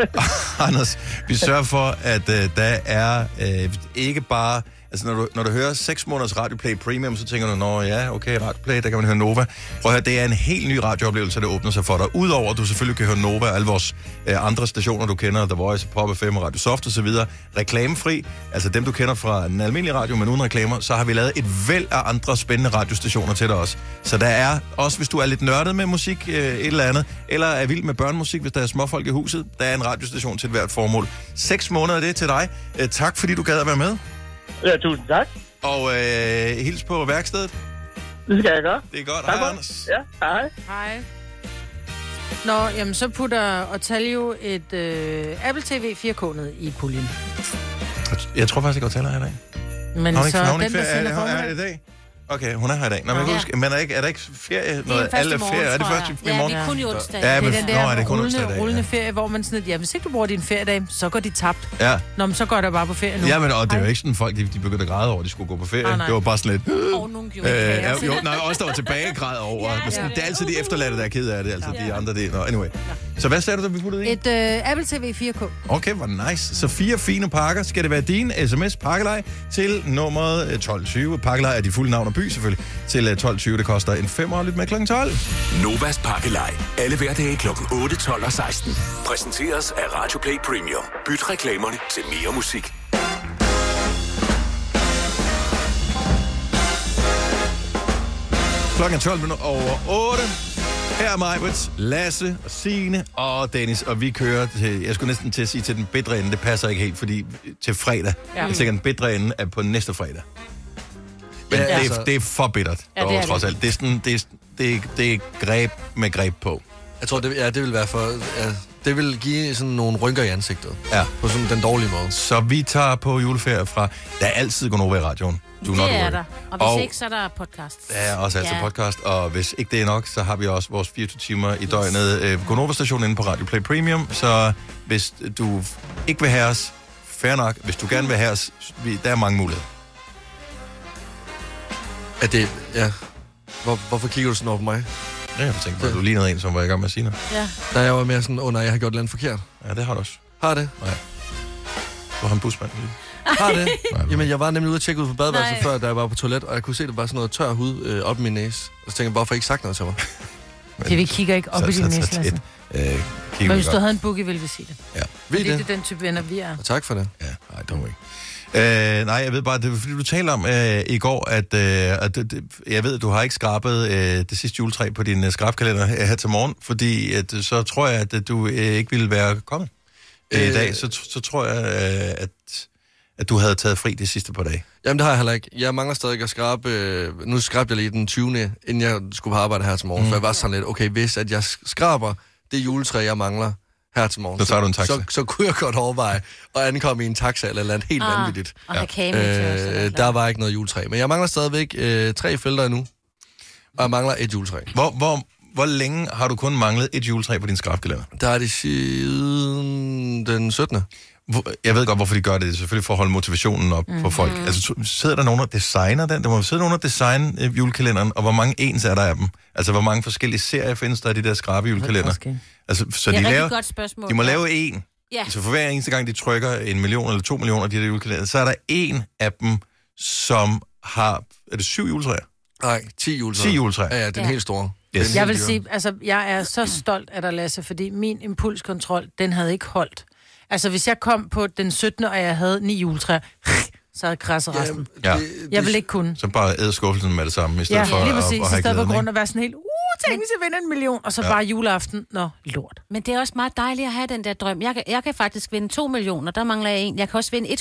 [SPEAKER 1] Anders, vi sørger for, at øh, der er øh, ikke bare... Altså, når du, når du hører 6 måneders Radioplay Premium, så tænker du, nå ja, okay, Radioplay, der kan man høre Nova. Prøv at høre, det er en helt ny radiooplevelse, der åbner sig for dig. Udover, at du selvfølgelig kan høre Nova og alle vores øh, andre stationer, du kender, The Voice, Pop FM, Radio Soft osv., reklamefri, altså dem, du kender fra den almindelige radio, men uden reklamer, så har vi lavet et væld af andre spændende radiostationer til dig også. Så der er, også hvis du er lidt nørdet med musik, øh, et eller andet, eller er vild med børnemusik, hvis der er småfolk i huset, der er en radiostation til hvert formål. Seks måneder, det er til dig. Øh, tak, fordi du gad at være med.
[SPEAKER 9] Ja, tusind tak.
[SPEAKER 1] Og øh, hils på værkstedet.
[SPEAKER 9] Det skal jeg gøre.
[SPEAKER 1] Det er godt.
[SPEAKER 9] Tak
[SPEAKER 1] Hej,
[SPEAKER 9] for
[SPEAKER 1] Anders.
[SPEAKER 9] Ja, hej.
[SPEAKER 2] Hej. Nå, jamen så putter Otalio et øh, Apple TV 4K ned i puljen.
[SPEAKER 1] Jeg tror faktisk ikke, at taler her i dag.
[SPEAKER 2] Men
[SPEAKER 1] Har hun ikke,
[SPEAKER 2] så
[SPEAKER 1] har hun
[SPEAKER 2] den,
[SPEAKER 1] ikke
[SPEAKER 2] der
[SPEAKER 1] ferie? Er,
[SPEAKER 2] sender
[SPEAKER 1] er, er,
[SPEAKER 2] formiddag.
[SPEAKER 1] det i dag? Okay, hun er her i dag. Nå, men, ja.
[SPEAKER 5] Ja.
[SPEAKER 1] huske, men er, der ikke, er der ikke ferie?
[SPEAKER 5] Det er
[SPEAKER 1] Noget,
[SPEAKER 5] den første
[SPEAKER 1] alle
[SPEAKER 5] morgen,
[SPEAKER 1] ferie? Er det
[SPEAKER 5] tror
[SPEAKER 1] første
[SPEAKER 5] jeg.
[SPEAKER 1] i morgen?
[SPEAKER 5] Ja, det er kun i onsdag.
[SPEAKER 1] Ja,
[SPEAKER 5] Ja,
[SPEAKER 2] Det
[SPEAKER 1] men,
[SPEAKER 2] er den
[SPEAKER 1] nå, er
[SPEAKER 2] der
[SPEAKER 1] det kun onsdag i
[SPEAKER 2] rullende,
[SPEAKER 1] dag?
[SPEAKER 2] rullende
[SPEAKER 1] ja.
[SPEAKER 2] ferie, hvor man sådan, at, ja, hvis ikke du bruger din feriedag, så går de tabt.
[SPEAKER 1] Ja.
[SPEAKER 2] Nå, men så går der bare på ferie nu.
[SPEAKER 1] Ja, men og det er jo ikke sådan, folk de, de begyndte at græde over, at de skulle gå på ferie.
[SPEAKER 5] Ah,
[SPEAKER 2] Nej, nej.
[SPEAKER 1] Det var bare sådan lidt... Øh,
[SPEAKER 5] Og nogle gjorde det.
[SPEAKER 1] ja, jo, nej, også der var tilbage græd over. Men sådan, det er altid de efterladte, der er ked af det. Altså, de andre, det... Nå, anyway. Så hvad sagde du, da vi puttede i?
[SPEAKER 2] Et øh, Apple TV 4K.
[SPEAKER 1] Okay, hvor nice. Så fire fine pakker. Skal det være din sms pakkelej til nummeret øh, 1220. Pakkelej er de fulde navn og by selvfølgelig. Til øh, 1220, det koster en femmer. Lyt med kl. 12.
[SPEAKER 7] Novas pakkelej. Alle hverdage kl. 8, 12 og 16. Præsenteres af Radio Play Premium. Byt reklamerne til mere musik.
[SPEAKER 1] Klokken er 12 minutter over 8. Her er Majbrits, Lasse og Signe og Dennis, og vi kører til, jeg skulle næsten til at sige til den bedre ende, det passer ikke helt, fordi til fredag, ja. jeg tænker, den bedre ende er på næste fredag. Men ja. det,
[SPEAKER 3] altså-
[SPEAKER 1] er, det er for bittert, ja, det er trods alt. Det er, sådan, det, er, det, er, det er greb med greb på.
[SPEAKER 3] Jeg tror, det, ja, det vil være for... Ja, det vil give sådan nogle rynker i ansigtet.
[SPEAKER 1] Ja.
[SPEAKER 3] På sådan den dårlige måde.
[SPEAKER 1] Så vi tager på juleferie fra... Der er altid Gonova i radioen. Do not
[SPEAKER 5] Det er
[SPEAKER 1] worry.
[SPEAKER 5] der. Og hvis og... ikke, så er der podcast.
[SPEAKER 1] Der er også altid
[SPEAKER 5] Ja.
[SPEAKER 1] ja. podcast, og hvis ikke det er nok, så har vi også vores 24 timer i døgnet øh, Gonova-stationen inde på Radio Play Premium. Så hvis du ikke vil have os, fair nok. Hvis du gerne vil have os, vi, der er mange muligheder.
[SPEAKER 3] Er det... Ja. Hvor, hvorfor kigger du sådan over på mig?
[SPEAKER 1] Ja, jeg tænkte på, at du lignede en, som var i gang med at sige noget.
[SPEAKER 3] Da jeg var mere sådan, åh oh, nej, jeg har gjort noget forkert.
[SPEAKER 1] Ja, det har du også.
[SPEAKER 3] Har det?
[SPEAKER 1] Du har en busmand. lige.
[SPEAKER 3] Har det?
[SPEAKER 1] Nej, nej.
[SPEAKER 3] Jamen, jeg var nemlig ude og tjekke ud på badeværelset
[SPEAKER 5] Nej.
[SPEAKER 3] før, da jeg var på toilet, og jeg kunne se, at der var sådan noget tør hud øh, op i min næse. Og så tænkte jeg, hvorfor har I ikke sagt noget til mig?
[SPEAKER 2] Det vi kigger ikke op i din næse,
[SPEAKER 1] tæt,
[SPEAKER 2] Lasse.
[SPEAKER 1] øh, kigger
[SPEAKER 2] Men
[SPEAKER 1] vi
[SPEAKER 2] hvis du
[SPEAKER 1] godt.
[SPEAKER 2] havde en boogie, ville vi sige det.
[SPEAKER 1] Ja.
[SPEAKER 3] Ved I
[SPEAKER 2] Fordi det er
[SPEAKER 3] det?
[SPEAKER 2] den type venner, vi er.
[SPEAKER 3] Og tak for det.
[SPEAKER 1] Ja, nej, dog ikke. Øh, nej, jeg ved bare, det var fordi, du talte om øh, i går, at, øh, at det, det- jeg ved, du har ikke skrabet øh, det sidste juletræ på din øh, skrabkalender øh, her til morgen, fordi at, øh, så tror jeg, at øh, du øh, ikke ville være kommet øh, i
[SPEAKER 3] Øh.
[SPEAKER 1] dag. Så, tr- så tror jeg, øh, at, at du havde taget fri de sidste par dage.
[SPEAKER 3] Jamen, det har jeg heller ikke. Jeg mangler stadig at skrabe... Øh, nu skrabte jeg lige den 20. inden jeg skulle på arbejde her til morgen. Mm. For jeg var sådan lidt, okay, hvis at jeg skraber det juletræ, jeg mangler her til morgen,
[SPEAKER 1] Så tager du en taxa.
[SPEAKER 3] Så, så kunne jeg godt overveje at ankomme i en taxa eller noget helt ah. vanvittigt.
[SPEAKER 5] Og have kage med til os, eller
[SPEAKER 3] Øh,
[SPEAKER 5] noget.
[SPEAKER 3] der var ikke noget juletræ. Men jeg mangler stadigvæk øh, tre felter endnu. Og jeg mangler et juletræ.
[SPEAKER 1] Hvor, hvor, hvor længe har du kun manglet et juletræ på din skrabkalender?
[SPEAKER 3] Der er det siden den 17.
[SPEAKER 1] Hvor- Jeg ved godt, hvorfor de gør det. Det er selvfølgelig for at holde motivationen op
[SPEAKER 5] Mhm.
[SPEAKER 1] mm-hmm. på folk. Altså, t- sidder der nogen, der designer den? Der må sidde nogen, der designer øh, julekalenderen, og hvor mange ens er der af dem? Altså, hvor mange forskellige serier findes der af de der skrabe julekalender? Altså, så
[SPEAKER 5] Det er
[SPEAKER 1] de,
[SPEAKER 5] et
[SPEAKER 1] laver,
[SPEAKER 5] rigtig godt spørgsmål.
[SPEAKER 1] de må lave en.
[SPEAKER 5] Ja,
[SPEAKER 1] Så for hver eneste gang, de trykker en million eller to millioner af de der julekalender, så er der en af dem, som har... Er det syv juletræer?
[SPEAKER 3] Nej, 10 juletræer.
[SPEAKER 1] Ti juletræer.
[SPEAKER 3] Ja, ja, den
[SPEAKER 5] Ja.
[SPEAKER 3] helt store.
[SPEAKER 1] Yes.
[SPEAKER 2] Jeg vil sige, altså, jeg er så stolt af dig, Lasse, fordi min impulskontrol, den havde ikke holdt. Altså, hvis jeg kom på den 17. og jeg havde ni juletræer, så havde jeg krasset resten.
[SPEAKER 1] Ja.
[SPEAKER 2] Jeg ville ikke kunne.
[SPEAKER 1] Så bare æd skuffelsen med det samme, i stedet
[SPEAKER 2] Ja,
[SPEAKER 1] for
[SPEAKER 2] lige
[SPEAKER 1] at,
[SPEAKER 2] præcis.
[SPEAKER 1] at
[SPEAKER 2] I
[SPEAKER 1] have
[SPEAKER 2] stedet for
[SPEAKER 1] glæden, ikke?
[SPEAKER 2] grund at være sådan helt, uh, tænk, hvis jeg vinder en million, og så bare juleaften. Nå, lort.
[SPEAKER 5] men det er også meget dejligt at have den der drøm. Jeg kan, jeg kan faktisk vinde 2 millioner, der mangler jeg en. Jeg kan også vinde 100.000,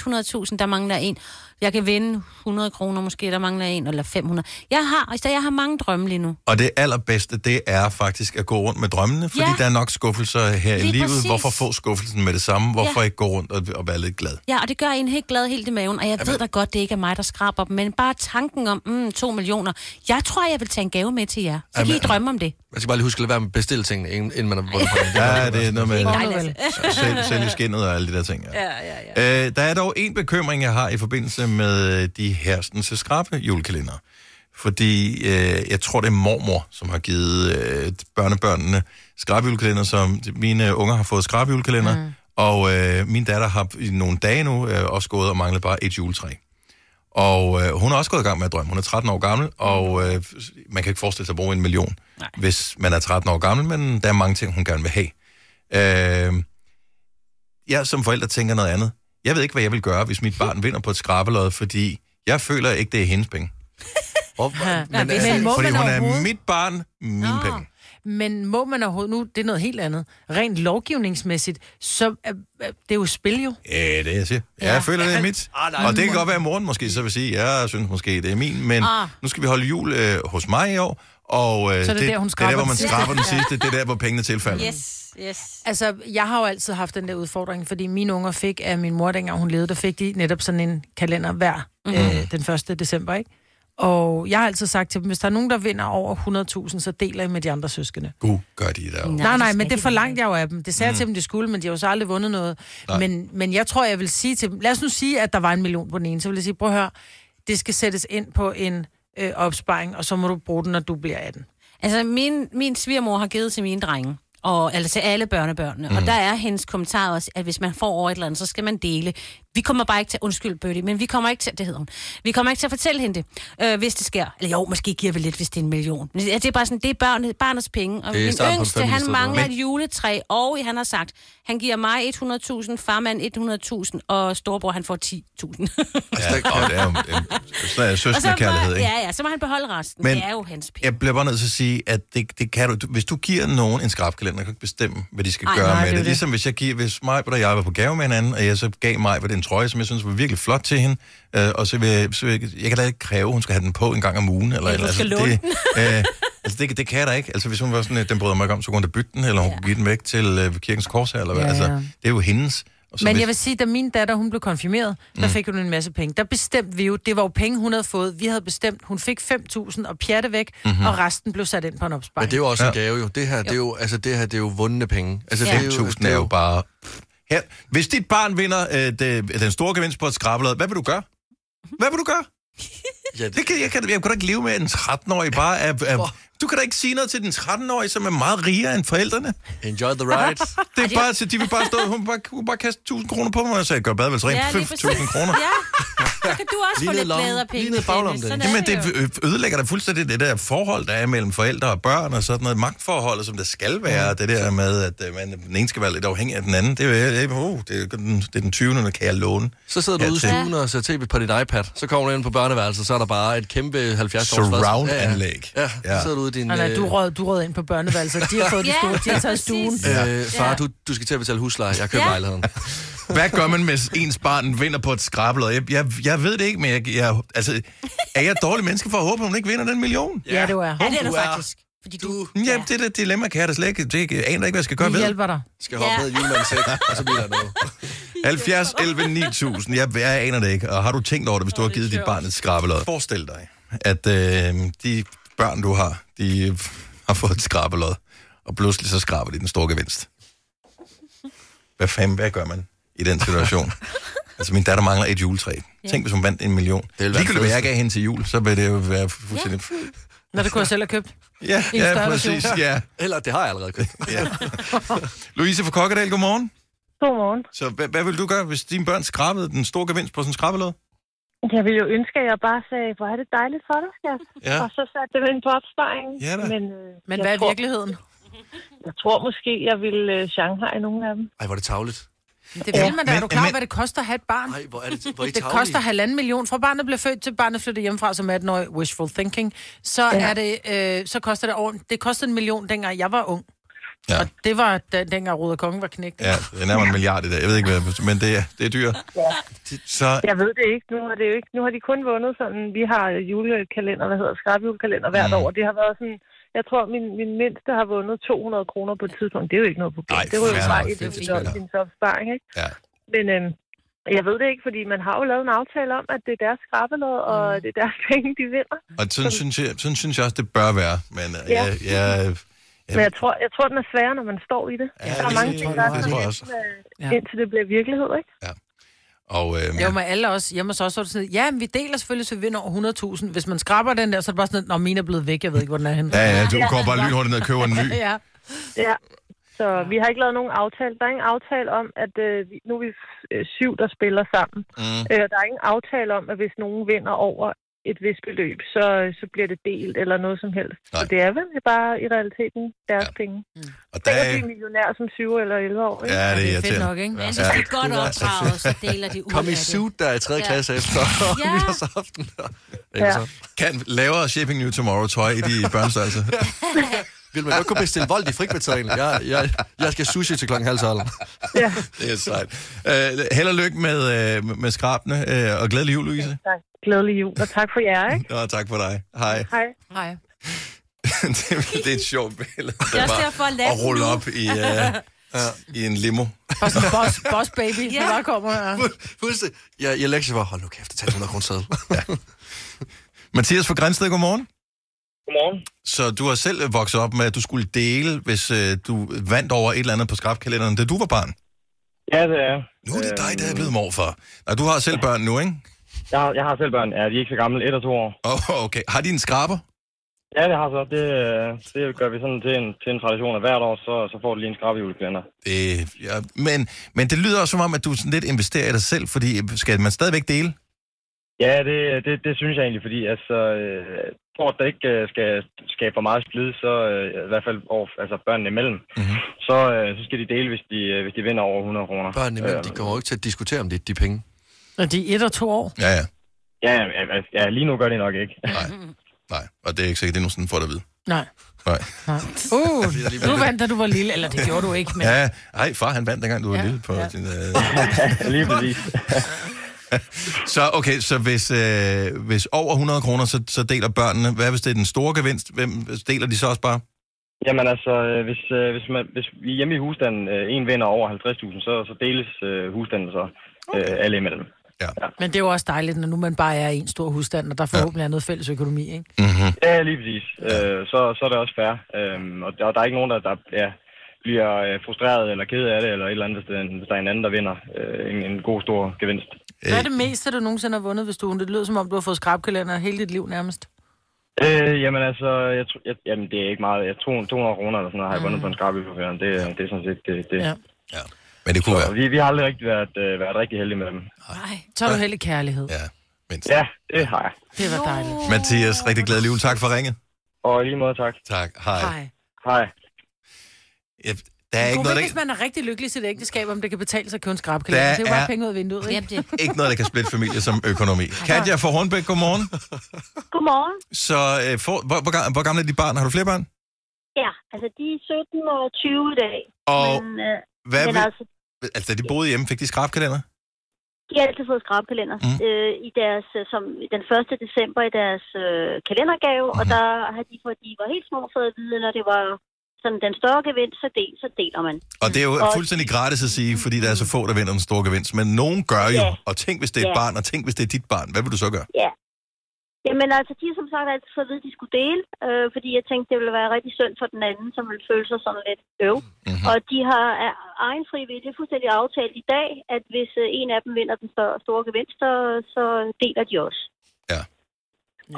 [SPEAKER 5] der mangler jeg en. Jeg kan vinde 100 kroner måske, der mangler jeg en, eller 500. Jeg har, altså, jeg har mange drømme lige nu.
[SPEAKER 1] Og det allerbedste, det er faktisk at gå rundt med drømmene, fordi ja.
[SPEAKER 5] Ja.
[SPEAKER 1] der er nok skuffelser her Lige i
[SPEAKER 5] Lige
[SPEAKER 1] livet. Præcis.
[SPEAKER 5] præcis.
[SPEAKER 1] Hvorfor få skuffelsen med det samme? Hvorfor ja.
[SPEAKER 5] Ja.
[SPEAKER 1] ikke gå rundt og, og være lidt glad?
[SPEAKER 5] Ja, og det gør en helt glad helt i maven, og jeg ved da godt, det ikke er mig, der skraber dem, men bare tanken om, mm, 2 millioner. Jeg tror, jeg vil tage en gave med til jer. Så kan I drømme om det.
[SPEAKER 3] Man skal bare lige huske at lade være med at bestille tingene, inden inden man har vundet på det.
[SPEAKER 1] Ja, det er noget med
[SPEAKER 5] Ej,
[SPEAKER 2] vel.
[SPEAKER 5] Lasse.
[SPEAKER 1] selv, selv i skinnet og alle de der ting. Ja. Ja, ja, ja. Øh, der er dog en bekymring, jeg har i forbindelse med øh, de herstens skrappe julekalender. Fordi øh, jeg tror, det er mormor, som har givet øh, børnebørnene skrabjulekalender, som mine unger har fået skrabjulekalender. Mm. Og øh, min datter har i nogle dage nu øh, også gået og manglet bare et juletræ. Og øh, hun er også gået i gang med at drømme. Hun er 13 år gammel, og øh, man kan ikke forestille sig at bruge en million, Nej. hvis man er 13 år gammel, men der er mange ting, hun gerne vil have. Øh, jeg som forælder tænker noget andet. Jeg ved ikke, hvad jeg vil gøre, hvis mit barn vinder på et skrabelod, fordi jeg føler ikke, det er hendes penge. øh,
[SPEAKER 3] Men, altså,
[SPEAKER 2] men må
[SPEAKER 1] fordi
[SPEAKER 2] man
[SPEAKER 1] hun er
[SPEAKER 2] overhovedet?
[SPEAKER 1] mit barn, mine
[SPEAKER 5] Nå.
[SPEAKER 1] penge.
[SPEAKER 2] Ah. Men må man overhovedet nu, det er noget helt andet. Rent lovgivningsmæssigt, så er, er- det er jo spil jo.
[SPEAKER 1] Ja, det er jeg siger. Ja, jeg føler, det er mit. Og det kan godt være at moren måske, så vil sige, ja, jeg synes måske, det er min, men
[SPEAKER 5] Ah.
[SPEAKER 1] nu skal vi holde jul øh, hos mig i år, og øh,
[SPEAKER 2] Så er det der, hun
[SPEAKER 1] det er der,
[SPEAKER 2] skraber
[SPEAKER 1] hvor man
[SPEAKER 2] den sidste.
[SPEAKER 1] skraber den sidste, det er der, hvor pengene tilfalder.
[SPEAKER 5] Yes, yes.
[SPEAKER 2] Altså, jeg har jo altid haft den der udfordring, fordi mine unger fik af min mor, dengang hun levede, der fik de netop sådan en kalender hver
[SPEAKER 5] Mhm.
[SPEAKER 2] mm-hmm. øh, den 1. december, ikke? Og jeg har altid sagt til dem, hvis der er nogen, der vinder over 100.000, så deler jeg med de andre søskende.
[SPEAKER 1] Gud, gør de Mm. der.
[SPEAKER 2] Nej, nej, men det forlangte jeg jo af dem. Det sagde jeg til dem, de skulle, men de har jo så aldrig vundet noget. Men, men jeg tror, jeg vil sige til dem... Lad os nu sige, at der var en million på den ene. Så vil jeg sige, prøv at høre, det skal sættes ind på en øh, opsparing, og så må du bruge den, når du bliver 18.
[SPEAKER 5] Altså, min, min svigermor har givet til mine drenge, og, eller til alle børnebørnene, mm. og der er hendes kommentar også, at hvis man får over et eller andet, så skal man dele. Vi kommer bare ikke til, undskyld Bøtte, men vi kommer ikke til, det hedder hun, vi kommer ikke til at fortælle hende det, øh, hvis det sker. Eller jo, måske giver vi lidt, hvis det er en million. Men det, det er bare sådan, det er børn, barnets penge. Og
[SPEAKER 3] Det er
[SPEAKER 5] min
[SPEAKER 3] starten på en
[SPEAKER 5] yngste,
[SPEAKER 3] familie i
[SPEAKER 5] han
[SPEAKER 3] stedet
[SPEAKER 5] mangler
[SPEAKER 3] for.
[SPEAKER 5] et juletræ, og han har sagt, han giver mig 100.000, farmand 100.000, og storebror han får 10.000.
[SPEAKER 1] Ja, og det er jo en, en, en
[SPEAKER 5] og så, må-
[SPEAKER 1] søskendekærlighed, ikke?
[SPEAKER 5] ja, ja, så må han beholde resten.
[SPEAKER 1] Men-
[SPEAKER 5] Men, det er jo hans penge.
[SPEAKER 1] Jeg bliver bare nødt til at sige, at det, det kan du, hvis du giver nogen en julekalender. Jeg kan ikke bestemme, hvad de skal
[SPEAKER 5] Ej,
[SPEAKER 1] Ej, gøre
[SPEAKER 5] nej,
[SPEAKER 1] nej,
[SPEAKER 5] det
[SPEAKER 1] med det.
[SPEAKER 5] er jo
[SPEAKER 1] det.
[SPEAKER 5] det.
[SPEAKER 1] Ligesom hvis jeg giver, hvis mig og jeg var på gave med hinanden, og jeg så gav mig en trøje, som jeg synes var virkelig flot til hende, øh, og så vil, jeg- så vil jeg, jeg kan da ikke kræve, at hun skal have den på en gang om ugen. Eller,
[SPEAKER 5] Eller du skal
[SPEAKER 1] altså,
[SPEAKER 5] låne
[SPEAKER 1] det, øh, altså det, det kan jeg da ikke. Altså hvis hun var sådan, øh, den bryder mig ikke om, så kunne hun da bytte den, eller hun ja. kunne give den væk til øh, kirkens korshær, eller hvad.
[SPEAKER 2] Ja,
[SPEAKER 1] Ja, ja. Altså,
[SPEAKER 2] ja.
[SPEAKER 1] det er jo hendes. Og så
[SPEAKER 2] Men
[SPEAKER 1] hvis-
[SPEAKER 2] jeg vil sige, da min datter, hun blev konfirmeret, der
[SPEAKER 3] Mm.
[SPEAKER 2] fik hun en masse penge. Der bestemte vi jo, det var jo penge, hun havde fået. Vi havde bestemt, hun fik 5.000 og pjatte væk, mm-hmm. og resten blev sat ind på en
[SPEAKER 3] Mhm. Men
[SPEAKER 2] opsparing.
[SPEAKER 3] det er jo også en gave, jo. Det her, det er jo, altså, det her, det er jo vundne penge. Altså, det jo-
[SPEAKER 1] 5.000 er jo bare... Her. Hvis dit barn vinder øh, det, den store gevinst på et skrabbelad, hvad vil du gøre? Hvad vil du gøre?
[SPEAKER 3] Ja, det,
[SPEAKER 1] Det kan, jeg, kan, jeg kan da ikke leve med at en 13-årig bare er, er, Du kan da ikke sige noget til den 13-årige, som er meget rigere end forældrene.
[SPEAKER 3] enjoy the ride.
[SPEAKER 1] Det er bare, så de vil bare stå, hun vil bare, hun vil bare kaste 1.000 kroner på mig, og så jeg gør badevæls rent.
[SPEAKER 5] Ja, lige præcis.
[SPEAKER 1] 5.000 kroner.
[SPEAKER 5] Ja, så kan du også
[SPEAKER 3] Lige
[SPEAKER 5] få
[SPEAKER 3] ned
[SPEAKER 5] lidt
[SPEAKER 3] lommen.
[SPEAKER 5] glæde af
[SPEAKER 3] Lige
[SPEAKER 5] penge.
[SPEAKER 3] ned i baglommen,
[SPEAKER 5] Dennis. Sådan
[SPEAKER 1] Jamen,
[SPEAKER 5] er det jo.
[SPEAKER 1] det ø- ødelægger da fuldstændig det der forhold, der er mellem forældre og børn og sådan noget. Magtforholdet, som der skal være. Det der med, at øh, man, den ene skal være lidt afhængig af den anden. Det er jo oh, det er, den- det er den 20. der kan jeg låne.
[SPEAKER 3] Så sidder du ude i
[SPEAKER 1] Hertil.
[SPEAKER 3] stuen og ser tv på din iPad. Så kommer du ind på børneværelset, så er der bare et kæmpe 70 års
[SPEAKER 1] Surround-anlæg.
[SPEAKER 3] Ja, ja. ja, så sidder du ude i din...
[SPEAKER 2] Nej, nej, du
[SPEAKER 3] øh,
[SPEAKER 2] råd, du råd ind på børneværelset. De har fået det
[SPEAKER 5] Ja,
[SPEAKER 2] store, de har taget
[SPEAKER 5] præcis.
[SPEAKER 2] stuen.
[SPEAKER 3] Øh, far, du, du skal til at betale husleje. Jeg køber
[SPEAKER 5] Ja.
[SPEAKER 3] lejligheden.
[SPEAKER 1] Hvad gør man, hvis ens barn vinder på et skrabbelod? Jeg, jeg, jeg ved det ikke, men jeg, jeg, altså, er jeg et dårligt menneske for at håbe, at hun ikke vinder den million?
[SPEAKER 2] Ja, det var.
[SPEAKER 5] Ja, det er du
[SPEAKER 3] Du er-
[SPEAKER 5] faktisk. Fordi du...
[SPEAKER 1] Jamen, ja. det der dilemma kan jeg da slet ikke. Det, jeg aner ikke, hvad jeg skal gøre
[SPEAKER 2] Vi
[SPEAKER 1] ved.
[SPEAKER 2] hjælper dig.
[SPEAKER 3] Skal hoppe
[SPEAKER 5] Ja.
[SPEAKER 3] ned i julemandens sæk, og så bliver der noget.
[SPEAKER 1] 70, 11, 9000. Jeg, jeg aner det ikke. Og har du tænkt over det, hvis du har givet dit barn et skrabelod? Forestil dig, at øh, de børn, du har, de øh, har fået et skrabelod. Og pludselig så skraber de den store gevinst. Hvad fanden, hvad gør man i den situation? altså, min datter mangler et juletræ. Tænk, hvis hun vandt en million. Det
[SPEAKER 3] ville
[SPEAKER 1] ville
[SPEAKER 3] være
[SPEAKER 1] Ligegyldigt, hvad
[SPEAKER 3] fedest.
[SPEAKER 1] jeg gav hende til jul, så ville det jo være fuldstændig...
[SPEAKER 2] Når det kunne jeg selv have købt.
[SPEAKER 1] Ja,
[SPEAKER 2] I en
[SPEAKER 1] ja,
[SPEAKER 2] større
[SPEAKER 1] præcis.
[SPEAKER 2] version.
[SPEAKER 1] Ja.
[SPEAKER 3] Eller, det har jeg allerede købt.
[SPEAKER 1] ja. Louise fra Kokkedal, godmorgen.
[SPEAKER 13] Godmorgen.
[SPEAKER 1] Så hvad, hvad vil du gøre, hvis dine børn skrabede den store gevinst på sådan en skrabelod?
[SPEAKER 13] Jeg ville jo ønske, at jeg bare sagde, hvor er det dejligt for dig, skat.
[SPEAKER 1] Ja.
[SPEAKER 13] Og så satte det ind på opsparingen.
[SPEAKER 1] Ja da.
[SPEAKER 13] Men, øh,
[SPEAKER 2] Men
[SPEAKER 13] jeg
[SPEAKER 2] hvad er
[SPEAKER 13] tror,
[SPEAKER 2] virkeligheden?
[SPEAKER 13] Jeg tror måske, jeg ville øh, Shanghai nogle af dem.
[SPEAKER 3] Ej, hvor er det tavligt.
[SPEAKER 2] Det vil man da. Er
[SPEAKER 1] men-
[SPEAKER 2] du klar, over,
[SPEAKER 1] men-
[SPEAKER 2] hvad det koster at have et barn?
[SPEAKER 3] Ej, hvor er det, hvor er I
[SPEAKER 2] Det
[SPEAKER 3] tarvelige.
[SPEAKER 2] koster halvanden million. Fra barnet bliver født til barnet flytter hjemmefra som 18 år wishful thinking. Så, er det, øh, så koster det over... Det kostede en million, dengang jeg var ung.
[SPEAKER 1] Ja.
[SPEAKER 2] Ja. Og det var da, dengang Ruder Kongen var knægt.
[SPEAKER 1] Ja, det er nærmere en milliard i dag. Jeg ved ikke, hvad, men det er, det er dyrt. Så
[SPEAKER 13] Jeg ved det ikke. Nu har, det jo ikke. nu har de kun vundet sådan, vi har julekalender, hvad hedder skrabjulekalender hvert
[SPEAKER 1] Mm.
[SPEAKER 13] år. Det har været sådan, jeg tror, min, min mindste har vundet 200 kroner på et tidspunkt. Det er jo ikke noget problem.
[SPEAKER 1] Ej,
[SPEAKER 13] det var jo
[SPEAKER 1] fair
[SPEAKER 13] bare
[SPEAKER 1] nok.
[SPEAKER 13] et
[SPEAKER 1] Det er
[SPEAKER 13] af
[SPEAKER 1] fair nok.
[SPEAKER 13] sin opsparing, ikke?
[SPEAKER 1] Ja.
[SPEAKER 13] Men øhm, jeg ved det ikke, fordi man har jo lavet en aftale om, at det er deres skrabbelod, og
[SPEAKER 1] Mm.
[SPEAKER 13] det er deres penge, de vinder.
[SPEAKER 1] og sådan synes, jeg, sådan synes jeg også, det bør være. Men øh,
[SPEAKER 13] Ja.
[SPEAKER 1] jeg, jeg,
[SPEAKER 13] Men jeg tror, jeg tror, den er sværere, når man står i det.
[SPEAKER 1] Ja,
[SPEAKER 13] der er
[SPEAKER 1] det-
[SPEAKER 13] mange ting, der er
[SPEAKER 1] det
[SPEAKER 13] sådan
[SPEAKER 1] tror jeg
[SPEAKER 13] lidt,
[SPEAKER 1] også.
[SPEAKER 13] øh,
[SPEAKER 2] Ja.
[SPEAKER 13] indtil det bliver virkelighed, ikke?
[SPEAKER 1] og, øh,
[SPEAKER 2] Jo, men alle også hjemme hos os, så er det sådan, ja, men vi deler selvfølgelig, så vi vinder over 100.000. Hvis man skraber den der, så er det bare sådan, at mine er blevet væk, jeg ved ikke, hvor den er henne.
[SPEAKER 1] ja, ja, du går bare lynhurtigt ned og køber en ny.
[SPEAKER 2] ja.
[SPEAKER 13] Ja. Så vi har ikke lavet nogen aftale. Der er ingen aftale om, at øh, vi- nu er vi øh, syv, der spiller sammen.
[SPEAKER 1] Mm.
[SPEAKER 13] Øh, der er ingen aftale om, at hvis nogen vinder over et vist beløb, så, så bliver det delt eller noget som helst. Så
[SPEAKER 1] Nej.
[SPEAKER 13] det er vel bare i realiteten deres
[SPEAKER 1] Ja.
[SPEAKER 13] ja. penge.
[SPEAKER 5] Mm.
[SPEAKER 1] Og der,
[SPEAKER 13] Tænk
[SPEAKER 1] er-
[SPEAKER 13] at blive millionær som 7 eller 11 år. Ikke?
[SPEAKER 1] ja, det er
[SPEAKER 2] Det er fedt
[SPEAKER 1] irriterende.
[SPEAKER 2] nok, ikke?
[SPEAKER 5] Men jeg synes,
[SPEAKER 1] Ja.
[SPEAKER 5] det er godt opdraget, så deler de ud
[SPEAKER 3] Kom
[SPEAKER 5] af
[SPEAKER 3] i
[SPEAKER 5] det.
[SPEAKER 3] suit, der er i 3.
[SPEAKER 5] Ja.
[SPEAKER 3] klasse efter
[SPEAKER 5] Ja.
[SPEAKER 3] nytårsaften. Ikke
[SPEAKER 13] Ja.
[SPEAKER 3] så?
[SPEAKER 1] Kan lavere Shipping New Tomorrow tøj i de børnestørrelse.
[SPEAKER 3] Vil man godt kunne bestille vold i frikvarteren? Jeg, jeg, jeg skal sushi til klokken halv tolv.
[SPEAKER 13] Ja.
[SPEAKER 1] Det er sejt. Øh, held og lykke med, øh, med skrabene, øh, og glædelig jul, Louise.
[SPEAKER 13] Tak. Glædelig jul, og tak for jer, ikke?
[SPEAKER 1] Nå, tak for dig. Hej.
[SPEAKER 13] Hej.
[SPEAKER 2] Hej.
[SPEAKER 1] det, det er et sjovt billede,
[SPEAKER 5] er
[SPEAKER 1] der
[SPEAKER 5] også derfor, at
[SPEAKER 1] var
[SPEAKER 5] lasten
[SPEAKER 1] at rulle
[SPEAKER 5] nu-
[SPEAKER 1] op i, øh, i en limo.
[SPEAKER 2] Boss, boss, boss baby, ja. der bare kommer her.
[SPEAKER 3] Fuldstændig. Jeg, jeg lektier for, hold nu kæft, det tager 100 kroner sædel.
[SPEAKER 1] Mathias fra Grænsted, godmorgen.
[SPEAKER 9] Godmorgen.
[SPEAKER 1] Så du har selv øh, vokset op med, at du skulle dele, hvis øh, du vandt over et eller andet på skrabkalenderen, da du var barn.
[SPEAKER 9] Ja, det er jeg.
[SPEAKER 1] Nu er det dig, der er
[SPEAKER 9] Øhm.
[SPEAKER 1] blevet morfar. Nej, du har selv børn nu, ikke?
[SPEAKER 9] Jeg har, jeg har selv børn. Ja, de er ikke så gamle. Et og to år.
[SPEAKER 1] Oh, okay. Har de en skraber?
[SPEAKER 9] Ja, det har så. Det, øh, det gør vi sådan til en, til en tradition, at hvert år, så, så får du lige en skrab julekalender.
[SPEAKER 1] Det, ja, men, men det lyder også som om, at du sådan lidt investerer i dig selv, fordi øh, skal man stadigvæk dele?
[SPEAKER 9] Ja, det, det, det synes jeg egentlig, fordi altså, øh, for at der ikke øh, skal skabe for meget splid, så øh, i hvert fald over, altså børnene imellem,
[SPEAKER 1] Mhm.
[SPEAKER 9] mm-hmm. så, øh, så skal de dele, hvis de, øh, hvis de vinder over 100 kroner.
[SPEAKER 3] Børnene imellem, de
[SPEAKER 9] Øhm,
[SPEAKER 3] kommer jo ikke til at diskutere om det, de penge.
[SPEAKER 2] Og de er et og to år.
[SPEAKER 1] Ja, ja.
[SPEAKER 9] Ja, ja, ja, lige nu gør det nok ikke.
[SPEAKER 1] Nej, og det er ikke sikkert, det er nogen sådan får det at vide.
[SPEAKER 2] Nej.
[SPEAKER 1] Nej.
[SPEAKER 2] Nej. Uh, du vandt, da du var lille. Eller det gjorde du ikke, men...
[SPEAKER 1] Ja, ej, far han vandt, dengang du var ja, lille på ja. din... Øh...
[SPEAKER 9] Lige præcis.
[SPEAKER 1] Så okay, så hvis, øh, hvis over 100 kroner, så, så deler børnene. Hvad hvis det er den store gevinst? Hvem deler de så også bare?
[SPEAKER 9] Jamen altså, øh, hvis, øh, hvis, man, hvis vi hjemme i husstanden øh, en vinder over 50.000, så, så deles øh, husstanden så øh, alle imellem.
[SPEAKER 2] Men det er jo også dejligt, når nu man bare er en stor husstand, og der forhåbentlig er noget fælles økonomi, ikke?
[SPEAKER 1] Mm-hmm.
[SPEAKER 9] Ja, lige præcis. Øh, så, så er det også fair. Øhm, og der, der er ikke nogen, der, der ja, bliver øh, frustreret eller ked af det, eller et eller andet, hvis, den, hvis der er en anden, der vinder øh, en, en god stor gevinst.
[SPEAKER 2] Hvad er det meste, du nogensinde har vundet, hvis du... Det lyder som om, du har fået skrabkalender hele dit liv nærmest.
[SPEAKER 9] Øh, jamen altså, jeg, tr- jeg, jamen, det er ikke meget. Jeg, 200, 200 kroner eller sådan noget har jeg vundet på en skrab i forføren. Det, det er sådan set det. det. Ja.
[SPEAKER 2] Ja.
[SPEAKER 1] Ja. Men det kunne være.
[SPEAKER 9] Vi, vi har aldrig rigtig været, øh, været rigtig heldige med dem.
[SPEAKER 2] Nej. Så er du heldig kærlighed.
[SPEAKER 1] Ja, mindst.
[SPEAKER 9] Ja, det har jeg.
[SPEAKER 2] Det var dejligt.
[SPEAKER 1] Mathias, rigtig glad jul. Tak for ringet.
[SPEAKER 9] Og i lige måde tak.
[SPEAKER 1] Tak. Hej.
[SPEAKER 2] Hej.
[SPEAKER 9] Hej.
[SPEAKER 1] Ja, der er ikke
[SPEAKER 2] Ikke
[SPEAKER 1] noget, der,
[SPEAKER 2] hvis man er rigtig lykkelig i sit ægteskab, om det kan betale sig at købe en
[SPEAKER 1] Der
[SPEAKER 2] skrabkalender. Det er jo
[SPEAKER 1] er-
[SPEAKER 2] bare penge ud af vinduet, ikke?
[SPEAKER 5] Jamen, det,
[SPEAKER 1] ikke noget, der kan splitte familie som økonomi. Katja fra Hornbæk, godmorgen.
[SPEAKER 12] Godmorgen.
[SPEAKER 1] Så øh, for, hvor, hvor, ga- hvor gamle er de barn? Har du flere børn?
[SPEAKER 12] Ja, altså de er 17 og 20 i dag.
[SPEAKER 1] Og
[SPEAKER 12] men øh,
[SPEAKER 1] hvad
[SPEAKER 12] men
[SPEAKER 1] vil,
[SPEAKER 12] altså,
[SPEAKER 1] altså, da de boede hjemme, fik de skrabkalender?
[SPEAKER 12] de har altid fået skrabkalender
[SPEAKER 1] Mm.
[SPEAKER 12] mm. øh, i deres, øh, som den 1. december i deres øh, kalendergave, mm. og
[SPEAKER 1] Mhm.
[SPEAKER 12] der har de, for de var helt små, fået at vide, når det var sådan den større gevinst, så, del, så deler man.
[SPEAKER 1] Og det er jo
[SPEAKER 12] Og-
[SPEAKER 1] fuldstændig gratis at sige, fordi der er så få, der vinder den store gevinst. Men nogen gør jo.
[SPEAKER 12] Ja.
[SPEAKER 1] Og tænk, hvis det er et
[SPEAKER 12] Ja.
[SPEAKER 1] barn, og tænk, hvis det er dit barn. Hvad vil du så gøre?
[SPEAKER 12] Jamen altså, de har som sagt altid fået at vide, at de skulle dele, øh, fordi jeg tænkte, det ville være rigtig synd for den anden, som ville føle sig sådan lidt øv.
[SPEAKER 1] Mhm.
[SPEAKER 12] Mm-hmm. Og de har af egen frivillige fuldstændig aftalt i dag, at hvis øh, en af dem vinder den større, store gevinst, så, så deler de også.
[SPEAKER 1] Ja.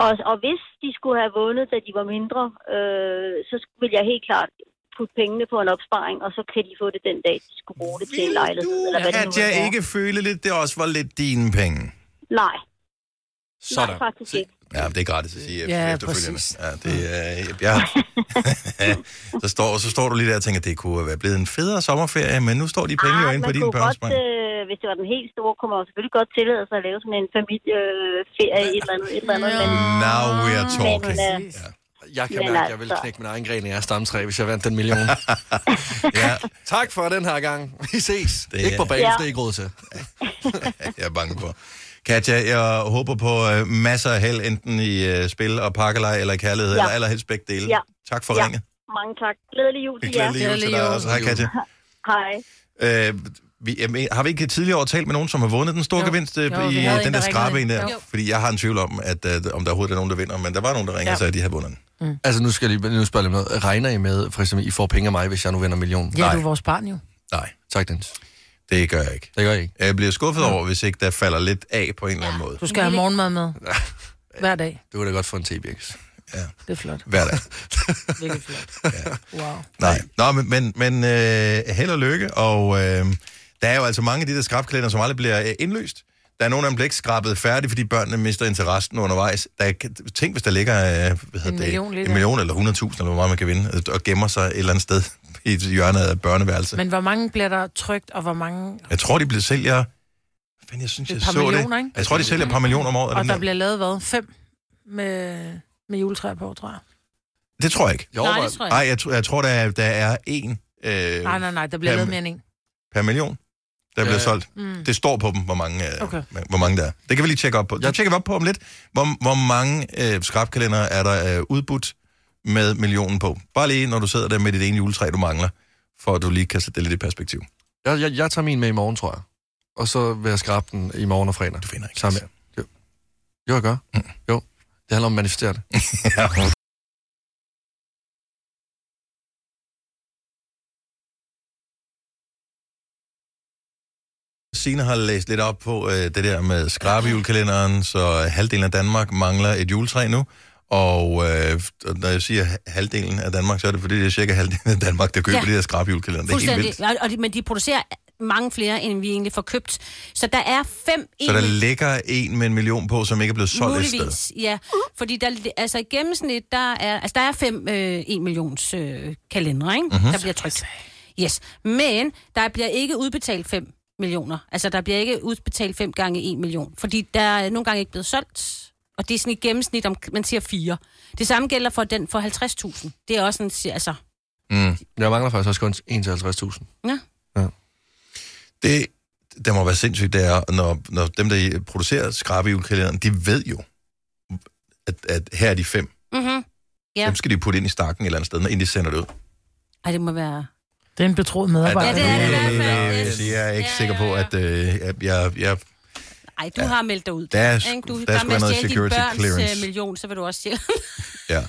[SPEAKER 12] Og, og hvis de skulle have vundet, da de var mindre, øh, så sk- ville jeg helt klart putte pengene på en opsparing, og så kan de få det den dag, de skulle bruge det til en lejlighed, eller hvad det nu
[SPEAKER 1] At jeg
[SPEAKER 12] er.
[SPEAKER 1] ikke føler lidt, det også var lidt dine penge.
[SPEAKER 12] Nej, nej,
[SPEAKER 3] Sådan.
[SPEAKER 12] faktisk ikke.
[SPEAKER 1] Ja, men det er gratis at sige
[SPEAKER 2] Ja,
[SPEAKER 1] ja, efterfølgende.
[SPEAKER 2] præcis.
[SPEAKER 1] Ja, det er... Ja. så, står, så står du lige der og tænker, det kunne være blevet en federe sommerferie, men nu står de penge jo inde på
[SPEAKER 12] Ah, man
[SPEAKER 1] din
[SPEAKER 12] kunne
[SPEAKER 1] børns
[SPEAKER 12] godt, øh, hvis det var den helt store, kunne man jo selvfølgelig godt tillade sig at lave sådan en familieferie, øh, et eller andet, et eller andet. Men,
[SPEAKER 1] Now we are talking.
[SPEAKER 12] Men, øh,
[SPEAKER 1] Ja.
[SPEAKER 3] Jeg kan
[SPEAKER 12] Men
[SPEAKER 3] mærke, at jeg vil
[SPEAKER 12] altså-
[SPEAKER 3] knække min egen gren i jeres stamtræ, hvis jeg vandt den million.
[SPEAKER 1] ja,
[SPEAKER 3] tak for den her gang. Vi ses.
[SPEAKER 1] Det
[SPEAKER 3] Det
[SPEAKER 1] er-
[SPEAKER 3] Ikke på bagen,
[SPEAKER 12] Ja.
[SPEAKER 3] det er ikke råd til.
[SPEAKER 1] jeg er bange for. Katja, jeg håber på øh, masser af held, enten i øh, spil og pakkelej eller i kærlighed,
[SPEAKER 12] Ja.
[SPEAKER 1] eller allerhelst begge dele.
[SPEAKER 12] Ja.
[SPEAKER 1] Tak for
[SPEAKER 12] Ja.
[SPEAKER 1] ringet.
[SPEAKER 12] mange tak. Glædelig jul til jer.
[SPEAKER 1] Glædelig jul til dig også. Hej, Katja.
[SPEAKER 12] Hej.
[SPEAKER 1] Øh, vi, jeg men, har vi ikke tidligere år talt med nogen, som har vundet den store
[SPEAKER 2] Jo.
[SPEAKER 1] gevinst øh,
[SPEAKER 2] Jo,
[SPEAKER 1] i
[SPEAKER 2] vi havde
[SPEAKER 1] øh,
[SPEAKER 2] en,
[SPEAKER 1] den
[SPEAKER 2] der
[SPEAKER 1] der skrabe en
[SPEAKER 2] ringede
[SPEAKER 1] der?
[SPEAKER 2] ind. Jo.
[SPEAKER 1] Fordi jeg har en tvivl om, at, øh, om der overhovedet er nogen, der vinder, men der var nogen, der ringede ja.
[SPEAKER 2] Ja.
[SPEAKER 1] og sagde, at de havde vundet den.
[SPEAKER 3] Altså, nu skal jeg lige nu spørge lidt om noget. Regner I med, for eksempel, I får penge af mig, hvis jeg nu vinder en million?
[SPEAKER 2] Ja,
[SPEAKER 1] Nej.
[SPEAKER 2] du er vores barn jo.
[SPEAKER 1] Nej,
[SPEAKER 3] Tak, Dennis.
[SPEAKER 1] det gør jeg ikke.
[SPEAKER 3] Det gør I ikke.
[SPEAKER 1] Jeg bliver skuffet over, hvis ikke der falder lidt af på en eller anden måde.
[SPEAKER 2] Du skal have morgenmad med. Hver dag.
[SPEAKER 3] Det kunne da godt få en T-Birks.
[SPEAKER 2] Det er flot.
[SPEAKER 1] Hver dag.
[SPEAKER 2] Virkelig flot. Wow.
[SPEAKER 1] Nej. Nå, men, men, men øh, held og lykke, og øh, der er jo altså mange af de der skrabkalender, som aldrig bliver øh, indløst. Der er nogle af dem, der bliver ikke skrabet færdigt, fordi børnene mister interessen undervejs. Der er, tænk, hvis der ligger øh, hvad hedder
[SPEAKER 2] En
[SPEAKER 1] det,
[SPEAKER 2] million lidt,
[SPEAKER 1] en million eller 100.000, eller hvor meget man kan vinde, øh, og gemmer sig et eller andet sted i et hjørne af børneværelset. Men...
[SPEAKER 2] Men hvor mange bliver der trygt, og hvor mange...
[SPEAKER 1] Jeg tror, de bliver sælger... Fanden, jeg synes,
[SPEAKER 2] Et
[SPEAKER 1] jeg
[SPEAKER 2] par
[SPEAKER 1] så det.
[SPEAKER 2] millioner, ikke?
[SPEAKER 1] Jeg tror, de sælger et par millioner om året.
[SPEAKER 2] Og
[SPEAKER 1] den
[SPEAKER 2] der
[SPEAKER 1] der.
[SPEAKER 2] bliver lavet hvad? Fem med, med juletræer på, tror jeg.
[SPEAKER 1] Det tror jeg ikke.
[SPEAKER 3] Jeg
[SPEAKER 5] nej,
[SPEAKER 3] overvejer,
[SPEAKER 5] det tror jeg.
[SPEAKER 1] Nej, jeg, tr- jeg tror, der er, der er én øh,
[SPEAKER 2] Nej, nej, nej, der bliver
[SPEAKER 1] fem.
[SPEAKER 2] lavet mere end en.
[SPEAKER 1] per million, der bliver
[SPEAKER 3] Ja.
[SPEAKER 1] solgt.
[SPEAKER 2] Mm.
[SPEAKER 1] Det står på dem, hvor mange, øh,
[SPEAKER 2] Okay.
[SPEAKER 1] hvor mange der er. Det kan vi lige tjekke op på. Det
[SPEAKER 3] Jeg-
[SPEAKER 1] tjekker vi op på om lidt. Hvor, hvor mange øh, skrabkalender er der øh, udbudt med millionen på? Bare lige, når du sidder der med dit ene juletræ, du mangler, for at du lige kan sætte det lidt i perspektiv.
[SPEAKER 3] jeg, jeg, jeg tager min med i morgen, tror jeg. Og så vil jeg skrabe den i morgen og fredag.
[SPEAKER 1] Du finder ikke. altså. Mm.
[SPEAKER 3] Sammen med. Jo. jo, jeg gør. Jo. Det handler om at manifestere det.
[SPEAKER 1] Ja. Signe har læst lidt op på øh, det der med skrabejulekalenderen, så halvdelen af Danmark mangler et juletræ nu. Og øh, og når jeg siger halvdelen af Danmark, så er det fordi, det er cirka halvdelen af Danmark, der køber ja.
[SPEAKER 5] Ja.
[SPEAKER 1] det der skrabejulekalender. Det er helt vildt.
[SPEAKER 5] Fuldstændig. Og- Og de, men de producerer mange flere, end vi egentlig får købt. Så der er fem
[SPEAKER 1] Så der
[SPEAKER 5] egentlig-
[SPEAKER 1] ligger en med en million på, som ikke er blevet solgt et sted.
[SPEAKER 5] Muligvis, ja. Fordi der, altså i gennemsnit, der er, altså, der er fem øh, 1 millions øh, kalendere, ikke?
[SPEAKER 1] Mhm.
[SPEAKER 5] Mm-hmm. der bliver trykt. Yes. Men der bliver ikke udbetalt 5 millioner. Altså der bliver ikke udbetalt 5 gange 1 million. Fordi der er nogle gange ikke blevet solgt. Og det er sådan i gennemsnit, om, man siger 4. Det samme gælder for den for 50.000. Det er også en... si- Altså,
[SPEAKER 1] Mm.
[SPEAKER 3] Jeg mangler faktisk også kun 51.000.
[SPEAKER 5] ja.
[SPEAKER 1] Det, der må være sindssygt, det er, når, når dem, der producerer skrabejulekalenderen, de ved jo, at, at her er de fem.
[SPEAKER 5] Mm-hmm.
[SPEAKER 1] Ja.
[SPEAKER 5] Ja.
[SPEAKER 1] Dem skal de putte ind i stakken et eller andet sted, inden de sender det ud.
[SPEAKER 5] Ej, det må være...
[SPEAKER 2] Det er en betroet medarbejder.
[SPEAKER 5] Ja, det er det i hvert fald,
[SPEAKER 1] Øh,
[SPEAKER 5] yes.
[SPEAKER 1] det er jeg ikke
[SPEAKER 5] Ja,
[SPEAKER 1] sikker på,
[SPEAKER 5] ja, ja.
[SPEAKER 1] at øh, at jeg, jeg...
[SPEAKER 5] Ej, du ja. har meldt dig ud.
[SPEAKER 1] Der er sgu-
[SPEAKER 5] Ikke?
[SPEAKER 1] der
[SPEAKER 5] du
[SPEAKER 1] er
[SPEAKER 5] bare
[SPEAKER 1] sgu
[SPEAKER 5] med at
[SPEAKER 1] noget
[SPEAKER 5] stjæle din
[SPEAKER 1] security
[SPEAKER 5] børns
[SPEAKER 1] clearance.
[SPEAKER 5] øh, million, så vil du også stjæle.
[SPEAKER 1] Ja.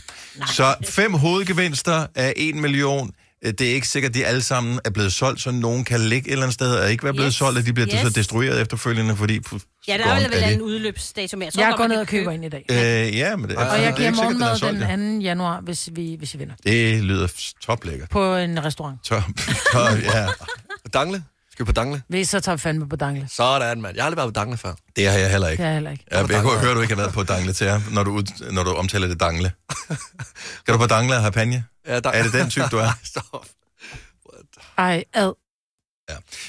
[SPEAKER 1] Så fem hovedgevinster af en million. Øh, Det er ikke sikkert, at de alle sammen er blevet solgt, så nogen kan ligge et eller andet sted og ikke være blevet
[SPEAKER 5] Yes.
[SPEAKER 1] solgt, og de bliver yes. så
[SPEAKER 5] Yes.
[SPEAKER 1] destrueret efterfølgende, fordi... puh,
[SPEAKER 5] ja, der
[SPEAKER 1] gone
[SPEAKER 5] er vel
[SPEAKER 1] det.
[SPEAKER 5] en udløbsdato mere.
[SPEAKER 2] Jeg går ned og køber en i dag.
[SPEAKER 1] Øh, ja, men det, altså,
[SPEAKER 2] Og jeg
[SPEAKER 1] det er
[SPEAKER 2] giver
[SPEAKER 1] ikke sikkert, den er
[SPEAKER 2] morgenmad
[SPEAKER 1] solgt, ja.
[SPEAKER 2] den 2. januar, hvis vi, hvis I vinder.
[SPEAKER 1] Det lyder toplækkert.
[SPEAKER 2] På en restaurant.
[SPEAKER 1] Top, top, ja.
[SPEAKER 3] Dangle? Skal vi på Dangle?
[SPEAKER 2] Hvis så tager vi fandme på Dangle.
[SPEAKER 3] Sådan, mand. Jeg har aldrig været på Dangle før.
[SPEAKER 1] Det har jeg heller
[SPEAKER 2] Det
[SPEAKER 1] ikke.
[SPEAKER 2] er jeg heller ikke.
[SPEAKER 1] Jeg, jeg kunne høre, at du ikke har været på dangle til jer, når du, ud, når du omtaler det dangle. Skal du på dangle og have panje?
[SPEAKER 3] Ja, der...
[SPEAKER 1] Er det den type, du er?
[SPEAKER 3] Stop.
[SPEAKER 2] Ej, ad.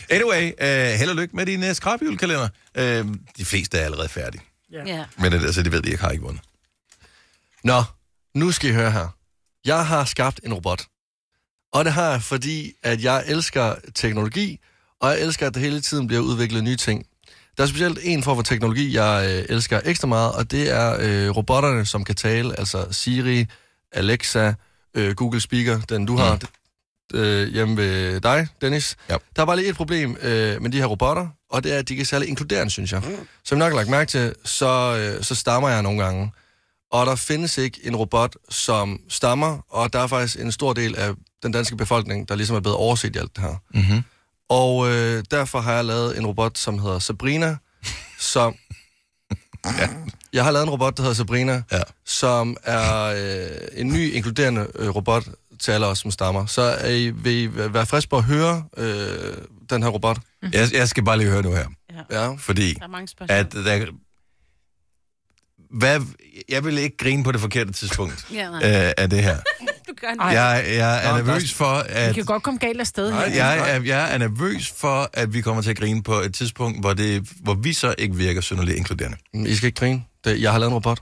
[SPEAKER 1] Anyway, uh, held og lykke med din uh, skrabhjulkalender. Uh, de fleste er allerede færdige.
[SPEAKER 5] Ja.
[SPEAKER 1] Men øh, altså, det ved de ikke har ikke vundet.
[SPEAKER 3] Nå, nu skal I høre her. Jeg har skabt en robot. Og det har jeg, fordi at jeg elsker teknologi, og jeg elsker, at der hele tiden bliver udviklet nye ting. Der er specielt en form for teknologi, jeg øh, elsker ekstra meget, og det er øh, robotterne, som kan tale, altså Siri, Alexa, øh, Google Speaker, den du har øh, hjemme ved dig, Dennis.
[SPEAKER 1] Ja.
[SPEAKER 3] Der er bare lige et problem øh, med de her robotter, og det er, at de ikke er særlig inkluderende, synes jeg. Som I nok har lagt mærke til, så, øh, så stammer jeg nogle gange. Og der findes ikke en robot, som stammer, og der er faktisk en stor del af den danske befolkning, der ligesom er blevet overset i alt det her.
[SPEAKER 1] Mm-hmm.
[SPEAKER 3] Og øh, derfor har jeg lavet en robot, som hedder Sabrina, som... Ja. Jeg har lavet en robot, der hedder Sabrina,
[SPEAKER 1] Ja.
[SPEAKER 3] som er øh, en ny inkluderende øh, robot til alle os, som stammer. Så er I, vil I væ- være friske på at høre øh, den her robot?
[SPEAKER 1] Jeg, jeg skal bare lige høre nu her,
[SPEAKER 3] Ja.
[SPEAKER 1] fordi
[SPEAKER 5] Der er mange spørgsmål.
[SPEAKER 1] at der, hvad, jeg vil ikke grine på det forkerte tidspunkt
[SPEAKER 5] Ja, nej.
[SPEAKER 1] øh, af det her.
[SPEAKER 5] Du gør
[SPEAKER 2] Ej.
[SPEAKER 5] det.
[SPEAKER 1] Jeg, jeg er
[SPEAKER 3] Nå,
[SPEAKER 1] nervøs for,
[SPEAKER 2] Vi
[SPEAKER 1] at
[SPEAKER 2] kan godt komme galt afsted
[SPEAKER 1] Nej,
[SPEAKER 2] her.
[SPEAKER 1] jeg, er, jeg er nervøs for, at vi kommer til at grine på et tidspunkt, hvor, det, hvor vi så ikke virker synderligt inkluderende.
[SPEAKER 3] I skal ikke grine. Det, jeg har lavet en robot.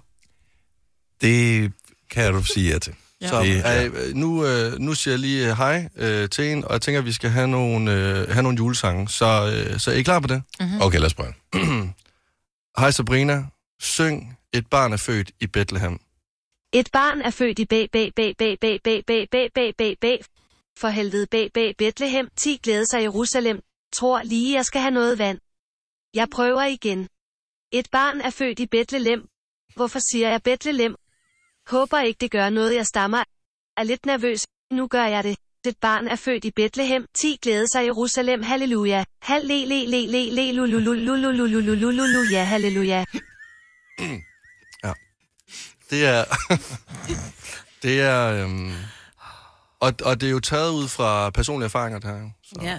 [SPEAKER 1] Det kan du sige ja til.
[SPEAKER 3] Ja. Så
[SPEAKER 1] Det er-
[SPEAKER 3] øh, nu, øh, nu siger jeg lige øh, hej øh, til en, og jeg tænker, at vi skal have nogle, øh, have nogle julesange. Så, øh, så er I klar på det?
[SPEAKER 1] Okay, lad os prøve.
[SPEAKER 3] Hej Sabrina, syng Et barn er født i Bethlehem.
[SPEAKER 14] Et barn er født i bæ, bæ, bæ, bæ, bæ, bæ, bæ, bæ, bæ, bæ, bæ. For helvede bæ, bæ, Bethlehem, 10 glæder sig Jerusalem. Tror lige, jeg skal have noget vand. Jeg prøver igen. Et barn er født i Bethlehem. Hvorfor siger jeg Bethlehem? Håber ikke, det gør noget, jeg stammer. Er lidt nervøs. Nu gør jeg det. Et barn er født i Bethlehem. 10 glæder sig Jerusalem. Halleluja. Halleluja. Halleluja.
[SPEAKER 3] Det er... det er... Øhm, og, og det er jo taget ud fra personlige erfaringer, det her. jo. Så,
[SPEAKER 5] Ja.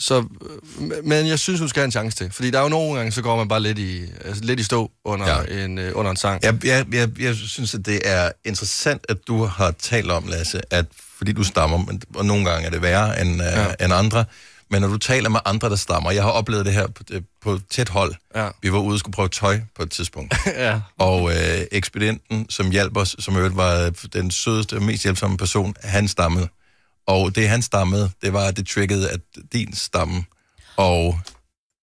[SPEAKER 3] så, øh, men jeg synes, hun skal have en chance til. Fordi der er jo nogle gange, så går man bare lidt i, altså, lidt i stå under, ja. en, øh, under en sang.
[SPEAKER 1] Jeg, jeg, jeg, jeg synes, at det er interessant, at du har talt om, Lasse, at fordi du stammer, men- og nogle gange er det værre end, ja. øh, end andre, men når du taler med andre, der stammer, jeg har oplevet det her på, øh, på tæt hold.
[SPEAKER 3] Ja.
[SPEAKER 1] Vi var ude og skulle prøve tøj på et tidspunkt.
[SPEAKER 3] ja.
[SPEAKER 1] Og øh, ekspedienten, som hjalp os, som i øvrigt var den sødeste og mest hjælpsomme person, han stammede. Og det, han stammede, det var, at det triggede, at din stamme. Og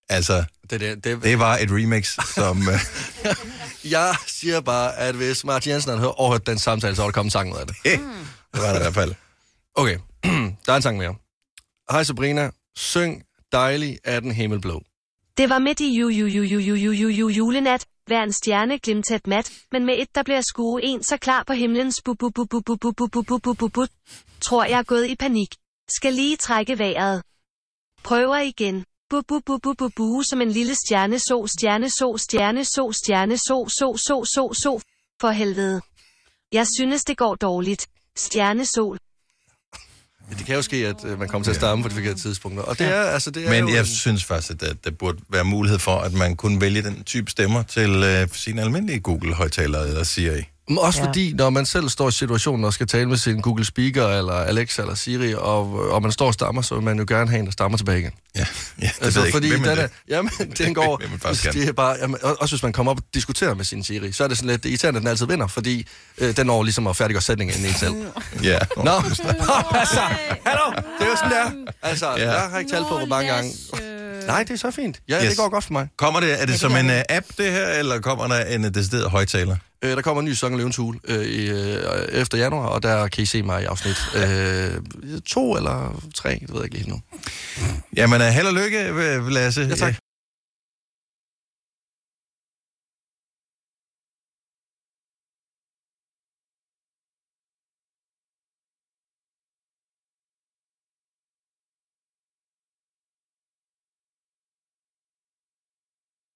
[SPEAKER 1] altså,
[SPEAKER 3] Det, det, det,
[SPEAKER 1] det var et remix, som... Øh,
[SPEAKER 3] Jeg siger bare, at hvis Martin Jensen havde hør- overhørt den samtale, så var der kommet en sang ud af det.
[SPEAKER 1] det var det i hvert fald.
[SPEAKER 3] Okay, der er en sang mere. Hej Sabrina, syng Dejlig er den himmelblå.
[SPEAKER 14] Det var midt i ju, ju, ju, ju, ju, ju, ju, ju, julenat, hver en stjerne glimtet mat, men med et, der bliver skue en så klar på himlens bu, bu, bu, bu, bu, bu, bu, bu, bu, bu, bu, bu, Tror jeg er gået i panik. Skal lige trække vejret. Prøver igen. Bu, bu, bu, bu, bu, bu, som en lille stjerne så, stjerne så, stjerne så, stjerne så, så, så, så, så, for helvede. Jeg synes, det går dårligt. Stjerne sol.
[SPEAKER 3] Det kan jo ske, at øh, man kommer til at stamme på de forkerte tidspunkter. Og det er, altså, det er
[SPEAKER 1] Men
[SPEAKER 3] jo
[SPEAKER 1] jeg
[SPEAKER 3] en-
[SPEAKER 1] synes faktisk, at der, der burde være mulighed for, at man kunne vælge den type stemmer til øh, sin almindelige Google-højtaler eller Siri.
[SPEAKER 3] Men også ja. fordi, når man selv står i situationen og skal tale med sin Google Speaker, eller Alexa, eller Siri, og, og man står og stammer, så vil man jo gerne have en, der stammer tilbage igen.
[SPEAKER 1] Ja, ja det altså, ved jeg
[SPEAKER 3] fordi
[SPEAKER 1] ikke. Hvem er
[SPEAKER 3] den er,
[SPEAKER 1] det?
[SPEAKER 3] jamen, den går,
[SPEAKER 1] Hvem man faktisk kan.
[SPEAKER 3] Altså, det er bare, jamen, og- også hvis man kommer op og diskuterer med sin Siri, så er det sådan lidt det er irriterende, at den altid vinder, fordi øh, den når ligesom at færdiggøre sætningen inden en selv.
[SPEAKER 1] Ja.
[SPEAKER 3] Nå, altså, hallo, det er jo sådan der. Altså, ja. jeg har ikke talt på, hvor mange gange. Nej, det er så fint. Ja, yes.
[SPEAKER 1] Yes.
[SPEAKER 3] det går godt for mig.
[SPEAKER 1] Kommer det, er øh. det som en uh, app, det her, eller kommer der en uh, decideret højtaler?
[SPEAKER 3] Øh, der kommer en ny Song af Løvens Hule øh, i, øh, efter januar, og der kan I se mig i afsnit øh, to eller tre, det ved jeg ikke lige nu.
[SPEAKER 1] Jamen, uh, held og lykke, øh, Lasse. Ja,
[SPEAKER 3] tak.